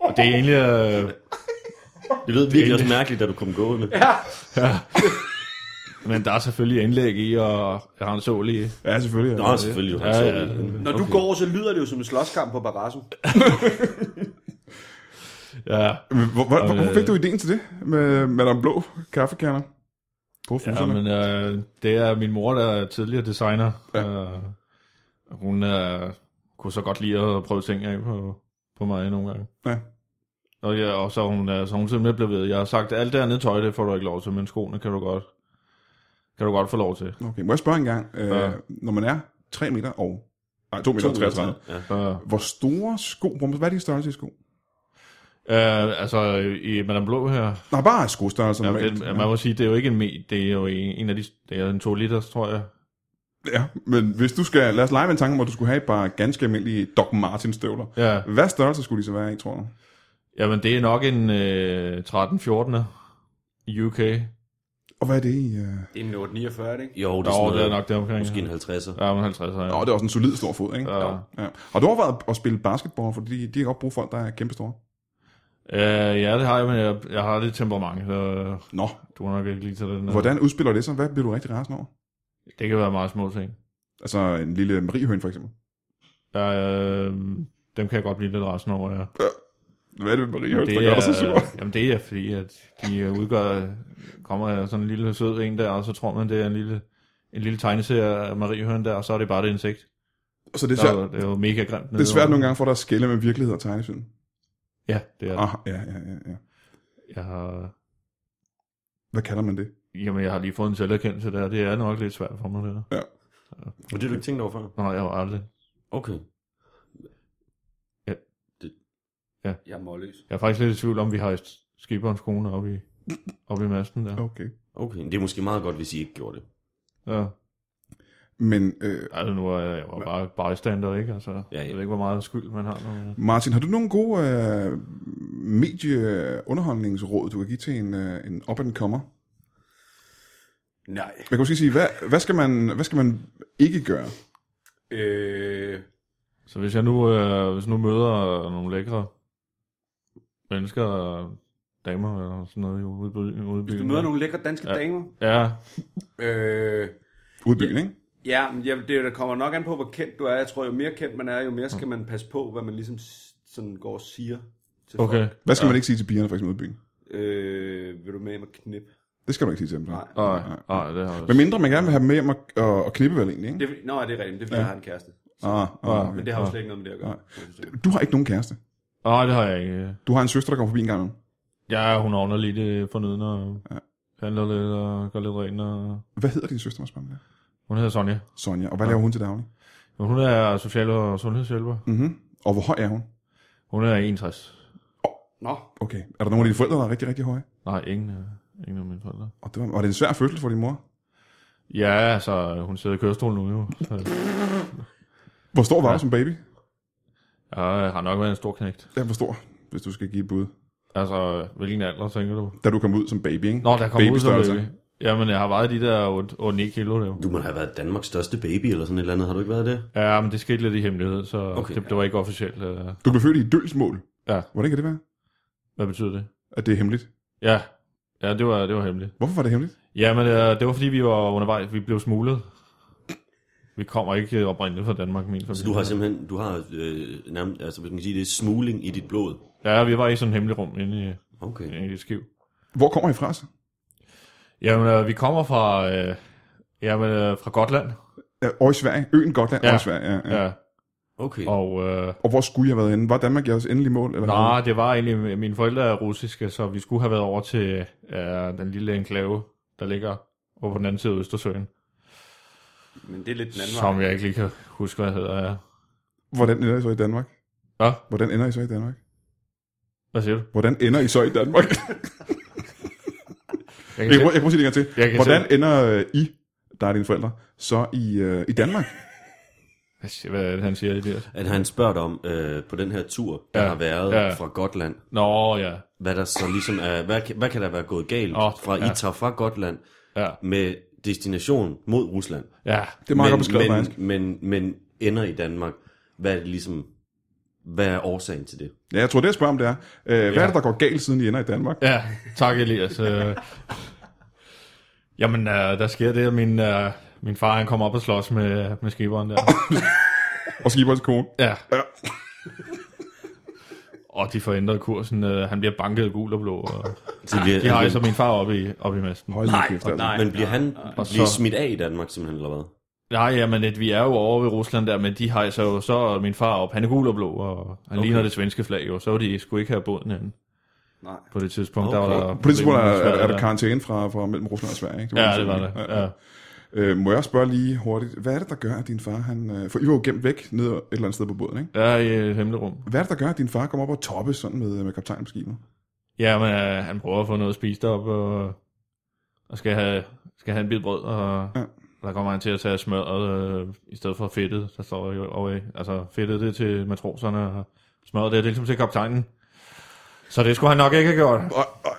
Speaker 4: Og det er egentlig, øh,
Speaker 3: Det lød virkelig også mærkeligt, da du kom gående. Ja.
Speaker 4: men der er selvfølgelig indlæg i, og jeg har en sål i.
Speaker 1: Ja, selvfølgelig.
Speaker 3: Nå, selvfølgelig, du har
Speaker 4: Ja,
Speaker 3: ja,
Speaker 4: ja.
Speaker 3: ja.
Speaker 2: Når Mm, okay. du går, så lyder det jo som en slåskamp på Barrasso.
Speaker 4: Ja,
Speaker 1: Men Hvor, hvor,
Speaker 4: Og,
Speaker 1: hvorfor
Speaker 4: øh,
Speaker 1: fik du idéen til det med Madame Blå kaffekerner? På
Speaker 4: ja
Speaker 1: fuserne.
Speaker 4: men øh, det er min mor, der er tidligere designer. Ja. Øh, og hun øh, kunne så godt lide at prøve ting af på, på mig nogle gange.
Speaker 1: Ja.
Speaker 4: Og, ja, og så er hun, øh, så er hun simpelthen blevet ved. Jeg har sagt, alt det andet tøj, det får du ikke lov til, men skoene kan du godt, kan du godt få lov til.
Speaker 1: Okay, må jeg spørge en gang? Øh,
Speaker 4: Ja.
Speaker 1: Når man er 3 meter og... Nej, 2 meter og 33.
Speaker 3: Ja.
Speaker 4: Øh,
Speaker 1: Hvor store sko? hvor- Hvad er de størrelse i sko?
Speaker 4: øh, altså, i Madame Blå her,
Speaker 1: Nej, bare skostørrelse.
Speaker 4: ja,
Speaker 1: normalt.
Speaker 4: det, man må sige, det er jo ikke en me, det er jo en, en af de, det er en 2 liters, tror jeg.
Speaker 1: Ja, men hvis du skal... Lad os lege med en tanke om, at du skulle have et par ganske almindelige Doc Martens støvler.
Speaker 4: Ja,
Speaker 1: Hvad størrelse skulle de så være i, tror du?
Speaker 4: jamen det er nok en øh, 13-14 i UK.
Speaker 1: Og hvad er det i... Øh...
Speaker 2: Det er en 849, ikke?
Speaker 3: Jo, det er,
Speaker 4: Jo,
Speaker 3: sådan
Speaker 4: det er
Speaker 3: noget,
Speaker 4: nok det omkring.
Speaker 3: måske en 50'er.
Speaker 4: Ja, men 50 ja.
Speaker 1: Nå, det er også en solid stor fod, ikke?
Speaker 4: Ja.
Speaker 1: ja. Har du overvejet at spille basketball? Fordi de kan godt bruge folk, der er kæmpe store.
Speaker 4: Øh, ja, det har jeg, men jeg, jeg har lidt temperament. Så
Speaker 1: Nå,
Speaker 4: du er nok ikke lige til den. der.
Speaker 1: hvordan udspiller det sig? Hvad bliver du rigtig rasende over?
Speaker 4: Det kan være meget små ting.
Speaker 1: Altså en lille mariehøn for eksempel.
Speaker 4: Øh, dem kan jeg godt blive lidt rasende over, ja.
Speaker 1: Hvad er det med Maria Høns, der
Speaker 4: Det
Speaker 1: gør dig så
Speaker 4: er,
Speaker 1: sur?
Speaker 4: jamen det er fordi, at de øh, udgør, kommer af sådan en lille sød en der, og så tror man, det er en lille, en lille tegneserie af Marie Høn der, og så er det bare det insekt.
Speaker 1: Så det er,
Speaker 4: Det er,
Speaker 1: svært,
Speaker 4: jo, det er jo mega grimt.
Speaker 1: det er svært
Speaker 4: nedenunder.
Speaker 1: nogle gange for dig at skille med virkelighed og tegnefilm.
Speaker 4: Ja, det er det.
Speaker 1: Ah, ja, ja, ja, ja.
Speaker 4: Jeg har,
Speaker 1: Hvad kalder man det?
Speaker 4: jamen jeg har lige fået en selverkendelse der, det er nok lidt svært for mig det der.
Speaker 3: Og det har du ikke tænkt over før?
Speaker 4: Nej, jeg har aldrig.
Speaker 3: Okay.
Speaker 2: Jeg er målløs.
Speaker 4: Jeg er faktisk lidt i tvivl om, vi har skiberens kone oppe i, oppe i masten der.
Speaker 1: Okay.
Speaker 3: Okay, det er måske meget godt, hvis I ikke gjorde det.
Speaker 4: Ja.
Speaker 1: Men øh,
Speaker 4: Altså nu er jeg, jeg var bare bystander, ikke? Altså, ja,
Speaker 3: ja.
Speaker 4: ja. Jeg ved ikke, hvor meget skyld man har. Når man...
Speaker 1: Martin, har du nogle gode øh, medieunderholdningsråd, du kan give til en, øh, en up-and-comer?
Speaker 2: Nej.
Speaker 1: Jeg kan måske sige, hvad, hvad, skal man, hvad skal man ikke gøre?
Speaker 2: Øh,
Speaker 4: Så hvis jeg nu, øh, hvis jeg nu møder nogle lækre mennesker, øh, damer eller sådan noget i ude på ude i
Speaker 2: hvis du
Speaker 4: byen,
Speaker 2: møder
Speaker 4: ja.
Speaker 2: nogle lækre danske Mm. ja. damer,
Speaker 4: Ja,
Speaker 2: øh,
Speaker 1: Udbyen, ikke?
Speaker 2: Ja, men jeg, det der kommer nok an på, hvor kendt du er. Jeg tror, jo mere kendt man er, jo mere skal man passe på, hvad man ligesom s- sådan går og siger til
Speaker 4: okay.
Speaker 2: folk.
Speaker 1: Hvad skal ja. man ikke sige til pigerne, for eksempel udbyen?
Speaker 2: Øh, vil du med mig knip?
Speaker 1: Det skal man ikke sige til dem. så.
Speaker 2: Nej.
Speaker 4: Nej, nej, det har jeg
Speaker 1: Hvad
Speaker 4: også.
Speaker 1: mindre man gerne vil have dem med hjem og, og, og knippe vel egentlig, ikke?
Speaker 2: Det, er fordi- nå, ja, det er rigtigt, men det er fordi, ja. jeg har en kæreste.
Speaker 1: Ah, ah, okay.
Speaker 2: Men det har jo slet ikke noget med det at gøre.
Speaker 1: Nej. Du har ikke nogen kæreste.
Speaker 4: Nej, det har jeg ikke.
Speaker 1: Du har en søster, der kommer forbi en gang nu.
Speaker 4: Ja, hun ordner lige det fornødende og
Speaker 1: Ja.
Speaker 4: handler lidt og gør lidt rent. Og...
Speaker 1: Hvad hedder din søster, må jeg spørge om det?
Speaker 4: Hun hedder Sonja.
Speaker 1: Sonja. Og
Speaker 2: Ah.
Speaker 1: hvad laver hun til daglig?
Speaker 4: Men hun er social- og sundhedshjælper.
Speaker 1: Mm-hmm. Og hvor høj er hun?
Speaker 4: Hun er 61.
Speaker 2: Nå,
Speaker 1: Okay. Er der nogen af dine forældre, der er rigtig, rigtig høje?
Speaker 4: Nej, ingen, øh, ingen af mine forældre.
Speaker 1: Og det var, var det en svær fødsel for din mor?
Speaker 4: Ja, altså, hun sidder i kørestolen nu jo. Så
Speaker 1: Hvor stor var ja.
Speaker 4: Ja.
Speaker 1: du som baby?
Speaker 4: Jeg har nok været en stor knægt.
Speaker 1: Ja, hvor stor, hvis du skal give et bud.
Speaker 4: Altså, hvilken alder tænker du?
Speaker 1: Da du kom ud som baby, ikke?
Speaker 4: Nå, der kom ud som
Speaker 1: Babystørrelse.
Speaker 4: baby. Jamen, jeg har vejet de der 8-9 kilo, det jo.
Speaker 3: Du må have været Danmarks største baby eller sådan et eller andet. Har du ikke været det?
Speaker 4: Ja, men det skete lidt i hemmelighed, så
Speaker 3: Okay.
Speaker 4: okay. det, det, var ikke officielt. øh.
Speaker 1: Du blev født i et dølsmål.
Speaker 4: Ja.
Speaker 1: Hvordan kan det være?
Speaker 4: Hvad betyder det?
Speaker 1: At det er hemmeligt.
Speaker 4: Ja, ja det, var, det var hemmeligt.
Speaker 1: Hvorfor var det hemmeligt?
Speaker 4: Ja, men øh, det var fordi, vi var undervejs. Vi blev smuglet. Vi kommer ikke øh, oprindeligt fra Danmark, min familie.
Speaker 3: Så du har simpelthen, du har øh, nærmest, altså hvis man kan sige, det er smugling i dit blod.
Speaker 4: Ja, vi var i sådan et hemmeligt rum inde i,
Speaker 3: Okay.
Speaker 4: inde i et skiv.
Speaker 1: Hvor kommer I fra så?
Speaker 4: Jamen, øh, vi kommer fra, øh, jamen, øh, fra Gotland.
Speaker 1: Ja, og i Sverige. Øen Gotland ja.
Speaker 4: Ja.
Speaker 1: og i Sverige. Ja, ja.
Speaker 4: Ja. ja.
Speaker 3: Okay.
Speaker 4: Og øh,
Speaker 1: Og hvor skulle I have været henne? Var Danmark jeres endelige mål? Eller hvad?
Speaker 4: nej, det var egentlig, øh, mine forældre er russiske, så vi skulle have været over til øh, den lille enklave, der ligger over på den anden side af Østersøen.
Speaker 2: men det er lidt den anden
Speaker 4: Som
Speaker 2: vej.
Speaker 4: jeg ikke lige kan huske, hvad hedder. Ja.
Speaker 1: Hvordan ender I så i Danmark?
Speaker 4: Hvad?
Speaker 1: Hvordan ender I så i Danmark?
Speaker 4: Hvad siger du?
Speaker 1: Hvordan ender I så i Danmark?
Speaker 4: Jeg
Speaker 1: jeg, kan prøve, jeg kan prøve at sige det en gang til.
Speaker 4: Jeg kan
Speaker 1: Hvordan ender øh, I, der er dine forældre, så i, øh, i Danmark?
Speaker 4: se, hvad er det, han siger i det her?
Speaker 3: At han spørger dig om, øh, på den her tur, der
Speaker 4: Ja.
Speaker 3: har været
Speaker 4: Ja.
Speaker 3: fra Gotland,
Speaker 4: Nå, ja.
Speaker 3: hvad der så ligesom er, hvad, kan- hvad kan der være gået galt
Speaker 4: Åh,
Speaker 3: fra,
Speaker 4: ja.
Speaker 3: I tager fra Gotland
Speaker 4: Ja.
Speaker 3: med destination mod Rusland?
Speaker 4: Ja.
Speaker 1: Det er meget godt beskrevet, faktisk.
Speaker 3: men, men, men, men ender i Danmark. Hvad er det ligesom, hvad er årsagen til det?
Speaker 1: Ja, jeg tror, det jeg spørger om, det er, øh, hvad
Speaker 4: Ja.
Speaker 1: er det, der går galt, siden I ender i Danmark?
Speaker 4: Ja, tak Elias. Øh, Jamen, øh, der sker det, at min, øh, min far han kom op og slås med, med skiberen der.
Speaker 1: Og skiberens kone.
Speaker 4: Ja.
Speaker 1: Ja.
Speaker 4: (laughs) Og de forændrede kursen. Øh, han bliver banket af gul og blå. Og
Speaker 3: Så bliver,
Speaker 4: de altså hejser min far op i, op i masten.
Speaker 1: Hold nej, kæft, altså.
Speaker 2: nej.
Speaker 3: men bliver han bliver
Speaker 4: så-
Speaker 3: smidt af i Danmark simpelthen, eller hvad?
Speaker 4: Nej, jamen, at vi er jo over ved Rusland der, men de hejser jo så min far op. Han er gul og blå, og han okay. ligner det svenske flag jo. Så var de sgu ikke have båden inde
Speaker 2: Nej.
Speaker 4: på det tidspunkt. Okay. Der
Speaker 3: Okay.
Speaker 4: var der
Speaker 1: På det tidspunkt er,
Speaker 4: problemer med
Speaker 1: er,
Speaker 4: Sverige
Speaker 1: er der
Speaker 4: der.
Speaker 1: karantæne fra, fra mellem Rusland og Sverige, ikke?
Speaker 4: Ja, det var det.
Speaker 1: Ja.
Speaker 4: Ja.
Speaker 1: Øh, må jeg spørge lige hurtigt, hvad er det, der gør, at din far, han... øh, For I var jo gemt væk ned et eller andet sted på båden, ikke?
Speaker 4: Der er i et hemmeligt rum.
Speaker 1: Hvad er det, der gør, at din far kommer op og toppe sådan med, med kaptajnen på skibet?
Speaker 4: Ja, men øh, han prøver at få noget at spise deroppe, og, og skal, have, skal have en bid brød, og
Speaker 1: Ja.
Speaker 4: ja. der kommer han til at tage smørret øh, i stedet for fedtet, der står jo over i. Altså fedtet det er til matroserne, og smørret det er ligesom til kaptajnen. Så det skulle han nok ikke have gjort.
Speaker 1: Og, og,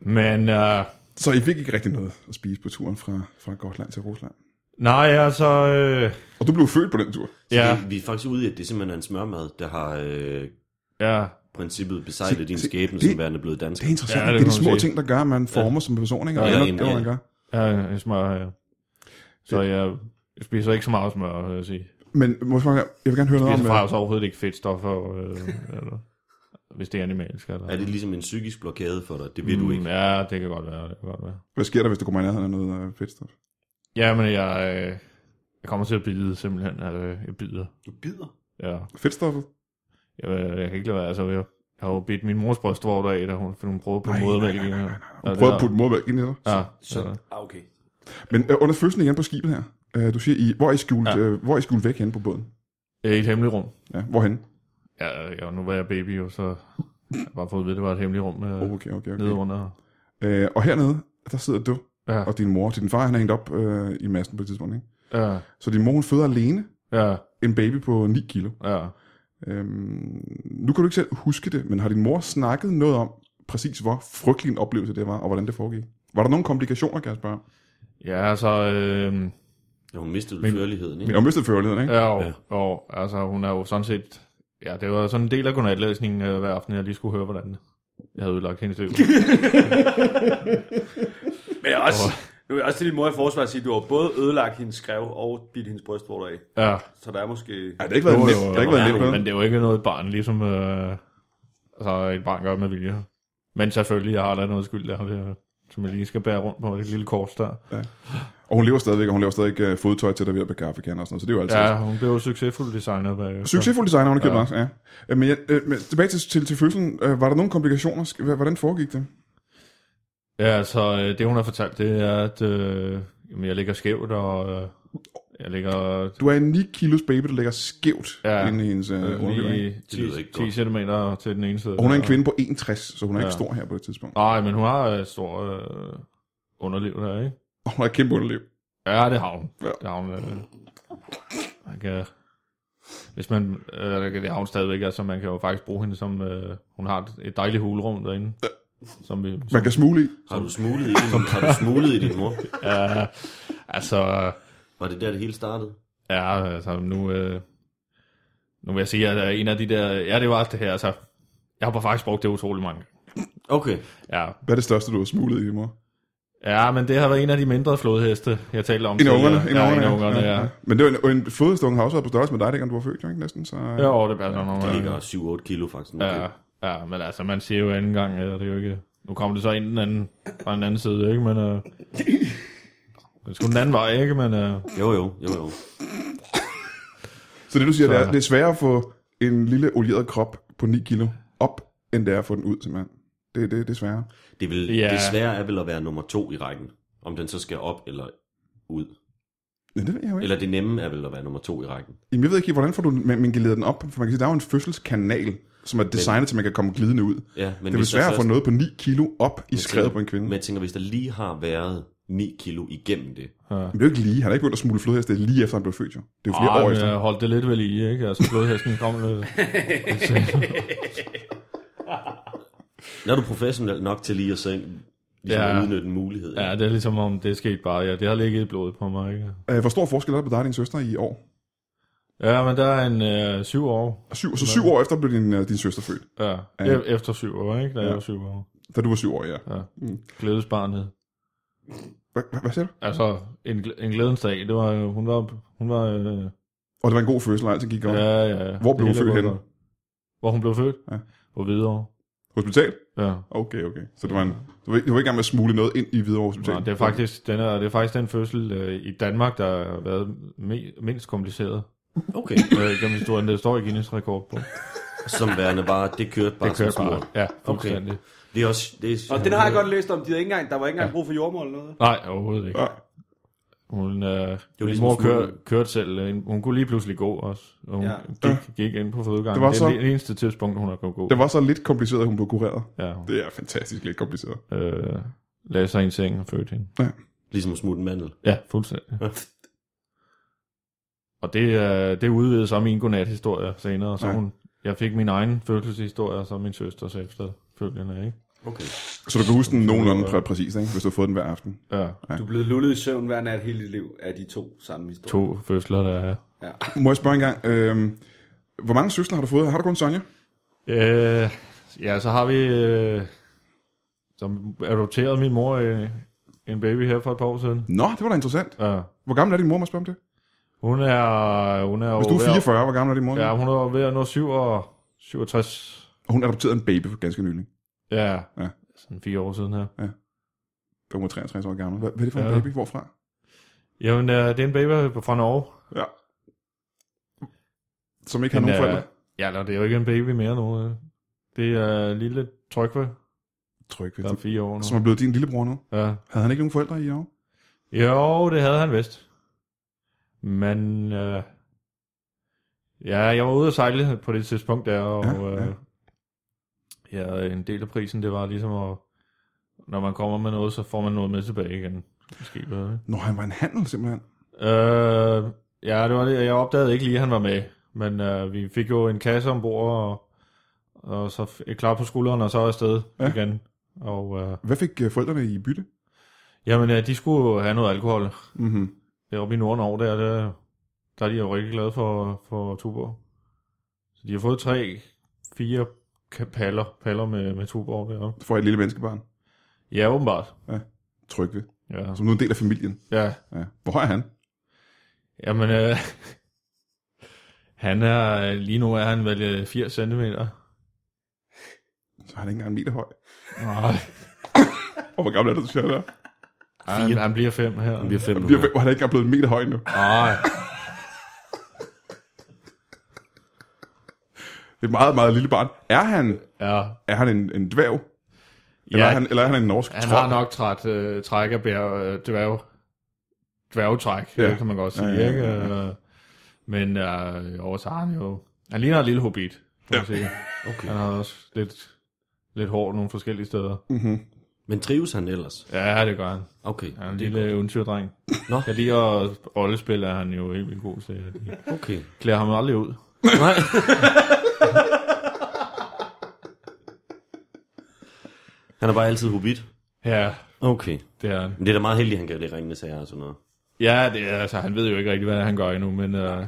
Speaker 4: Men øh,
Speaker 1: så I fik ikke rigtig noget at spise på turen fra, fra Gotland til Rusland.
Speaker 4: nej, altså... Øh,
Speaker 1: Og du blev født på den tur.
Speaker 3: Så
Speaker 4: Ja.
Speaker 3: det, vi er faktisk ude i, at det simpelthen er en smørmad, der har øh,
Speaker 4: ja,
Speaker 3: princippet besejlet din
Speaker 1: se,
Speaker 3: skæbne,
Speaker 1: det-
Speaker 3: som værende blevet dansk.
Speaker 1: Det er interessant.
Speaker 4: Ja,
Speaker 1: Ja, det,
Speaker 4: det
Speaker 1: det er
Speaker 4: må
Speaker 1: de små
Speaker 4: man sige.
Speaker 1: ting, der gør, at man former ja. som person, ikke? Og
Speaker 3: Ja,
Speaker 1: ja,
Speaker 3: en-
Speaker 1: det, man
Speaker 3: ja.
Speaker 1: gør.
Speaker 4: øh, ja, smør, ja. Så jeg spiser ikke så meget smør, vil jeg sige.
Speaker 1: Men måske, jeg vil gerne høre noget
Speaker 4: Det
Speaker 1: om...
Speaker 4: er
Speaker 1: øh,
Speaker 4: jo så overhovedet ikke fedtstoffer, øh, eller, hvis det er animalsk. Eller,
Speaker 3: Er det ligesom en psykisk blokade for dig? Det vil mm. du
Speaker 4: Mm,
Speaker 3: ikke.
Speaker 4: Ja, det kan godt være. Det kan godt være.
Speaker 1: Hvad sker der, hvis du kommer i nærheden af noget øh, fedtstof?
Speaker 4: Ja, men jeg, øh, jeg kommer til at bide simpelthen. Altså, jeg bider.
Speaker 2: Du bider.
Speaker 4: Ja.
Speaker 1: Fedtstoffet?
Speaker 4: Jeg, øh, jeg kan ikke lade være. Altså, jeg, jeg har jo bidt min mors brystvorter af, da hun, fordi hun prøvede på modermælk. i hende. Ja,
Speaker 1: Du prøver
Speaker 4: det
Speaker 1: at
Speaker 4: er-
Speaker 1: putte modermælk ind i dig.
Speaker 4: Ja,
Speaker 2: Så,
Speaker 4: så,
Speaker 2: ah, okay.
Speaker 1: Men øh, under følelsen igen på skibet her. Øh, du siger, I, hvor, er I skjult,
Speaker 4: Ja.
Speaker 1: øh, hvor er I skjult væk henne på båden?
Speaker 4: i et hemmeligt rum.
Speaker 1: Ja, hvorhen?
Speaker 4: Ja, ja, nu var jeg baby, og så jeg har bare fået at vide, at det var et hemmeligt rum øh,
Speaker 1: Oh, Okay, okay,
Speaker 4: nede
Speaker 1: okay.
Speaker 4: under.
Speaker 1: Øh, og hernede, der sidder du
Speaker 4: Ja,
Speaker 1: og din mor. Din far, han er hængt op øh, i masten på et tidspunkt. Ikke?
Speaker 4: ja,
Speaker 1: Så din mor, hun føder alene
Speaker 4: ja,
Speaker 1: en baby på 9 kilo.
Speaker 4: ja.
Speaker 1: Øhm, nu kan du ikke selv huske det, men har din mor snakket noget om, præcis hvor frygtelig en oplevelse det var, og hvordan det foregik? Var der nogle komplikationer, kan jeg spørge?
Speaker 4: Ja, altså, øh,
Speaker 3: Ja, hun mistede
Speaker 4: Men-
Speaker 3: førligheden, ikke?
Speaker 1: Jeg har mistet førligheden, ikke?
Speaker 4: ja, og,
Speaker 3: Ja.
Speaker 4: ja. Og, altså, hun er jo sådan set, ja, det var sådan en del af godnatlæsningen øh, hver aften, jeg lige skulle høre, hvordan jeg havde ødelagt hendes liv.
Speaker 2: Men jeg er også, nu er jeg også til din mor i forsvar at sige, at du har både ødelagt hendes skrev og bidt hendes brystvorter af.
Speaker 4: Ja,
Speaker 2: Så der er måske...
Speaker 1: Ej, det har ikke været
Speaker 4: Jo,
Speaker 1: nemt.
Speaker 4: jo,
Speaker 1: Det har ikke været
Speaker 4: ja,
Speaker 1: nemt. vel?
Speaker 4: Men det er jo ikke noget barn, ligesom øh, altså, et barn gør med vilje. Men selvfølgelig, jeg har da noget skyld der, det, som jeg lige skal bære rundt på, det lille kors der.
Speaker 1: Og hun lever stadigvæk, og hun laver stadig øh, fodtøj til dig ved at bære kaffekander og sådan noget, så det er jo altid.
Speaker 4: Ja, hun blev jo succesfuld designer bagefter.
Speaker 1: Succesfuld designer, hun har købt
Speaker 4: Ja.
Speaker 1: ja. også, ja. Øh, Men, jeg, øh, men tilbage til, til, til fødslen, øh, var der nogle komplikationer? Sk- hva- Hvordan foregik det?
Speaker 4: Ja, altså øh, det hun har fortalt, det er, at øh, jamen, jeg ligger skævt, og øh, jeg ligger
Speaker 1: Du er en 9 kilos baby, der ligger skævt ja.
Speaker 4: Ja.
Speaker 1: inde i hendes øh, underliv. ikke?
Speaker 4: lige
Speaker 3: Det lyder
Speaker 4: 10,
Speaker 3: ikke
Speaker 4: 10
Speaker 3: godt.
Speaker 4: cm til den ene side.
Speaker 1: Og hun er en
Speaker 4: der.
Speaker 1: kvinde på 61, så hun er ja. ikke
Speaker 4: Ja.
Speaker 1: stor her på det tidspunkt.
Speaker 4: Nej, men hun har øh, stor øh, underliv der, ikke?
Speaker 1: Og hun har et kæmpe underliv.
Speaker 4: Ja, det har hun.
Speaker 1: Ja.
Speaker 4: Ja. Det har hun. Øh, man kan, hvis man, øh, det har hun stadigvæk, altså man kan jo faktisk bruge hende som, øh, hun har et- et dejligt hulrum derinde. Som vi,
Speaker 1: Man
Speaker 4: som,
Speaker 1: kan smule i.
Speaker 3: Har du smuglet i din, har du smuglet i din mor?
Speaker 4: ja, altså,
Speaker 3: Var det der, det hele startede?
Speaker 4: Ja, altså nu, øh, nu vil jeg sige, at øh, en af de der... Ja, det var også det her, altså... Jeg har bare faktisk brugt det utrolig mange gange.
Speaker 3: Okay.
Speaker 4: Ja.
Speaker 1: Hvad er det største, du har smuglet i, mor?
Speaker 4: ja, men det har været en af de mindre flodheste, jeg talte om.
Speaker 1: En af
Speaker 4: tidligere.
Speaker 1: ungerne. En af
Speaker 4: ja,
Speaker 1: ungerne,
Speaker 4: en af ungerne, ja. ja.
Speaker 1: Men det er jo en, en fødestunge har også været på størrelse med dig, dengang du var født, jo, ikke? Næsten, så... øh,
Speaker 4: ja. Jo, det passer nok.
Speaker 3: Det
Speaker 4: ja.
Speaker 3: ligger 7-8 kilo faktisk.
Speaker 4: Ja, ja, men altså, man siger jo anden gang, eller det er jo ikke... Nu kommer det så ind den anden, fra den anden side, ikke? Men
Speaker 1: (laughs)
Speaker 4: øh, det er sgu den anden vej, ikke? Men øh,
Speaker 3: Jo, jo, jo, jo.
Speaker 1: Så det, du siger,
Speaker 4: Så-
Speaker 1: det er, det er sværere at få en lille olieret krop på 9 kilo op, end det er at få den ud, simpelthen. Det, det, det er sværere.
Speaker 3: Det, vil,
Speaker 4: Ja.
Speaker 3: det svære er vel at være nummer to i rækken. Om den så skal op eller ud.
Speaker 1: Ja, det ved jeg jo ikke.
Speaker 3: Eller det nemme er vel at være nummer to i rækken.
Speaker 1: Jamen, jeg ved ikke, helt, hvordan får du man, man glider den op? For man kan sige, der er jo en fødselskanal, som er designet til, at man kan komme glidende ud.
Speaker 3: Ja, men
Speaker 1: Det er vel
Speaker 3: hvis der
Speaker 1: svært at
Speaker 3: så-
Speaker 1: få noget på 9 kilo op i
Speaker 3: Men
Speaker 1: skrevet
Speaker 3: tænker-
Speaker 1: på en kvinde.
Speaker 3: Men
Speaker 1: Men,
Speaker 3: jeg tænker, hvis der lige har været 9 kilo igennem det.
Speaker 1: det er jo ikke lige. Han er ikke begyndt at smule flodheste lige efter, han blev født, jo. Det er jo flere
Speaker 4: Ej,
Speaker 1: år
Speaker 4: men
Speaker 1: efter.
Speaker 4: jeg holdt øh, det lidt vel i, ikke? Altså, flodhesten kom lidt...
Speaker 3: Når du er professionel nok til lige at, sænke, ligesom
Speaker 4: Ja.
Speaker 3: at udnytte en mulighed.
Speaker 4: Ja, det er ligesom om, det skete bare, ja. Det har ligget i blodet på mig, ikke?
Speaker 1: Øh, Hvor stor forskel er der på dig og din søster i år?
Speaker 4: Ja, men der er en øh, syv år.
Speaker 1: Syv, så syv år efter blev din, øh, din søster født,
Speaker 4: Ja,
Speaker 1: Ja.
Speaker 4: ja. efter syv år, ikke? Der er
Speaker 1: Ja.
Speaker 4: ja. syv år.
Speaker 1: da du var syv år, ja.
Speaker 4: Glædesbarnet.
Speaker 1: Hva, hva, hvad siger du?
Speaker 4: Altså, en, gl- en glædens dag. Det var, øh, hun var, hun var, øh,
Speaker 1: Og det var en god fødsel, og alting gik godt. Ja.
Speaker 4: ja, ja.
Speaker 1: Hvor blev hun
Speaker 4: Det hele
Speaker 1: født
Speaker 4: var
Speaker 1: henne?
Speaker 4: godt. Hvor hun blev født?
Speaker 1: Ja.
Speaker 4: På Hvidovre.
Speaker 1: Hospital?
Speaker 4: Ja.
Speaker 1: Okay, okay. Så det var en, du, var, ikke- du var ikke engang med at smule noget ind i Hvidovre Hospital?
Speaker 4: Nej, det er faktisk den, er, det er faktisk den fødsel øh, i Danmark, der har været me- mindst kompliceret.
Speaker 3: Okay.
Speaker 4: Øh, gennem historien, det står i Guinness rekord på. Det
Speaker 3: Som værende bare, det kørte bare det
Speaker 4: kører
Speaker 3: kørte som
Speaker 4: bare.
Speaker 3: bare.
Speaker 4: Ja, fuldstændig. Okay.
Speaker 3: Det er også... Det er,
Speaker 2: Og den har jeg godt læst om. De havde ikke engang, der var ikke engang brug for jordmål eller noget.
Speaker 4: Nej, overhovedet ikke.
Speaker 1: Ja.
Speaker 4: Hun, øh, min
Speaker 3: ligesom
Speaker 4: ligesom mor
Speaker 3: at smule-
Speaker 4: kør, kørte selv. øh, Hun hun kunne lige pludselig gå også. Og hun
Speaker 2: Ja.
Speaker 4: ja. gik, gik ind på fødegangen.
Speaker 1: Det var
Speaker 4: Det,
Speaker 1: så-
Speaker 4: er det eneste tidspunkt, hun har kunnet gå.
Speaker 1: Det var så lidt kompliceret, at hun blev kureret.
Speaker 4: Ja, hun,
Speaker 1: Det er fantastisk lidt kompliceret.
Speaker 4: øh, lagde sig i en seng og fødte hende.
Speaker 3: Ligesom at smutte en mandel.
Speaker 4: Ja, fuldstændig. Og det, øh, det udvidede så min godnathistorie senere. Så
Speaker 1: Ja.
Speaker 4: hun, jeg fik min egen fødselshistorie, og så min søsters efterfølgende. Ikke?
Speaker 3: Okay.
Speaker 1: Så du kan huske den nogenlunde præ- præcis, ikke? hvis du har fået den hver aften.
Speaker 4: Ja,
Speaker 2: Du er blevet lullet i søvn hver nat hele dit liv af de to samme historier.
Speaker 4: to fødsler, der er.
Speaker 2: Ja.
Speaker 1: Må jeg spørge en gang, øh, hvor mange søstre har du fået? Har du kun Sonja?
Speaker 4: Øh, ja, så har vi... Øh, som adopterede min mor øh, en baby her for et par år siden.
Speaker 1: Nå, det var da interessant.
Speaker 4: Ja.
Speaker 1: Hvor gammel er din mor, må jeg spørge om det?
Speaker 4: Hun er, hun er
Speaker 1: Hvis du er 44, hvor gammel er din mor?
Speaker 4: Ja, hun er ved at nå 7 og 67.
Speaker 1: Og hun adopterede en baby for ganske nylig.
Speaker 4: Ja,
Speaker 1: Ja.
Speaker 4: ja. sådan fire år siden her.
Speaker 1: Da Hun var 63 år gammel. Hvad, hvad er det for en
Speaker 4: Ja.
Speaker 1: baby? Hvorfra?
Speaker 4: Jamen, øh, det er en baby fra Norge.
Speaker 1: Ja. Som ikke har
Speaker 4: En,
Speaker 1: nogen
Speaker 4: øh,
Speaker 1: forældre.
Speaker 4: Ja, eller det er jo ikke en baby mere nu. øh. Det er lille Trygve,
Speaker 1: Tryk,
Speaker 4: der er fire år
Speaker 1: som
Speaker 4: nu.
Speaker 1: er blevet din lillebror nu.
Speaker 4: Ja.
Speaker 1: Havde han ikke nogen forældre i år?
Speaker 4: Jo, det havde han vist. Men øh, ja, jeg var ude at sejle på det tidspunkt der, og
Speaker 1: Ja, ja.
Speaker 4: øh, ja, en del af prisen, det var ligesom at, når man kommer med noget, så får man noget med tilbage igen. Måske bedre.
Speaker 1: Nå, han var en handel simpelthen.
Speaker 4: Øh, ja, det var det. Jeg opdagede ikke lige, at han var med. Men øh, vi fik jo en kasse ombord, og, og så f- et klar på skulderen, og så afsted
Speaker 1: Ja.
Speaker 4: ja. igen. Og øh,
Speaker 1: Hvad fik øh, forældrene i bytte?
Speaker 4: jamen, øh, de skulle jo have noget alkohol.
Speaker 1: Mm-hmm.
Speaker 4: Deroppe i Nordnorge, der, der, der er de jo rigtig glade for, for Tuborg. Så de har fået tre, fire ka- paller, paller med, med Tuborg deroppe.
Speaker 1: For et lille menneskebarn.
Speaker 4: Ja, åbenbart.
Speaker 1: Tryk ved.
Speaker 4: Ja, altså,
Speaker 1: Som nu er en del af familien.
Speaker 4: ja.
Speaker 1: Ja. Hvor høj er han?
Speaker 4: Jamen, øh, (laughs) han er, lige nu er han vel øh, 80 cm.
Speaker 1: Så er han ikke engang en meter høj.
Speaker 4: Nej.
Speaker 1: Og hvor gammel er du, du siger der?
Speaker 4: Han, han bliver fem her.
Speaker 3: Han bliver fem
Speaker 1: Han
Speaker 3: nu.
Speaker 1: bliver,
Speaker 4: Mm.
Speaker 1: hvor han er ikke engang blevet en meter høj nu.
Speaker 4: Nej.
Speaker 1: Det er et meget, meget lille barn. Er han,
Speaker 4: Ja.
Speaker 1: er han en, en dværg? Eller,
Speaker 4: ja
Speaker 1: er han, eller er han en norsk
Speaker 4: han
Speaker 1: trold?
Speaker 4: har nok træt øh, træk af bjerg, øh, dværg, dværgetræk,
Speaker 1: Ja.
Speaker 4: ja. kan man godt sige.
Speaker 1: Ja,
Speaker 4: Ja,
Speaker 1: ja,
Speaker 4: ja,
Speaker 1: ja,
Speaker 4: ikke? Øh, Men øh, jo, så har han jo... Han ligner en lille hobbit, kan man sige.
Speaker 3: Okay.
Speaker 4: Han har også lidt, lidt hår nogle forskellige steder.
Speaker 1: Mm-hmm.
Speaker 3: Men trives han ellers?
Speaker 4: Ja, det gør han.
Speaker 3: Okay,
Speaker 4: Han er en lille eventyrdreng.
Speaker 3: Nå.
Speaker 4: Jeg lige at rollespille, er han jo helt vildt god til. De
Speaker 3: okay.
Speaker 4: klæder ham aldrig ud.
Speaker 3: Nej. han er bare altid hobbit.
Speaker 4: Ja,
Speaker 3: Okay.
Speaker 4: det er han.
Speaker 3: Men det er da meget heldigt, han kan det ringende sager og sådan noget.
Speaker 4: Ja, det er, altså, han ved jo ikke rigtig, hvad han gør endnu, men, øh,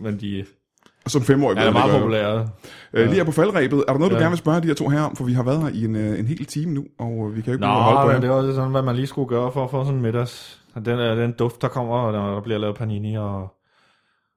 Speaker 4: men de,
Speaker 1: Som femårig.
Speaker 4: Han er meget
Speaker 1: populært.
Speaker 4: populær.
Speaker 1: Øh, lige her på faldrebet, er der noget, du
Speaker 4: Ja.
Speaker 1: gerne vil spørge de her to her om? For vi har været her i en, øh, en hel time nu, og øh, vi kan jo ikke begynde
Speaker 4: Nå,
Speaker 1: at holde på
Speaker 4: men
Speaker 1: her.
Speaker 4: det er også sådan, hvad man lige skulle gøre for at få sådan en middags. Og Den, er- den duft, der kommer, når der bliver lavet panini og,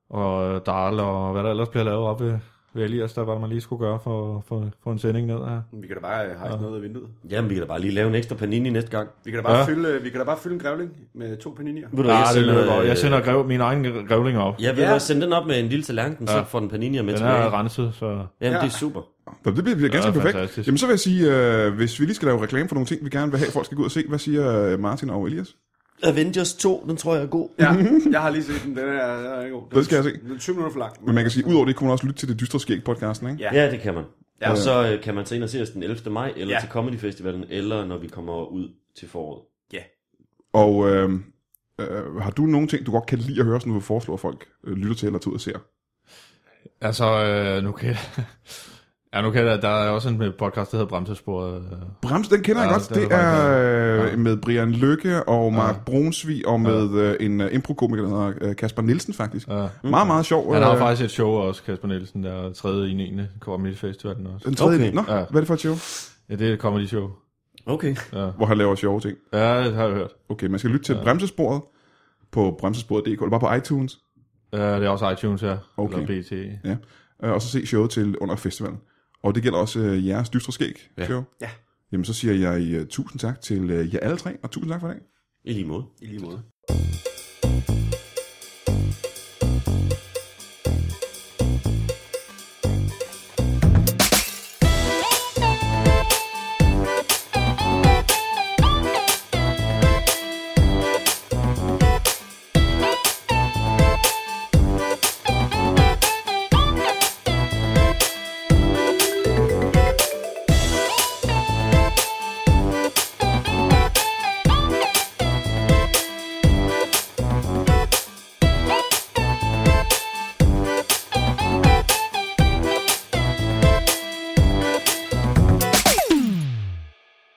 Speaker 4: og darl og hvad der ellers bliver lavet op ved, ved Elias, der hvad man lige skulle gøre for, for, for en sending ned her.
Speaker 2: Vi kan da bare øh, hejse ja. noget af vinduet.
Speaker 3: Jamen, vi kan da bare lige lave en ekstra panini næste gang.
Speaker 2: Vi kan da bare, ja.
Speaker 4: Ja.
Speaker 2: fylde, vi kan da bare fylde en grævling med to
Speaker 1: (laughs)
Speaker 2: paninier.
Speaker 3: Ved du, hvad,
Speaker 4: Ja, jeg, sender, Ah, det
Speaker 3: øh,
Speaker 4: jeg sender grev, min egen grævling op.
Speaker 3: Ja, vi
Speaker 2: Ja.
Speaker 3: har sende den op med en lille tallerken, så
Speaker 4: Ja.
Speaker 3: får den panini med
Speaker 4: Den
Speaker 3: tilbage.
Speaker 4: er renset, så...
Speaker 3: Jamen,
Speaker 2: Ja.
Speaker 3: det er super.
Speaker 1: Nå, Det bliver, bliver ganske
Speaker 4: Ja,
Speaker 1: perfekt.
Speaker 4: fantastisk.
Speaker 1: Jamen så vil jeg sige, øh, hvis vi lige skal lave reklame for nogle ting, vi gerne vil have, folk skal gå ud og se. Hvad siger øh, Martin og Elias?
Speaker 3: Avengers 2, den tror jeg er god.
Speaker 2: Ja, jeg har lige set den. Den er, den er god. Den,
Speaker 1: Den skal jeg se.
Speaker 2: Den er 20 minutter for lang.
Speaker 1: Men man kan sige, udover det kunne man også lytte til det dystre skæg podcasten, ikke?
Speaker 2: Ja.
Speaker 3: Ja, det kan man.
Speaker 2: Ja.
Speaker 3: Ja. Og så øh, kan man tage ind og se os den 11. maj, eller
Speaker 2: Ja.
Speaker 3: ja. til Comedy Festivalen, eller når vi kommer ud til foråret.
Speaker 1: Og øh, øh, har du nogle ting, du godt kan lide at høre, som du vil foreslå, at folk øh, lytter til eller tager ud og ser?
Speaker 4: Altså, øh, nu kan (laughs) Ja, nu kan jeg, der er også en podcast, der hedder Bremsesporet. øh.
Speaker 1: Brems, den kender ja,
Speaker 4: Ja,
Speaker 1: jeg godt.
Speaker 4: den er
Speaker 1: Det er øh,
Speaker 4: faktisk- ja.
Speaker 1: med Brian Lykke og Mark ja. Brunsvig og med øh, en øh, improkomiker, der hedder øh, Kasper Nielsen faktisk. Ja.
Speaker 4: Ja.
Speaker 1: Meget, meget sjov.
Speaker 4: Han har
Speaker 1: øh,
Speaker 4: faktisk et show også, Kasper Nielsen, der er tredje i 9. Comedy Festivalen også.
Speaker 1: Den tredje. Okay.
Speaker 3: Okay.
Speaker 1: Nå, ja.
Speaker 4: Ja.
Speaker 1: hvad er det for et show?
Speaker 4: Ja, det er et comedy show.
Speaker 3: Okay.
Speaker 4: Ja.
Speaker 1: Hvor han laver sjove ting.
Speaker 4: Ja, det har jeg hørt.
Speaker 1: Okay, man skal lytte til ja. bremsesporet på bremsesporet.dk, eller bare på iTunes.
Speaker 4: Uh, det er også iTunes her,
Speaker 1: Okay.
Speaker 4: okay. eller BT.
Speaker 1: Ja. Øh, Og så se showet til under festivalen. Og det gælder også øh, jeres dystre skæg
Speaker 3: Ja.
Speaker 1: show.
Speaker 2: Ja.
Speaker 1: Jamen så siger jeg øh, tusind tak til øh, jer alle tre, og tusind tak for i dag.
Speaker 3: I lige måde.
Speaker 2: I lige måde.